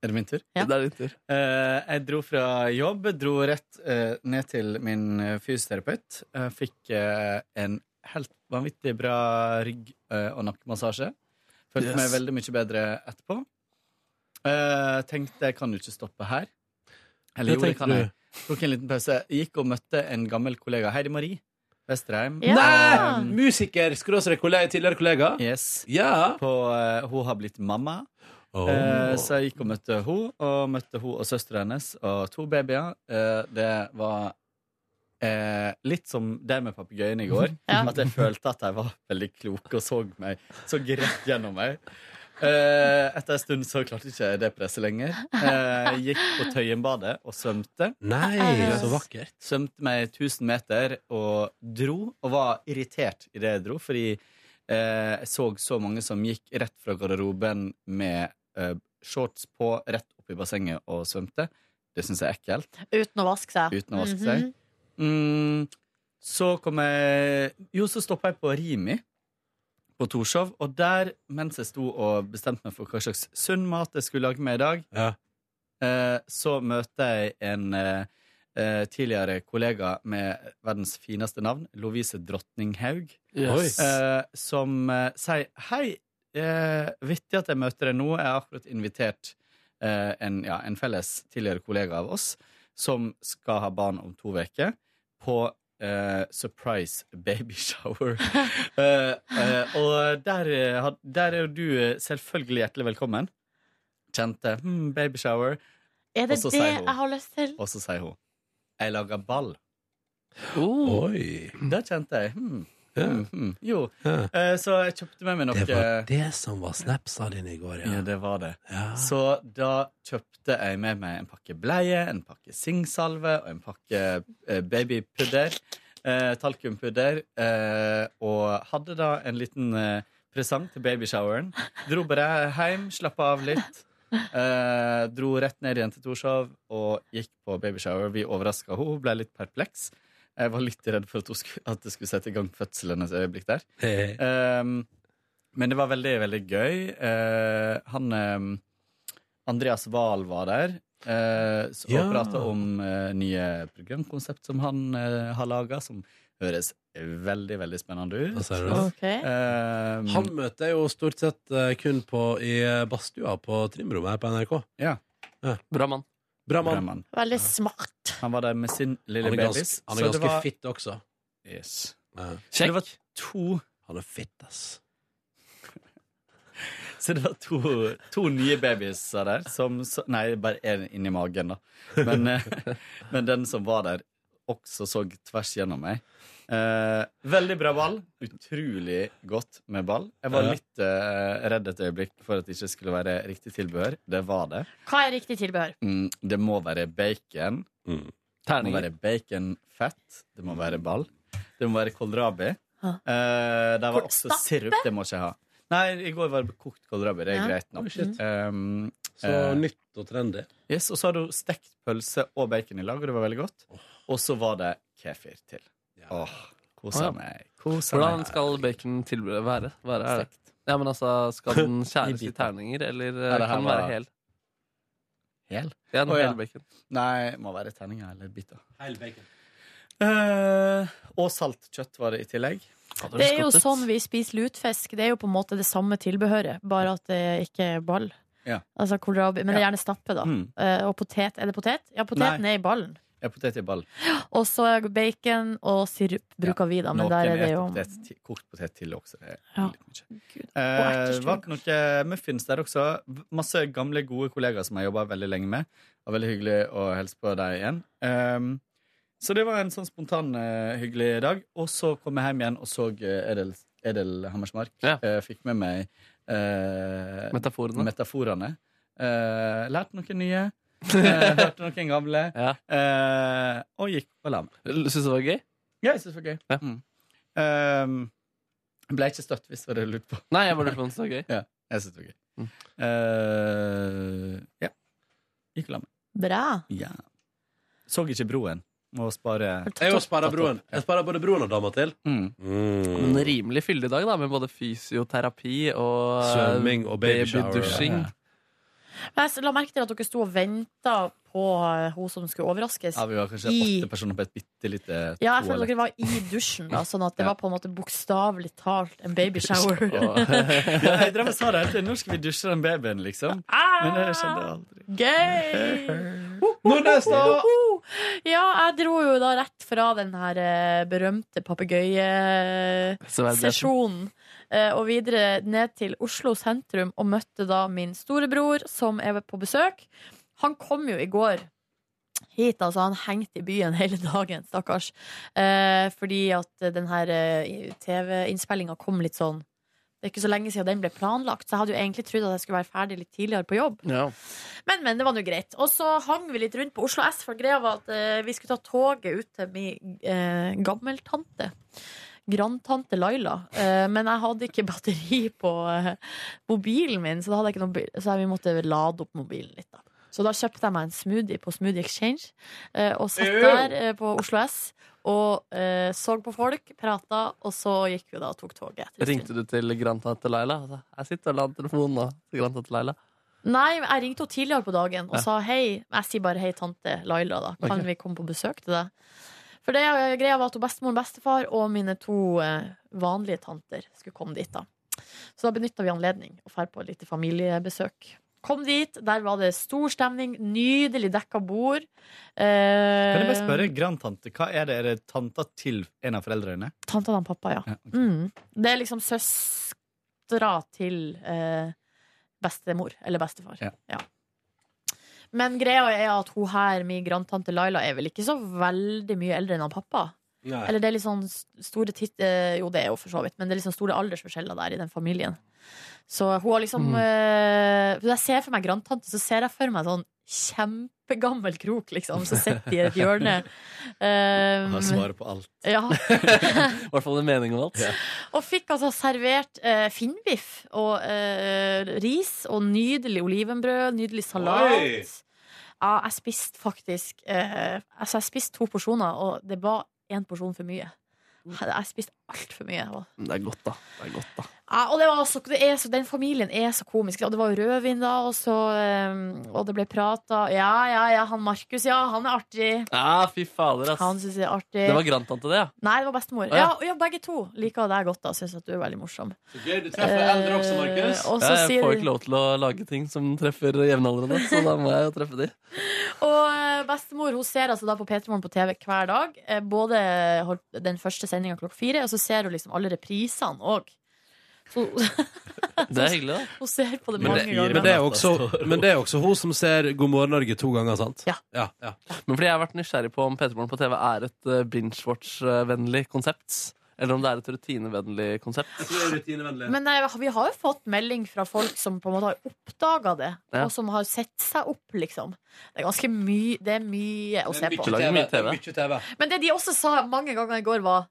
Speaker 13: Er det min tur?
Speaker 3: Ja.
Speaker 4: Det er din tur.
Speaker 13: Eh, jeg dro fra jobb, dro rett eh, ned til min eh, fysioterapeut. Jeg fikk eh, en helt vanvittig bra rygg- eh, og nakkemassasje. Følte
Speaker 4: Yes.
Speaker 13: meg veldig mye bedre etterpå. Eh, tenkte jeg kan jo ikke stoppe her. Eller
Speaker 2: Det
Speaker 13: jo, det
Speaker 2: tenkte
Speaker 13: kan jeg.
Speaker 2: du.
Speaker 13: Tok en liten pause. Gikk og møtte en gammel kollega, Heidi Marie Vesterheim. Eh,
Speaker 2: Nei! Eh, Musiker, skråstrek kollega, tidligere kollega.
Speaker 13: Yes.
Speaker 2: Ja.
Speaker 13: På, eh, hun har blitt mamma.
Speaker 2: Oh.
Speaker 13: Eh, så jeg gikk og møtte hun, og møtte hun og søstera hennes og to babyer. Eh, det var eh, litt som det med papegøyen i går.
Speaker 3: Ja.
Speaker 13: At jeg følte at de var veldig kloke og så meg så rett gjennom meg. Eh, etter en stund så klarte ikke jeg det presset lenger. Eh, gikk på Tøyenbadet og svømte.
Speaker 2: Nei, så vakkert.
Speaker 13: Svømte meg 1000 meter og dro, og var irritert idet jeg dro, fordi eh, jeg så så mange som gikk rett fra garderoben med eh, shorts på, rett opp i bassenget og svømte. Det syns jeg er ekkelt.
Speaker 3: Uten å vaske seg. Mhm.
Speaker 13: Uten å vaske seg. Mm, så kom jeg Jo, så stoppa jeg på Rimi på Torshov, og der, mens jeg sto og bestemte meg for hva slags sunn mat jeg skulle lage med i dag, eh, så møter jeg en eh, eh, tidligere kollega med verdens fineste navn, Lovise Drottninghaug,
Speaker 4: Yes. Oi.
Speaker 13: eh, som eh, sier hei, eh, vittig at jeg møter deg nå, jeg har akkurat invitert eh, en, ja, en felles tidligere kollega av oss, som skal ha barn om to uker, på eh, surprise baby shower. Eh, eh, og der, eh, had- der er jo du eh, selvfølgelig hjertelig velkommen. Kjente hmm, baby shower.
Speaker 3: Er det
Speaker 13: Og så
Speaker 3: det
Speaker 13: sier hun-
Speaker 3: jeg har lyst til?
Speaker 13: Og så sier hun Jeg lager ball.
Speaker 2: Mm.
Speaker 4: oh,
Speaker 2: Oi.
Speaker 13: Da kjente jeg hmm, hmm, hmm. Jo. Eh, så jeg kjøpte med meg noe eh,
Speaker 2: Det var det som var snapsa dine i går, eh, ja.
Speaker 13: Ja, det var det. Så da kjøpte jeg med meg en pakke bleie, en pakke singsalve og en pakke eh, babypudder. Eh, talkumpudder. Eh, og hadde da en liten eh, presang til babyshoweren. Dro bare hjem, slappa av litt. Eh, dro rett ned igjen til Torshov og gikk på babyshower. Vi overraska henne, hun ble litt perpleks. Jeg var litt redd for at, hun skulle, at det skulle sette i gang fødselen et øyeblikk der.
Speaker 2: Hei.
Speaker 13: Ehm, men det var veldig, veldig gøy. Eh, han ehm, Andreas Wahl var der. eh, så-
Speaker 2: Ja.
Speaker 13: Og prata om eh, nye programkonsept som han eh, har laga, som høres veldig, veldig spennende ut.
Speaker 2: Hva sier du?
Speaker 3: Ok.
Speaker 13: Ehm,
Speaker 2: Han møter jeg jo stort eh, sett eh, kun på i badstua på trimrommet her på NRK.
Speaker 13: Ja.
Speaker 4: Bra mann.
Speaker 2: Bra mann.
Speaker 3: Veldig smart.
Speaker 13: Han var der med sin lille
Speaker 2: Han er ganske-
Speaker 13: baby.
Speaker 2: han er ganske fitt også.
Speaker 13: Yes.
Speaker 2: Kjekk.
Speaker 13: Det var to
Speaker 2: Han er fitt, ass.
Speaker 13: Så det var to, to nye babyer der som så- Nei, bare én inni magen, da. Men, eh, men den som var der, også så tvers gjennom meg. Eh, veldig bra ball. Utrolig godt med ball. Jeg var
Speaker 3: Ja.
Speaker 13: litt eh, redd et øyeblikk for at det ikke skulle være riktig tilbehør. Det var det.
Speaker 3: Hva er riktig tilbehør?
Speaker 13: Mm, det må være bacon. Det må
Speaker 3: Terninger.
Speaker 13: være baconfett. Det må være ball. Det må være kålrabi.
Speaker 3: Ja.
Speaker 13: Eh, der var
Speaker 3: Kål-
Speaker 13: også
Speaker 3: stappe?
Speaker 13: sirup. Det må jeg ikke ha. Nei, i går var det kokt kålrabi. Det er
Speaker 2: Ja.
Speaker 13: greit
Speaker 2: Oi,
Speaker 13: nok.
Speaker 2: shit.
Speaker 13: Um,
Speaker 2: Så nytt og trendy.
Speaker 13: Yes, og så har du stekt pølse og bacon i lag, og det var veldig godt. Og så var det kefir til. Åh, kosa
Speaker 4: Å, ja.
Speaker 13: meg. Kosa
Speaker 4: Hvordan
Speaker 13: meg.
Speaker 4: skal bacon til være? Være er det? Ja, men altså, Skal den skjæres i terninger, eller eh,
Speaker 13: Ja, det her
Speaker 4: kan den
Speaker 13: var-
Speaker 4: være hel?
Speaker 13: Hel?
Speaker 4: Ja, den
Speaker 13: Å,
Speaker 4: hele bacon.
Speaker 13: Nei, må være terninger eller biter.
Speaker 2: Heil bacon.
Speaker 13: Eh, og saltkjøtt var det i tillegg.
Speaker 3: Det er jo sånn vi spiser lutfisk. Det er jo på en måte det samme tilbehøret, bare at det ikke er ball.
Speaker 13: Ja.
Speaker 3: Altså kålrabi, men det er gjerne stappe, da.
Speaker 13: Mm.
Speaker 3: Eh, og potet. Er det potet? Ja, poteten er i ballen.
Speaker 13: Ja, potet i ball.
Speaker 3: Og så er bacon og sirup bruker vi, da, men der er det
Speaker 13: et
Speaker 3: jo
Speaker 13: potet, til- kokt potet til også. Det er
Speaker 3: Ja.
Speaker 13: litt mye. Eh, var det noe muffins der også. Masse gamle, gode kollegaer som jeg jobba veldig lenge med. Og veldig hyggelig å hilse på deg igjen. Ehm, så det var en sånn spontan, eh, hyggelig dag. Og så kom jeg hjem igjen og så eh, Edel, Edel Hammersmark. Eh, fikk med meg eh,
Speaker 4: Metaforene.
Speaker 13: metaforene. Eh, lærte noen nye. Eh, hørte noen gamle. Eh, og gikk og la meg.
Speaker 4: Syns du det var gøy?
Speaker 13: Ja, jeg syns det var gøy. Mm. Ehm, jeg ble ikke støtt, hvis det var det du lurte på.
Speaker 4: Nei, jeg bare lurte på om det var gøy.
Speaker 13: ja, jeg synes det var gøy.
Speaker 3: Mm.
Speaker 13: Eh, ja. Gikk og la meg.
Speaker 3: Bra.
Speaker 13: Ja. Så ikke broen. Må spare
Speaker 2: Jeg har spara broen. Jeg sparer både broen og dama til.
Speaker 13: Mm.
Speaker 4: Men en rimelig fyldig dag, da, med både fysioterapi og eh,
Speaker 2: Svømming og babyshower.
Speaker 4: babydusjing.
Speaker 3: Men jeg la merke til at dere sto og venta på eh, hun som skulle overraskes.
Speaker 13: Ja, vi var kanskje
Speaker 3: I-
Speaker 13: åtte personer på et bitte lite
Speaker 3: Ja, jeg føler dere var i dusjen, da, sånn at det var på en måte bokstavelig talt en babyshower.
Speaker 13: ja, jeg drev og sa det hele tiden. Nå skal vi dusje den babyen, liksom. Men det skjedde aldri.
Speaker 3: Ah, Gøy!
Speaker 13: Nordnes, da!
Speaker 3: Ja, jeg dro jo da rett fra den her eh, berømte papegøyesesjonen. eh, Og videre ned til Oslo sentrum og møtte da min storebror, som er på besøk. Han kom jo i går hit, altså. Han hengte i byen hele dagen, stakkars. Eh, fordi at den her eh, TV-innspillinga kom litt sånn Det er ikke så lenge siden den ble planlagt, så jeg hadde jo egentlig trodd at jeg skulle være ferdig litt tidligere på jobb. Men, men, det var nå greit. Og så hang vi litt rundt på Oslo S, for greia var at eh, vi skulle ta toget ut til min eh, gammeltante. Grandtante Laila. Eh, men jeg hadde ikke batteri på eh, mobilen min, så, da hadde jeg ikke noe, bil- så vi måtte lade opp mobilen litt. da så da kjøpte jeg meg en smoothie på Smoothie Exchange eh, og satt
Speaker 9: Ew.
Speaker 3: der eh, på Oslo S og eh, så på folk, prata, og så gikk vi da og tok toget. etter en stund.
Speaker 4: Ringte du til grandtante Laila? Altså, Jeg sitter og lader telefonen nå til grandtante Laila.
Speaker 3: Nei, jeg ringte henne tidligere på dagen og
Speaker 4: Ja.
Speaker 3: sa hei. Jeg sier bare hei, tante Laila, da. Kan
Speaker 4: Ok.
Speaker 3: vi komme på besøk til deg? For det eh, greia var at hun bestemor og bestefar og mine to eh, vanlige tanter skulle komme dit, da. Så da benytta vi anledning og drar på et lite familiebesøk. Kom dit, der var det stor stemning, nydelig dekka bord. Eh,
Speaker 13: Kan jeg bare spørre grandtante, hva er det? Er det tanta til en av foreldrene?
Speaker 3: Tanta til pappa, ja. Mm. Det er liksom søstera til eh, bestemor, eller bestefar.
Speaker 13: Ja.
Speaker 3: Men greia er at hun her, min grandtante Laila, er vel ikke så veldig mye eldre enn han pappa.
Speaker 2: Nei.
Speaker 3: Eller det er litt sånn store titt... eh, Jo, det er jo for så vidt, men det er litt sånn store aldersforskjeller der i den familien. Så hun har liksom
Speaker 9: Mm.
Speaker 3: eh, Når jeg ser for meg grandtante, så ser jeg for meg sånn kjempegammel krok, liksom, som sitter i et hjørne. Um,
Speaker 4: Har svaret på alt.
Speaker 3: Ja.
Speaker 4: I hvert fall en mening om alt.
Speaker 3: Og fikk altså servert eh, finnbiff og eh, ris og nydelig olivenbrød, nydelig salat.
Speaker 9: Oi!
Speaker 3: Ja, jeg spiste faktisk eh, Altså, jeg spiste to porsjoner, og det var én porsjon for mye. Jeg jeg spiste altfor mye. Og
Speaker 4: Men Det er godt, da. Det er godt, da.
Speaker 3: Ja, og det var så, det er så, den familien er så komisk. Og det var jo rødvin da, og, så, eh, og det ble prata. Ja, ja, ja, han Markus, ja, han er artig.
Speaker 4: Ja, fy fader, ass.
Speaker 3: Han synes det er artig.
Speaker 4: Det var grandtante, det, ja.
Speaker 3: Nei, det var bestemor.
Speaker 4: Å,
Speaker 3: Ja,
Speaker 4: ja.
Speaker 3: og ja, begge to liker deg godt. da, Syns at du er veldig morsom.
Speaker 2: Så gøy, du treffer eldre også, Markus.
Speaker 3: Eh, og så
Speaker 4: Ja, jeg
Speaker 3: sier-
Speaker 4: får ikke lov til å lage ting som treffer jevnaldrende, så da må jeg jo treffe de.
Speaker 3: Og eh, bestemor hun ser altså da på P3morgen på TV hver dag. eh, Både holdt- den første sendinga klokka fire, og så ser hun liksom alle reprisene òg.
Speaker 4: Det er hyggelig, da.
Speaker 3: Hun ser på det
Speaker 2: Men
Speaker 3: mange
Speaker 2: det,
Speaker 3: ganger.
Speaker 2: men, det er også, men det er også hun som ser God morgen Norge to ganger, sant?
Speaker 3: Ja.
Speaker 4: Men fordi jeg har vært nysgjerrig på om P3morgen på TV er et eh, binge-watch-vennlig konsept. Eller om det er et rutinevennlig konsept.
Speaker 3: Men eh, vi har jo fått melding fra folk som på en måte har oppdaga det,
Speaker 4: Ja.
Speaker 3: og som har sett seg opp, liksom. Det er ganske mye, det er mye å se på.
Speaker 4: Du lager mye TV.
Speaker 3: Men det de også sa mange ganger i går, var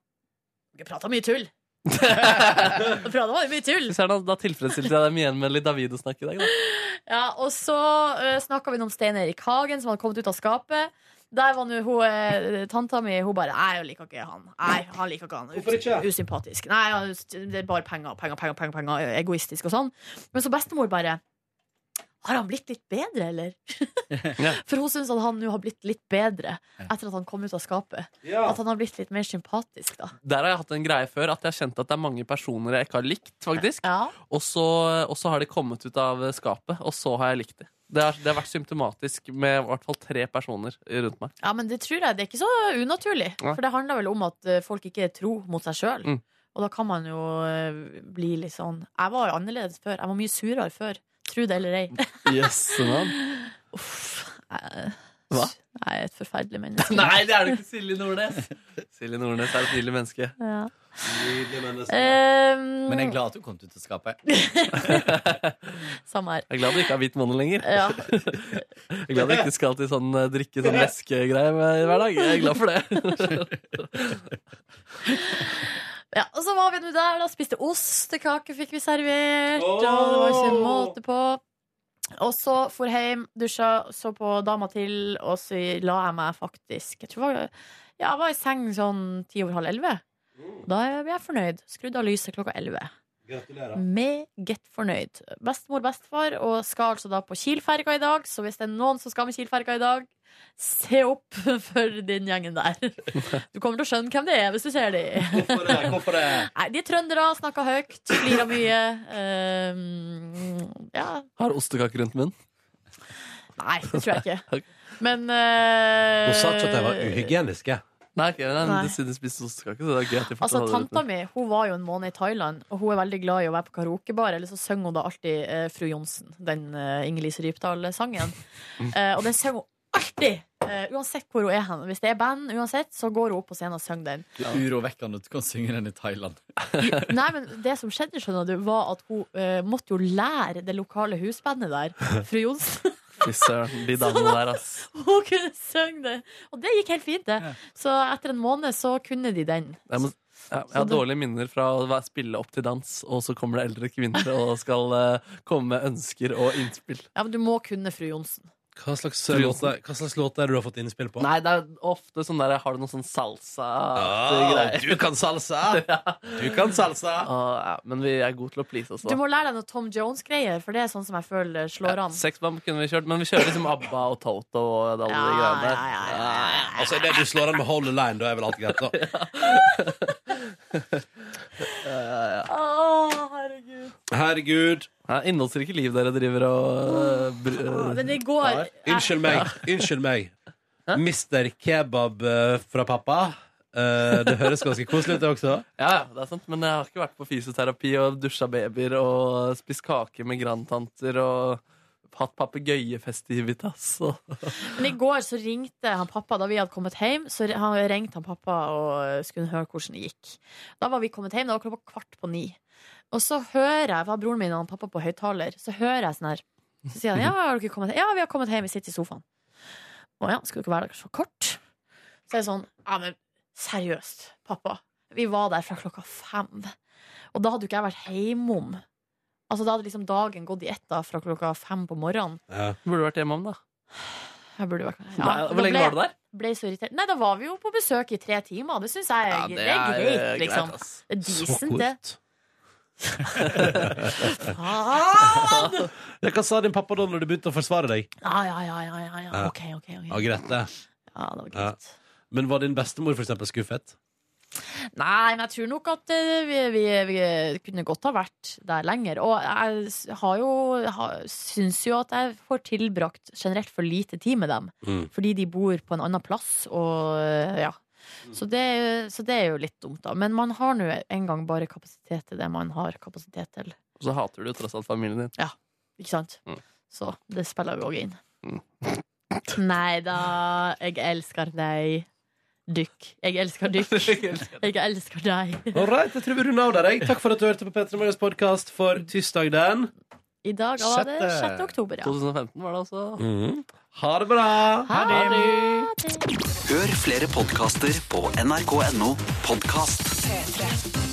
Speaker 3: Dere prata mye tull. Dere pratet bare mye tull.
Speaker 4: Hvis jeg, da, da tilfredsstilte jeg dem igjen med litt Davido-snakk i dag. Da.
Speaker 3: Ja, og så uh, snakka vi om Stein Erik Hagen, som hadde kommet ut av skapet. Der var nå hun, eh, tanta mi Hun bare Nei, jeg liker ikke han. Nei, han liker ikke han.
Speaker 14: Hvorfor ikke?
Speaker 3: Usympatisk. Nei, han- det er bare penger, penger, penger, penger, penger. Egoistisk og sånn. Men så bestemor bare Har han blitt litt bedre, eller? For hun syns at han nå har blitt litt bedre etter at han kom ut av skapet.
Speaker 4: Ja.
Speaker 3: At han har blitt litt mer sympatisk, da.
Speaker 4: Der har jeg hatt en greie før at jeg har kjent at det er mange personer jeg ikke har likt, faktisk. Og, så, og så har de kommet ut av skapet, og så har jeg likt dem. Det har, det har vært symptomatisk med i hvert fall tre personer rundt meg.
Speaker 3: Ja, men det tror jeg. Det er ikke så unaturlig.
Speaker 4: Nei.
Speaker 3: For det handler vel om at eh, folk ikke er tro mot seg sjøl.
Speaker 4: Mm.
Speaker 3: Og da kan man jo eh, bli litt sånn Jeg var jo annerledes før. Jeg var mye surere før. Tro det eller ei.
Speaker 4: Yes,
Speaker 3: Jeg- eh,
Speaker 4: Hva?
Speaker 3: Jeg er et forferdelig menneske.
Speaker 4: Nei, det er du ikke, Silje Nordnes. Silje Nordnes er et nydelig menneske.
Speaker 3: Ja.
Speaker 4: Nydelig menneske.
Speaker 3: Ehm, Men jeg er glad
Speaker 4: at du kom ut til skapet.
Speaker 3: Samme her.
Speaker 4: Jeg er glad du ikke har hvit måne lenger.
Speaker 3: Ja.
Speaker 4: Jeg er glad du ikke skal til sånn eh, drikke sånn væskegreie med- hver dag. Jeg er glad for det.
Speaker 3: Ja, og så var vi nå der, da. Spiste ostekake fikk vi servert. Og det var ikke måte på. Og så for hjem, dusja, så på Dama til, og så la jeg meg faktisk Jeg tror jeg var, ja, jeg var i seng sånn ti over halv elleve. Da er jeg fornøyd. Skrudd av lyset klokka elleve.
Speaker 2: Gratulerer.
Speaker 3: Meget fornøyd. Bestemor, bestefar, og skal altså da på Kielferga i dag. Så hvis det er noen som skal med Kielferga i dag, se opp for den gjengen der. Du kommer til å skjønne hvem det er hvis du ser dem. Nei, de er trøndere, snakker høyt, flirer mye. Ehm, ja,
Speaker 4: Har ostekake rundt munnen.
Speaker 3: nei, det tror jeg ikke. Men eh,
Speaker 2: Hun sa ikke at de var uhygieniske.
Speaker 4: Nei, ok, nei,
Speaker 3: Nei.
Speaker 4: men Siden du spiste ostekake, så det er gøy at jeg
Speaker 3: Altså,
Speaker 4: fortalte det.
Speaker 3: Tanta mi hun var jo en måned i Thailand, og hun er veldig glad i å være på karaokebar. Eller så synger hun da alltid eh, Fru Johnsen, den eh, Inger-Lise Rypdal-sangen.
Speaker 2: Mm.
Speaker 3: Eh, og den synger hun alltid! eh, uansett hvor hun er hen. Hvis det er band, uansett, så går hun opp på scenen og synger den.
Speaker 13: Det er urovekkende at du kan synge den i Thailand.
Speaker 3: Nei, men det som skjedde, skjønner du, var at hun eh, måtte jo lære det lokale husbandet der, Fru Johnsen.
Speaker 4: Fy søren, de damene der, ass.
Speaker 3: Hun kunne synge det! Og det gikk helt fint, det. Så etter en måned så kunne de den.
Speaker 4: Jeg, må, ja, jeg har dårlige minner fra å være- spille opp til dans, og så kommer det eldre kvinner og skal eh, komme med ønsker og innspill.
Speaker 3: Ja, men du må kunne Fru Johnsen.
Speaker 2: Hva slags,
Speaker 4: Fru
Speaker 2: låt
Speaker 4: Johnsen.
Speaker 2: er, hva slags låt er det du har fått innspill på?
Speaker 4: Nei, det er ofte sånn der Har du noe sånn salsa
Speaker 2: Ah, du
Speaker 4: kan salsa! Du kan salsa! Ah, ja, men vi er gode til å please oss,
Speaker 3: Du må lære deg noe Tom Jones-greier, for det er sånn som jeg føler slår an.
Speaker 4: Sexbomb kunne vi kjørt, men vi kjører liksom ABBA og Toto og alle de greiene der.
Speaker 2: Altså, det du slår an med Hold the Line, da er vel alt greit, da.
Speaker 3: Å, herregud.
Speaker 2: Herregud.
Speaker 4: Ja, Innholdsrike liv dere driver og eh, br-
Speaker 3: Men i går
Speaker 2: Eh, Unnskyld meg. Unnskyld meg. Mister Kebab eh, fra pappa. Eh, det høres ganske koselig ut, det også.
Speaker 4: Ja, ja, det er sant, men jeg har ikke vært på fysioterapi og dusja babyer og spist kake med grandtanter og hatt papegøyefestivitas. og-
Speaker 3: Men i går så ringte han pappa da vi hadde kommet hjem. Så ri- han ringte han pappa og skulle høre hvordan det gikk. Da var vi kommet hjem, det var klokka kvart på ni. Og så hører jeg, var broren min og han pappa på høyttaler, så hører jeg sånn her. Så sier han ja, har dere kommet hjem? Ja, vi har kommet hjem, vi sitter i sofaen. Å ja, skulle dere være der så kort? Så er det sånn, ja, men seriøst, pappa. Vi var der fra klokka fem. Og da hadde jo ikke jeg vært hjemom. Altså, da hadde liksom dagen gått i ett da, fra klokka fem på morgenen.
Speaker 4: Burde vært hjemme om, da.
Speaker 3: Jeg burde vært
Speaker 4: Nei,
Speaker 3: Ja,
Speaker 4: hvor
Speaker 3: da
Speaker 4: lenge
Speaker 3: ble-
Speaker 4: var du der?
Speaker 3: Ble så irritert. Nei, da var vi jo på besøk i tre timer. Det syns jeg er,
Speaker 4: det
Speaker 3: det er
Speaker 4: er, eh,
Speaker 3: greit,
Speaker 4: greit,
Speaker 3: liksom.
Speaker 4: ass.
Speaker 3: Det er
Speaker 4: Så
Speaker 3: decent, det. Faen!
Speaker 2: Ja, Hva sa din pappa da når du begynte å forsvare deg?
Speaker 3: Ja, ja, ja, ja, ja, ja. OK, OK. ok.
Speaker 2: Ja, greit det.
Speaker 3: Ja, det var
Speaker 2: greit. Men var din bestemor for eksempel skuffet?
Speaker 3: Nei, men jeg tror nok at eh, vi, vi, vi kunne godt ha vært der lenger. Og jeg s- har jo, har, syns jo at jeg får tilbrakt generelt for lite tid med dem.
Speaker 11: Mm.
Speaker 3: Fordi de bor på en annen plass, og eh, ja. Så det, så det er jo litt dumt, da. Men man har nå en gang bare kapasitet til det man har kapasitet til.
Speaker 4: Og så hater du tross alt familien din.
Speaker 3: Ja, ikke sant?
Speaker 4: Mm.
Speaker 3: Så det spiller jo òg inn. Nei da, jeg elsker deg. Dykk. Jeg elsker dykk. Jeg elsker deg.
Speaker 2: Alright, jeg tror vi runder av der. jeg. Takk for at du hørte på Petra Morgens podkast for tirsdag den
Speaker 3: I dag var det 6. oktober, ja.
Speaker 4: 2015 var det altså.
Speaker 2: Ha det bra!
Speaker 3: Ha det!
Speaker 14: Hør flere podkaster på nrk.no podkast.
Speaker 11: P3.